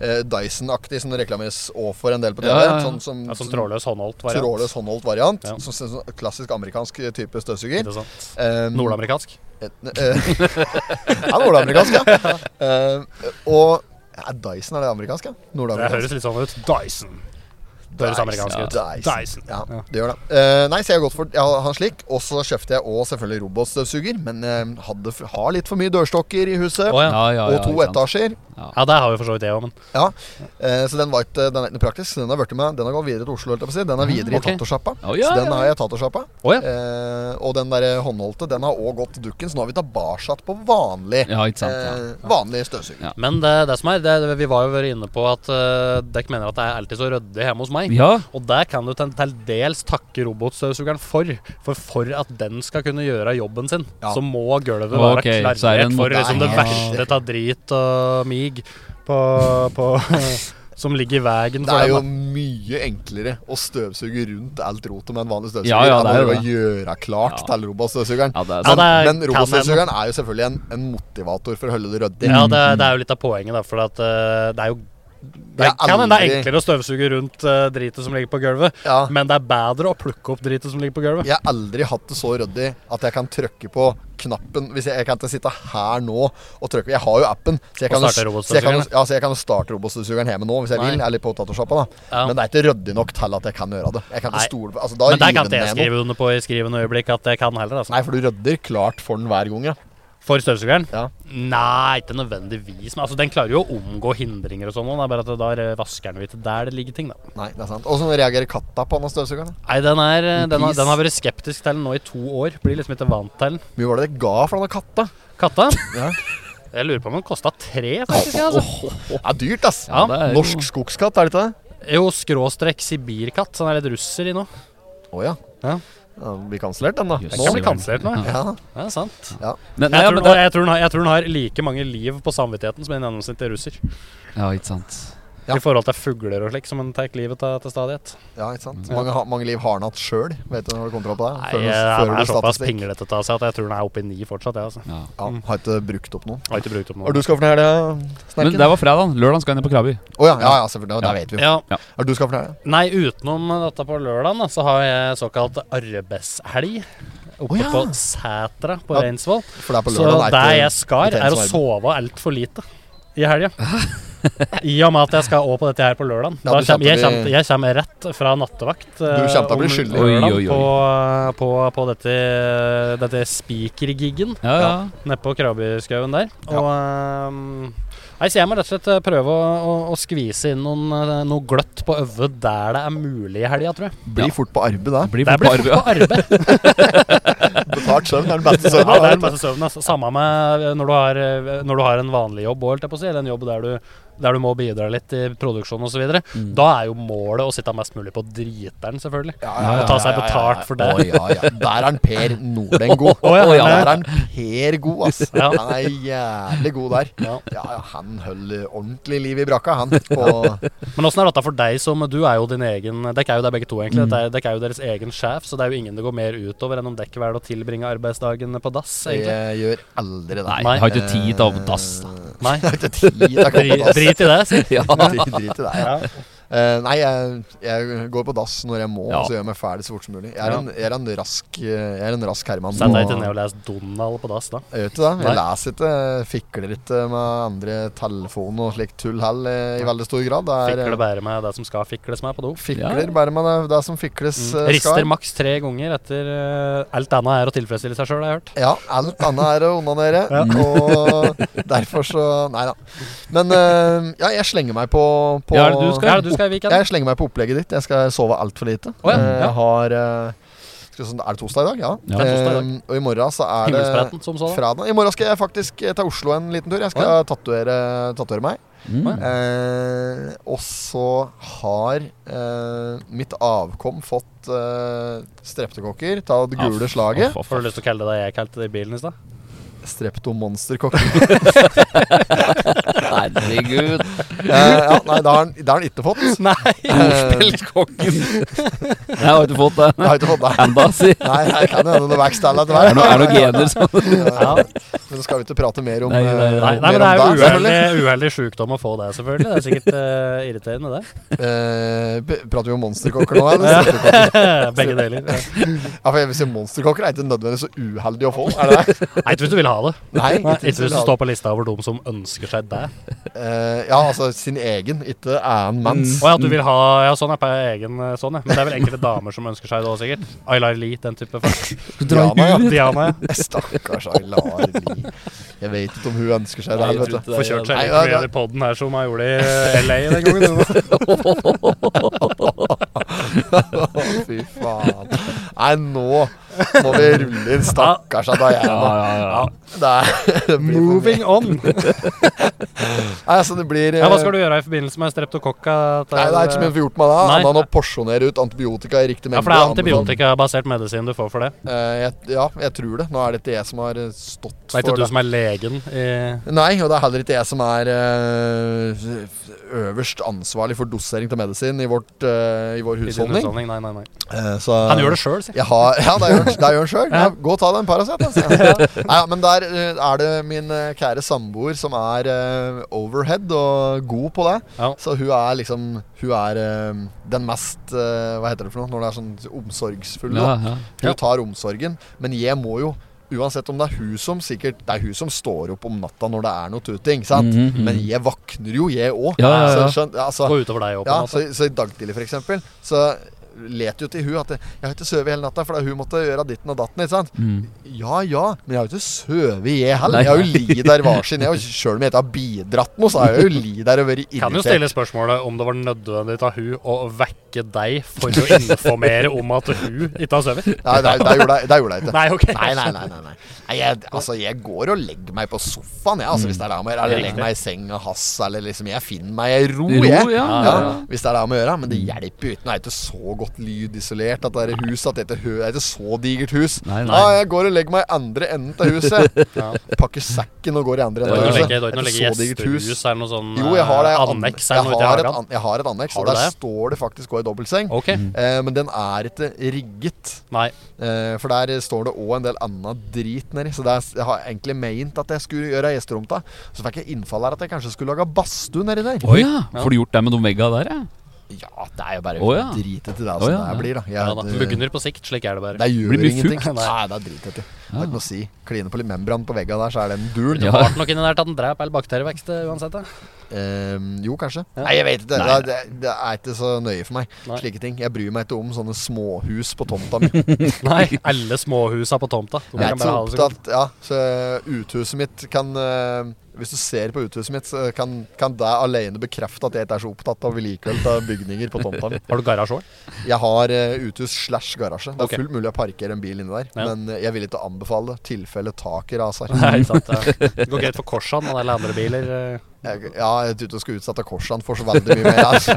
Speaker 1: eh, Dyson-aktig som det reklameres òg for en del på TV.
Speaker 2: Ja, ja, ja.
Speaker 1: Sånn som
Speaker 3: ja, Sånn trådløs håndholdt variant.
Speaker 1: trådløs håndholdt variant.
Speaker 3: Ja.
Speaker 1: Som, som, som klassisk amerikansk type støvsuger.
Speaker 3: Interessant.
Speaker 1: Um,
Speaker 3: Nordamerikansk.
Speaker 1: eh, eh, ja, nordamerikansk, ja. Eh, og ja, Dyson, er det amerikansk? Ja?
Speaker 3: Det høres
Speaker 1: Nordamerikansk.
Speaker 3: litt sånn ut. Dyson. Det høres amerikansk ut.
Speaker 1: Dyson.
Speaker 3: Dyson.
Speaker 1: Ja,
Speaker 3: Ja.
Speaker 1: det gjør det. Eh, nei, så jeg har gått for jeg har han slik. Og så kjøpte jeg òg selvfølgelig robotstøvsuger, men eh, hadde, for- har litt for mye dørstokker i huset.
Speaker 3: Å ja.
Speaker 2: Ja, ja, ja,
Speaker 1: og to
Speaker 2: ikke sant.
Speaker 1: etasjer.
Speaker 3: ja, det har jo for så vidt jeg òg, men
Speaker 1: Ja, eh, så den var ikke, den er ikke noe praktisk. Den har vært med, den har gått videre til Oslo, holdt jeg på å si. Den er videre
Speaker 3: ok.
Speaker 1: i tatosjappa.
Speaker 2: Mm, Å, ja,
Speaker 1: så den
Speaker 2: ja,
Speaker 1: har jeg i tatosjappa.
Speaker 3: Å, ja.
Speaker 1: eh, og den der håndholdte, den har òg gått dukken, så nå har vi tilbake på vanlig,
Speaker 2: Ja, ikke sant, ja.
Speaker 1: eh, vanlig støvsuger.
Speaker 2: Ja.
Speaker 3: Men det, det som er, det, vi var jo vært inne på at uh, dere mener at det er alltid så ryddig hjemme hos meg.
Speaker 2: Ja.
Speaker 3: Og det kan du til, til dels takke robotstøvsugeren for. For for at den skal kunne gjøre jobben sin,
Speaker 1: Ja.
Speaker 3: så må gulvet være
Speaker 2: Ok, så er det
Speaker 3: klarert
Speaker 2: en
Speaker 3: for liksom, det
Speaker 2: moderne-
Speaker 3: verste av drit og mig på, på, som ligger i veien
Speaker 1: Det
Speaker 3: for
Speaker 1: er jo
Speaker 3: den.
Speaker 1: mye enklere å støvsuge rundt alt rotet med en vanlig støvsuger
Speaker 2: Ja, ja, det er
Speaker 1: enn
Speaker 2: jo
Speaker 1: å gjøre klart
Speaker 2: Ja.
Speaker 1: til robotstøvsugeren.
Speaker 2: Ja, det er
Speaker 1: men
Speaker 3: sant. Ja, det
Speaker 1: men
Speaker 3: kan
Speaker 1: robotstøvsugeren er jo selvfølgelig en, en motivator for å holde det Mm. ryddig.
Speaker 3: Ja, det, det er jo litt av poenget, da. For at, eh, det er jo Det
Speaker 1: Jeg
Speaker 3: er,
Speaker 1: har
Speaker 3: kan hende det er
Speaker 1: aldri-
Speaker 3: enklere å støvsuge rundt eh, dritet som ligger på gulvet,
Speaker 1: Ja.
Speaker 3: men det er bedre å plukke opp dritet som ligger på gulvet.
Speaker 1: Jeg har aldri hatt det så ryddig at jeg kan trykke på knappen Hvis jeg, jeg kan ikke sitte her nå og trykke Jeg har jo appen, så jeg
Speaker 3: Og
Speaker 1: kan, jo-
Speaker 3: starte
Speaker 1: så jeg kan, jo-
Speaker 3: robotstøvsugeren.
Speaker 1: ja, så jeg kan jo starte robotstøvsugeren hjemme nå hvis jeg
Speaker 3: Nei.
Speaker 1: vil. Eller på tatosjappa, da.
Speaker 3: Ja.
Speaker 1: Men det er ikke ryddig nok til at jeg kan gjøre det. Jeg kan ikke
Speaker 3: Nei.
Speaker 1: stole på altså, da
Speaker 3: Men der
Speaker 1: river
Speaker 3: kan ikke jeg
Speaker 1: den ned noe.
Speaker 3: skrive under på i skrivende øyeblikk at jeg kan heller. altså
Speaker 1: Nei, for du rydder klart for den hver gang, ja.
Speaker 3: For støvsugeren?
Speaker 1: Ja.
Speaker 3: Nei, ikke nødvendigvis. Men altså, den klarer jo å omgå hindringer og sånn. Det er bare at da er vasker den jo ikke der det ligger ting, da.
Speaker 1: Nei, det er sant. Åssen reagerer katta på denne støvsugeren? da?
Speaker 3: Nei, den, er, eh, den, har,
Speaker 1: pis.
Speaker 3: den har vært skeptisk til den nå i to år. Blir liksom ikke vant til den.
Speaker 1: Mye var det det ga for denne katta?
Speaker 3: Katta?
Speaker 1: Ja.
Speaker 3: Jeg lurer på om den kosta tre, faktisk. jeg, Altså.
Speaker 1: Det er dyrt, ass.
Speaker 3: Ja,
Speaker 2: det er jo-
Speaker 1: Norsk skogskatt, er det ikke det?
Speaker 3: Jo, skråstrekk sibirkatt. Så den er litt russer i nå.
Speaker 1: Å ja.
Speaker 3: Ja.
Speaker 1: Ja, den Blir kansellert, den, da.
Speaker 2: Jøss.
Speaker 3: Den kan bli kansellert nå. Ja.
Speaker 1: Ja.
Speaker 3: Ja, det er sant.
Speaker 2: Men, nei,
Speaker 3: Jeg
Speaker 2: ja,
Speaker 3: tror,
Speaker 2: men
Speaker 3: den-
Speaker 2: det,
Speaker 3: jeg, tror den har, jeg tror den har like mange liv på samvittigheten som en gjennomsnittlig russer.
Speaker 2: ja, ikke sant.
Speaker 1: Ja.
Speaker 3: I forhold til fugler og slik, som en tar livet av til stadighet.
Speaker 1: Ja, ikke sant? Mange, ha- mange liv har han hatt sjøl, vet du når det kommer opp på deg?
Speaker 3: Nei,
Speaker 1: Før du-
Speaker 3: jeg
Speaker 1: før
Speaker 3: han
Speaker 1: du
Speaker 3: er såpass
Speaker 1: statistikk.
Speaker 3: pinglete av seg at jeg tror den er oppe i ni fortsatt. Jeg, altså.
Speaker 2: Ja.
Speaker 1: Ja, har ikke brukt opp noen.
Speaker 3: Jeg Har ikke brukt opp
Speaker 1: Hva er
Speaker 3: noe.
Speaker 1: det du skal for helga,
Speaker 2: Men
Speaker 1: eh, Snerken?
Speaker 2: det var fredag. Lørdag skal jeg ned på Krabi.
Speaker 1: Å ja, ja, ja, selvfølgelig. Det vet vi jo.
Speaker 3: Ja,
Speaker 1: Hva er det du skal for helga?
Speaker 3: nei, utenom dette på lørdagen, da, så har jeg såkalt arbeidshelg. Oppe
Speaker 1: Å ja.
Speaker 3: på Sætra på
Speaker 1: Ja,
Speaker 3: Reinsvoll.
Speaker 1: For det er på
Speaker 3: Så
Speaker 1: lørdag. det
Speaker 3: der
Speaker 1: er
Speaker 3: jeg skal,
Speaker 1: det er ikke
Speaker 3: er
Speaker 1: som
Speaker 3: å
Speaker 1: arbeid.
Speaker 3: sove altfor lite i helga. I og med at jeg skal òg på dette her på lørdagen.
Speaker 1: Ja,
Speaker 3: Da
Speaker 1: du
Speaker 3: kjem-
Speaker 1: kjem
Speaker 3: jeg,
Speaker 1: til å
Speaker 3: kjem-
Speaker 1: bli-
Speaker 3: jeg kommer rett fra nattevakt eh,
Speaker 1: Du kjem til å bli
Speaker 3: om
Speaker 1: skyldig.
Speaker 3: lørdagen
Speaker 2: Oi, oi, oi.
Speaker 3: På, på, på dette, dette speakergiggen.
Speaker 2: Ja, ja.
Speaker 3: Nede på Krabbeskauen der. Og ehm, Nei, så jeg må rett og slett eh, prøve å, å, å skvise inn noen, eh, noe gløtt på Øvre der det er mulig i helga, tror jeg.
Speaker 1: Blir fort på arbeid da.
Speaker 2: Blir
Speaker 3: Der
Speaker 2: fort på
Speaker 3: blir det
Speaker 2: arbeid.
Speaker 3: fort på arbeid.
Speaker 1: Betalt søvn er den beste
Speaker 3: Ja, det er den
Speaker 1: søvnen.
Speaker 3: beste søvnen. Altså. Samme med eh, når du har, eh, når du har en vanlig jobb òg, holdt jeg på å si, eller en jobb der du, der du må bidra litt i produksjon osv. videre Da er jo målet å sitte mest mulig på driteren, selvfølgelig.
Speaker 1: Ja,
Speaker 2: ja,
Speaker 3: Og ta seg betalt for det.
Speaker 1: Å, ja, ja. Der er han Per Nordeng god.
Speaker 3: Å, ja,
Speaker 1: ja,
Speaker 3: ja.
Speaker 1: Der er han Per god, ass.
Speaker 3: Ja.
Speaker 1: Han er jævlig god der.
Speaker 3: Ja.
Speaker 1: Ja, ja, han holder ordentlig liv i brakka, han. På
Speaker 3: Men åssen er dette for deg som Du er jo din egen Dere er jo der begge to, egentlig. Dere er, dere er jo deres egen sjef, så det er jo ingen det går mer utover enn om dere velger å tilbringe arbeidsdagen på dass, egentlig.
Speaker 1: Jeg gjør aldri det.
Speaker 2: Nei, jeg har ikke tid til å dass, da.
Speaker 3: Nei.
Speaker 1: Jeg har ikke tid til å komme
Speaker 3: Dri,
Speaker 1: på dass.
Speaker 3: drit i det, si.
Speaker 2: Ja.
Speaker 1: Drit drit i deg, ja.
Speaker 3: Ja.
Speaker 1: Eh, nei, jeg, jeg går på dass når jeg må,
Speaker 2: Ja.
Speaker 1: og så gjør jeg meg ferdig så fort som mulig. Jeg er,
Speaker 3: Ja.
Speaker 1: en, jeg er, en, rask, eh, jeg er en rask herremann.
Speaker 3: Sett deg
Speaker 1: og-
Speaker 3: ikke ned og les Donald på dass, da.
Speaker 1: Jeg gjør ikke det. Jeg
Speaker 3: Nei.
Speaker 1: leser ikke, fikler ikke med andre telefon og slikt tull heller eh, i veldig stor grad. Det er, eh,
Speaker 3: Fikle bære med det som skal fikles med på do.
Speaker 1: fikler bare med det, det som fikles eh,
Speaker 3: Mm. Rister
Speaker 1: skal.
Speaker 3: maks tre ganger etter eh, Alt annet er å tilfredsstille seg sjøl, har jeg hørt.
Speaker 1: Ja, alt annet er å onanere, og derfor så Nei da. Men eh, ja, jeg slenger meg på, på
Speaker 2: Ja, er det du skal?
Speaker 3: Hva er det du skal i weekenden?
Speaker 1: Jeg slenger meg på opplegget ditt. Jeg skal sove altfor lite.
Speaker 3: Å ja,
Speaker 1: Eh,
Speaker 3: ja.
Speaker 1: Jeg har eh, skal vi se, Er det torsdag i dag? Ja.
Speaker 2: Ja, det
Speaker 3: er torsdag i dag.
Speaker 1: Eh, og i morgen så er det
Speaker 3: Himmelspretten, som sådan.
Speaker 1: fredag. I morgen skal jeg faktisk eh, til Oslo en liten tur. Jeg skal tatovere tatovere meg.
Speaker 2: Mm.
Speaker 1: Eh, og så har eh, mitt avkom fått eh, streptokokker av det gule
Speaker 2: Ah,
Speaker 1: slaget.
Speaker 2: Å, faen.
Speaker 3: Får du lyst til å kalle det det jeg kalte det i bilen i stad?
Speaker 1: Streptomonsterkokker.
Speaker 2: Herregud.
Speaker 1: Eh, ja, nei, det har han- det har han ikke fått. Eh,
Speaker 3: Nei!
Speaker 2: Ordspillkongen. Jeg har ikke fått det
Speaker 1: Jeg har ikke fått det.
Speaker 2: enda, si. Det
Speaker 1: Nei, jeg kan jo hende det vokser til
Speaker 2: er
Speaker 1: etter hvert.
Speaker 2: noe- er noe gener som
Speaker 1: Ja. Men skal vi ikke prate mer om
Speaker 2: Nei, nei, nei.
Speaker 1: eh,
Speaker 3: Nei,
Speaker 1: mer
Speaker 3: nei, men det er
Speaker 1: om
Speaker 3: jo
Speaker 1: deg,
Speaker 3: uheldig, uheldig sjukdom å få det, selvfølgelig. Det er sikkert eh, irriterende, det.
Speaker 1: selvfølgelig. Eh, p- prater vi om monsterkokker nå, eller? Streptokokker?
Speaker 3: Begge deler.
Speaker 1: Ja, for jeg vil si Monsterkokker er ikke nødvendigvis så uheldig å få. Er det det?
Speaker 3: Nei, ikke hvis du vil ha det.
Speaker 1: Nei,
Speaker 3: Ikke hvis
Speaker 1: vil
Speaker 3: du
Speaker 1: ha
Speaker 3: står på lista over dem som ønsker seg det.
Speaker 1: Eh, Ja, altså sin egen, ikke annen manns.
Speaker 3: Mm. Å ja, at du vil ha Ja, sånn er på egen eh, sånn, ja. Men det er vel enkelte damer som ønsker seg det òg, sikkert. Aylar Lee, den type folk.
Speaker 1: Diana, ja.
Speaker 3: Diana, ja.
Speaker 1: Stakkars Aylar Lie. Jeg vet ikke om hun ønsker seg det. vet du.
Speaker 3: Får kjørt seg
Speaker 1: Nei,
Speaker 3: litt
Speaker 1: ja,
Speaker 3: mye
Speaker 1: det-
Speaker 3: i poden her som jeg gjorde i eh, LA den gangen.
Speaker 1: Å, fy faen. Nei, nå må vi rulle inn stakkars Diana.
Speaker 2: ja, ja.
Speaker 1: Det er, det blir for mye.
Speaker 3: Moving on.
Speaker 1: Nei, altså, det blir eh,
Speaker 3: Ja, Hva skal du gjøre i forbindelse med streptokokka? til-
Speaker 1: Nei, det er ikke så mye vi får gjort med det,
Speaker 3: Nei.
Speaker 1: annet enn å porsjonere ut antibiotika i riktig
Speaker 3: Ja,
Speaker 1: mengde.
Speaker 3: for det er
Speaker 1: Anbefalt.
Speaker 3: antibiotikabasert medisin du får for det.
Speaker 1: Eh, jeg, ja, jeg tror det. Nå er det ikke jeg som har eh, stått
Speaker 3: Det er
Speaker 1: for
Speaker 3: ikke du
Speaker 1: det.
Speaker 3: som er legen i
Speaker 1: Nei, og det er heller ikke jeg som er eh, øverst ansvarlig for dosering til medisin i, vårt, eh, i vår
Speaker 3: i din
Speaker 1: husholdning.
Speaker 3: husholdning. Nei, nei, nei.
Speaker 1: Eh, så
Speaker 3: Han gjør det sjøl, si.
Speaker 1: Jeg har, ja, det gjør Det er jo en sjøl. Ja, gå og ta deg en Paracet. Altså. Nei, ja, men der eh, er det min eh, kjære samboer som er eh, overhead og god på det.
Speaker 3: Ja.
Speaker 1: Så hun er liksom Hun er eh, den mest eh, Hva heter det for noe? Når det er sånn omsorgsfull.
Speaker 2: Ja,
Speaker 1: da.
Speaker 2: ja.
Speaker 1: Hun tar omsorgen. Men jeg må jo Uansett om det er hun som sikkert Det er hun som står opp om natta når det er noe tuting, sant?
Speaker 2: Mhm, mhm.
Speaker 1: Men jeg vakner jo, jeg òg.
Speaker 2: Ja, ja, ja.
Speaker 1: Så skjønt, altså,
Speaker 3: Gå utover deg òg, på
Speaker 1: ja,
Speaker 3: en måte.
Speaker 1: så, så i dag tidlig, for eksempel, så let jo til hun at 'Jeg har ikke sovet hele natta, for da hun måtte gjøre ditten og datten'. ikke sant?
Speaker 2: Mm.
Speaker 1: Ja ja, men jeg har jo ikke sovet, jeg heller.
Speaker 2: Nei.
Speaker 1: Jeg har jo ligget der hver sin. jeg, og Selv om jeg ikke har bidratt noe, så har jeg jo ligget der og vært
Speaker 3: Kan jo
Speaker 1: irritert.
Speaker 3: stille spørsmålet om det var nødvendig av hun å vekke deg for å informere om at hun ikke har sovet.
Speaker 1: Nei, nei, det gjorde jeg- det gjorde jeg ikke.
Speaker 3: Nei, ok.
Speaker 1: Nei, nei, nei. nei, nei. nei jeg, altså, jeg går og legger meg på sofaen, jeg, altså, hvis det er det om å gjøre. Eller legger meg i senga hans, eller liksom Jeg finner meg i ro,
Speaker 2: Ro,
Speaker 1: jeg.
Speaker 2: ja, ja, ja.
Speaker 1: Hvis det er det om å gjøre. Men det hjelper jo ikke. Nå er det ikke så godt lydisolert, at det er hus, at dette hø- det er ikke så digert hus.
Speaker 2: Nei, nei.
Speaker 1: Ah, jeg går og legger meg i andre enden av huset. Pakker sekken og går i andre
Speaker 3: Du har
Speaker 1: enden
Speaker 3: ikke
Speaker 1: av huset. Det er
Speaker 3: noe legge- du har ikke noe legge
Speaker 1: ikke så digert hus.
Speaker 3: gjestehus eller noe sånn
Speaker 1: Jo, jeg har det.
Speaker 3: eh,
Speaker 1: Jeg, an-
Speaker 3: anneks
Speaker 1: jeg,
Speaker 3: eller noe ute i
Speaker 1: har, et
Speaker 3: hagen?
Speaker 1: an, jeg har et anneks,
Speaker 3: Har
Speaker 1: og
Speaker 3: du
Speaker 1: der
Speaker 3: det?
Speaker 1: står det faktisk òg ei dobbeltseng.
Speaker 3: Ok.
Speaker 1: Eh, men den er ikke rigget.
Speaker 3: Nei.
Speaker 1: Eh, for der står det òg en del annen drit nedi. Så det er, jeg har egentlig meint at jeg skulle gjøre gjesteromta. Så fikk jeg innfall her at jeg kanskje skulle lage badstue nedi der.
Speaker 2: Oi, Får du gjort det med de vegga der, ja?
Speaker 1: Ja, det er jo bare
Speaker 2: Å, ja.
Speaker 1: drite til det som
Speaker 2: Å, ja,
Speaker 1: det
Speaker 2: ja.
Speaker 1: blir, da. Jeg,
Speaker 3: Ja, da.
Speaker 1: det-
Speaker 3: Mugner på sikt, slik er det bare.
Speaker 1: det gjør
Speaker 2: Blir det fukt?
Speaker 1: ingenting.
Speaker 3: Nei.
Speaker 1: Nei, det er drit etter. Det er ikke noe å si. Kline på litt membran på vegga der, så er det en dul.
Speaker 2: Ja.
Speaker 3: Hardt nok inni der til at den dreper all bakterievekst eh, uansett. da.
Speaker 1: Eh, jo, kanskje. Nei, jeg vet ikke. Det, det, det er ikke så nøye for meg.
Speaker 3: Nei.
Speaker 1: Slike ting. Jeg bryr meg ikke om sånne småhus på tomta mi.
Speaker 3: Nei, alle småhusa på tomta.
Speaker 1: Jeg
Speaker 3: Så man
Speaker 1: er
Speaker 3: kan
Speaker 1: ikke så
Speaker 3: bare ha det så godt.
Speaker 1: opptatt Ja, så eh, uthuset mitt kan eh, Hvis du ser på uthuset mitt, så kan, kan det alene bekrefte at jeg ikke er så opptatt av vedlikehold av bygninger på tomta mi.
Speaker 3: Har du garasje òg?
Speaker 1: Jeg har eh, uthus slash garasje. Det er
Speaker 3: Ok.
Speaker 1: fullt mulig å parkere en bil inni der,
Speaker 3: Ja.
Speaker 1: men eh, jeg vil ikke anbefale det. Tilfelle taket raser.
Speaker 3: Nei, ikke sant. ja. Det går greit for Korsan og alle andre biler. eh.
Speaker 1: Jeg, ja, jeg tror ikke jeg skal utsette korsene for så veldig mye mer. Altså.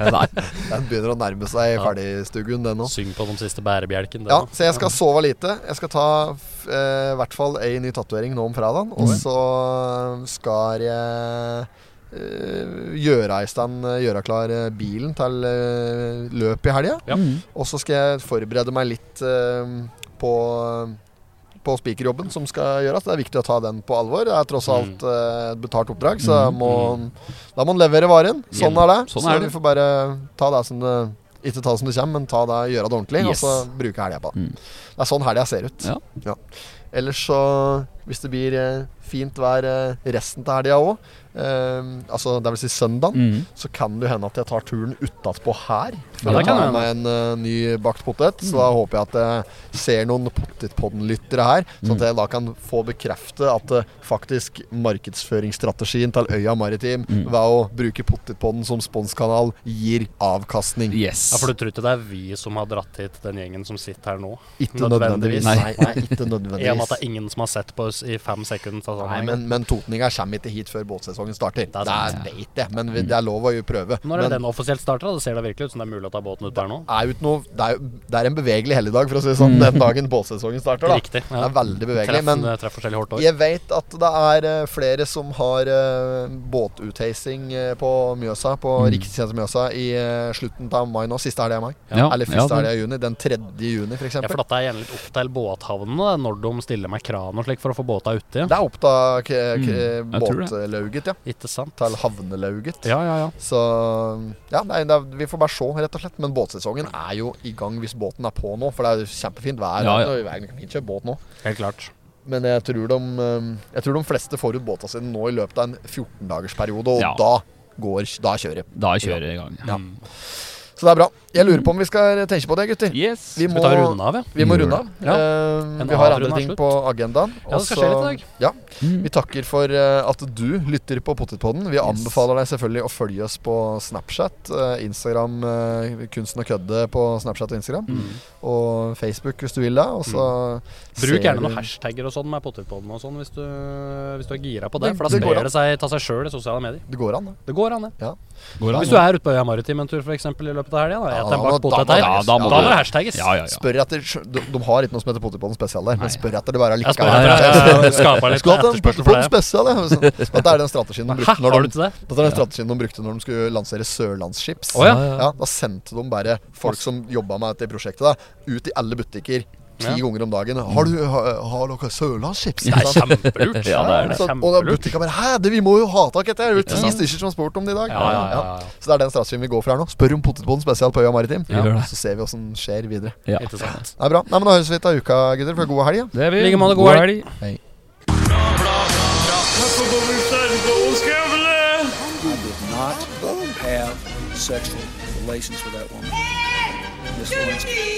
Speaker 1: Den begynner å nærme seg
Speaker 3: Ja.
Speaker 1: ferdigstuggen, den òg.
Speaker 3: Eh, Syng på den siste bærebjelken. det
Speaker 1: Ja,
Speaker 3: da.
Speaker 1: så jeg skal sove lite. Jeg skal ta f- eh, i hvert fall ei ny tatovering nå om fredagen. Og så skal jeg eh, gjøre i stand Gjøre klar eh, bilen til eh, løpet i helga.
Speaker 3: Ja.
Speaker 2: Mm.
Speaker 1: Og så skal jeg forberede meg litt eh, på på spikerjobben som skal gjøres. Det er viktig å ta den på alvor. Det er tross
Speaker 2: Mm.
Speaker 1: alt eh, et betalt oppdrag, så må, da må man levere varen. Sånn er det.
Speaker 2: Sånn
Speaker 1: så
Speaker 2: er det.
Speaker 1: vi får bare ta det som det Ikke ta det som det kommer, men ta det, gjøre det ordentlig,
Speaker 2: Yes.
Speaker 1: og så bruke helga på det.
Speaker 2: Mm.
Speaker 1: Det er sånn helga ser ut.
Speaker 2: Ja.
Speaker 1: Ellers så, hvis det blir eh, fint vær eh, resten av helga òg, altså det vil si søndag,
Speaker 2: Mm.
Speaker 1: så kan det jo hende at jeg tar turen utenpå her.
Speaker 3: Ja,
Speaker 1: For
Speaker 3: det
Speaker 1: å
Speaker 3: kan
Speaker 1: ta
Speaker 3: hende. Mm.
Speaker 1: meg en eh, ny bakt potet. Så da håper jeg at jeg ser noen Potetpodden-lyttere her,
Speaker 3: Mm.
Speaker 1: sånn at jeg da kan få bekrefte at eh, faktisk markedsføringsstrategien til Øya Maritim
Speaker 3: Mm.
Speaker 1: ved å bruke Potetpodden som sponskanal gir avkastning.
Speaker 2: Yes.
Speaker 3: Ja, For du tror ikke det er vi som har dratt hit den gjengen som sitter her nå?
Speaker 1: Ikke nødvendigvis.
Speaker 3: nødvendigvis.
Speaker 1: Nei, nei, ikke
Speaker 3: I og med at det
Speaker 1: nødvendigvis.
Speaker 3: er ingen som har sett på oss i fem sekunder. så
Speaker 1: Nei,
Speaker 3: sånn,
Speaker 1: men, men totninger kommer ikke hit før båtsesongen starter. Det
Speaker 3: er
Speaker 1: er
Speaker 3: sant.
Speaker 1: veit jeg, men vi- det er lov å jo prøve.
Speaker 3: Når er
Speaker 1: Men-
Speaker 3: den offisielt starter? da? Det ser da virkelig ut som det er mulig å ta båten ut der nå.
Speaker 1: Det er jo ikke noe Det er, jo- det er en bevegelig helligdag, for å si det sånn,
Speaker 2: Mm.
Speaker 1: den dagen båtsesongen starter. da
Speaker 3: Riktig.
Speaker 1: Det er veldig bevegelig.
Speaker 3: Treff,
Speaker 2: eh,
Speaker 3: eh,
Speaker 1: Men
Speaker 3: treff forskjellig hårdt år.
Speaker 1: jeg vet at det er eh, flere som har eh, båtutheising eh, på Mjøsa, på
Speaker 2: Mm.
Speaker 1: riktig side av Mjøsa, i eh, slutten av mai nå. Siste helga i mai.
Speaker 2: Ja,
Speaker 1: Eller
Speaker 2: ja,
Speaker 1: første
Speaker 2: det-
Speaker 1: helga i juni. Den 3. juni, f.eks.
Speaker 3: Jeg
Speaker 1: Det
Speaker 3: flatta gjerne litt opp til båthavnene da, når de stiller med kran og slik for å få båta uti.
Speaker 1: er opp til k- k-
Speaker 2: Mm, jeg tror det.
Speaker 1: båtlauget, ja.
Speaker 3: Ikke sant?
Speaker 1: Til havnelauget.
Speaker 3: Ja, ja, ja.
Speaker 1: Så ja, nei, det er, vi får bare se, rett og slett. Men båtsesongen er jo i gang hvis båten er på nå. For det er jo kjempefint vær.
Speaker 2: Ja, ja.
Speaker 1: og vi kan fint kjøre båt nå.
Speaker 3: Helt klart.
Speaker 1: Men jeg tror de, eh, jeg tror de fleste får ut båta sine nå i løpet av en 14-dagersperiode, og
Speaker 2: Ja.
Speaker 1: da går da kjører.
Speaker 2: Da kjører jeg i gang.
Speaker 1: Ja.
Speaker 3: Mm.
Speaker 1: Så det er bra. Jeg
Speaker 3: Mhm.
Speaker 1: lurer på om vi skal tenke på det, gutter.
Speaker 2: Yes.
Speaker 1: Vi
Speaker 3: Skal
Speaker 1: må,
Speaker 3: vi ta runden av, ja?
Speaker 1: vi må
Speaker 2: Gjør
Speaker 1: runde av.
Speaker 3: Mm. Ja.
Speaker 1: Eh,
Speaker 3: En
Speaker 1: vi har andre
Speaker 3: avrunde er
Speaker 1: ting
Speaker 3: slutt.
Speaker 1: på agendaen.
Speaker 3: Ja, det
Speaker 1: og så-
Speaker 3: skal skje litt i dag.
Speaker 1: Ja.
Speaker 2: Mm.
Speaker 1: Vi takker for eh, at du lytter på Potetpodden. Vi anbefaler deg selvfølgelig å følge oss på Snapchat, eh, Instagram, eh, Kunsten og kødde på Snapchat og Instagram.
Speaker 3: Mm.
Speaker 1: Og Facebook hvis du vil det. Og så
Speaker 3: Bruk
Speaker 1: ser
Speaker 3: gjerne noen
Speaker 1: du-
Speaker 3: hashtagger og sånn med potetpodden og sånn hvis, du- hvis du er gira på det.
Speaker 1: Det-
Speaker 3: For da
Speaker 1: det går
Speaker 3: sprer det seg ta seg sjøl i sosiale medier.
Speaker 1: Det går an, det.
Speaker 3: Det går an, det.
Speaker 2: Går an,
Speaker 3: Hvis du er ute på Øya Maritim en tur for eksempel, i løpet av helga,
Speaker 1: Ja,
Speaker 3: et
Speaker 1: da
Speaker 3: en
Speaker 1: må- da
Speaker 3: bakt potet
Speaker 1: må-
Speaker 3: her,
Speaker 2: ja,
Speaker 3: da
Speaker 2: da
Speaker 3: må
Speaker 2: må
Speaker 3: det
Speaker 2: du-
Speaker 3: hashtagges.
Speaker 2: Ja, ja, ja.
Speaker 1: Spør etter de, de har ikke noe som heter potetpodden spesial der,
Speaker 2: Nei.
Speaker 1: men spør etter det bare
Speaker 3: Jeg spør
Speaker 1: likevel.
Speaker 3: etter jeg, jeg skaper litt
Speaker 1: Skulle hatt en
Speaker 3: etterspørsel for
Speaker 1: potetpodden
Speaker 3: det.
Speaker 1: spesial, ja. Så- Dette er den strategien de
Speaker 3: Hæ,
Speaker 1: brukte når
Speaker 3: har
Speaker 1: de,
Speaker 3: du ikke det?
Speaker 1: dette er den strategien de brukte når de skulle lansere Sørlandschips.
Speaker 3: Å ja.
Speaker 1: Ja, da sendte de bare folk som jobba med dette prosjektet, da, ut i alle butikker ti
Speaker 3: Ja.
Speaker 1: ganger om dagen. Har, du, har, har dere sørlandschips?
Speaker 3: Det er kjempelurt.
Speaker 2: Ja, det er det.
Speaker 1: Så, og da butikka bare Hæ, det, vi må jo ha tak etter! Det er jo ti stykker som har spurt om det i dag.
Speaker 3: Ja, ja, ja, ja.
Speaker 1: Så det er den strategien vi går for her nå. Spør om potetbånd spesielt på Øya Maritim.
Speaker 2: Vi gjør det.
Speaker 1: Så ser vi åssen skjer videre.
Speaker 2: Ja.
Speaker 3: Interessant.
Speaker 1: Det er bra. Nei, men Da høres vi ut av uka, gutter. For god helg. ja.
Speaker 2: Det er vi.
Speaker 3: Like måte, god helg.
Speaker 1: Hei.
Speaker 4: I did not have sexual relations with that woman. Miss Lewinsky.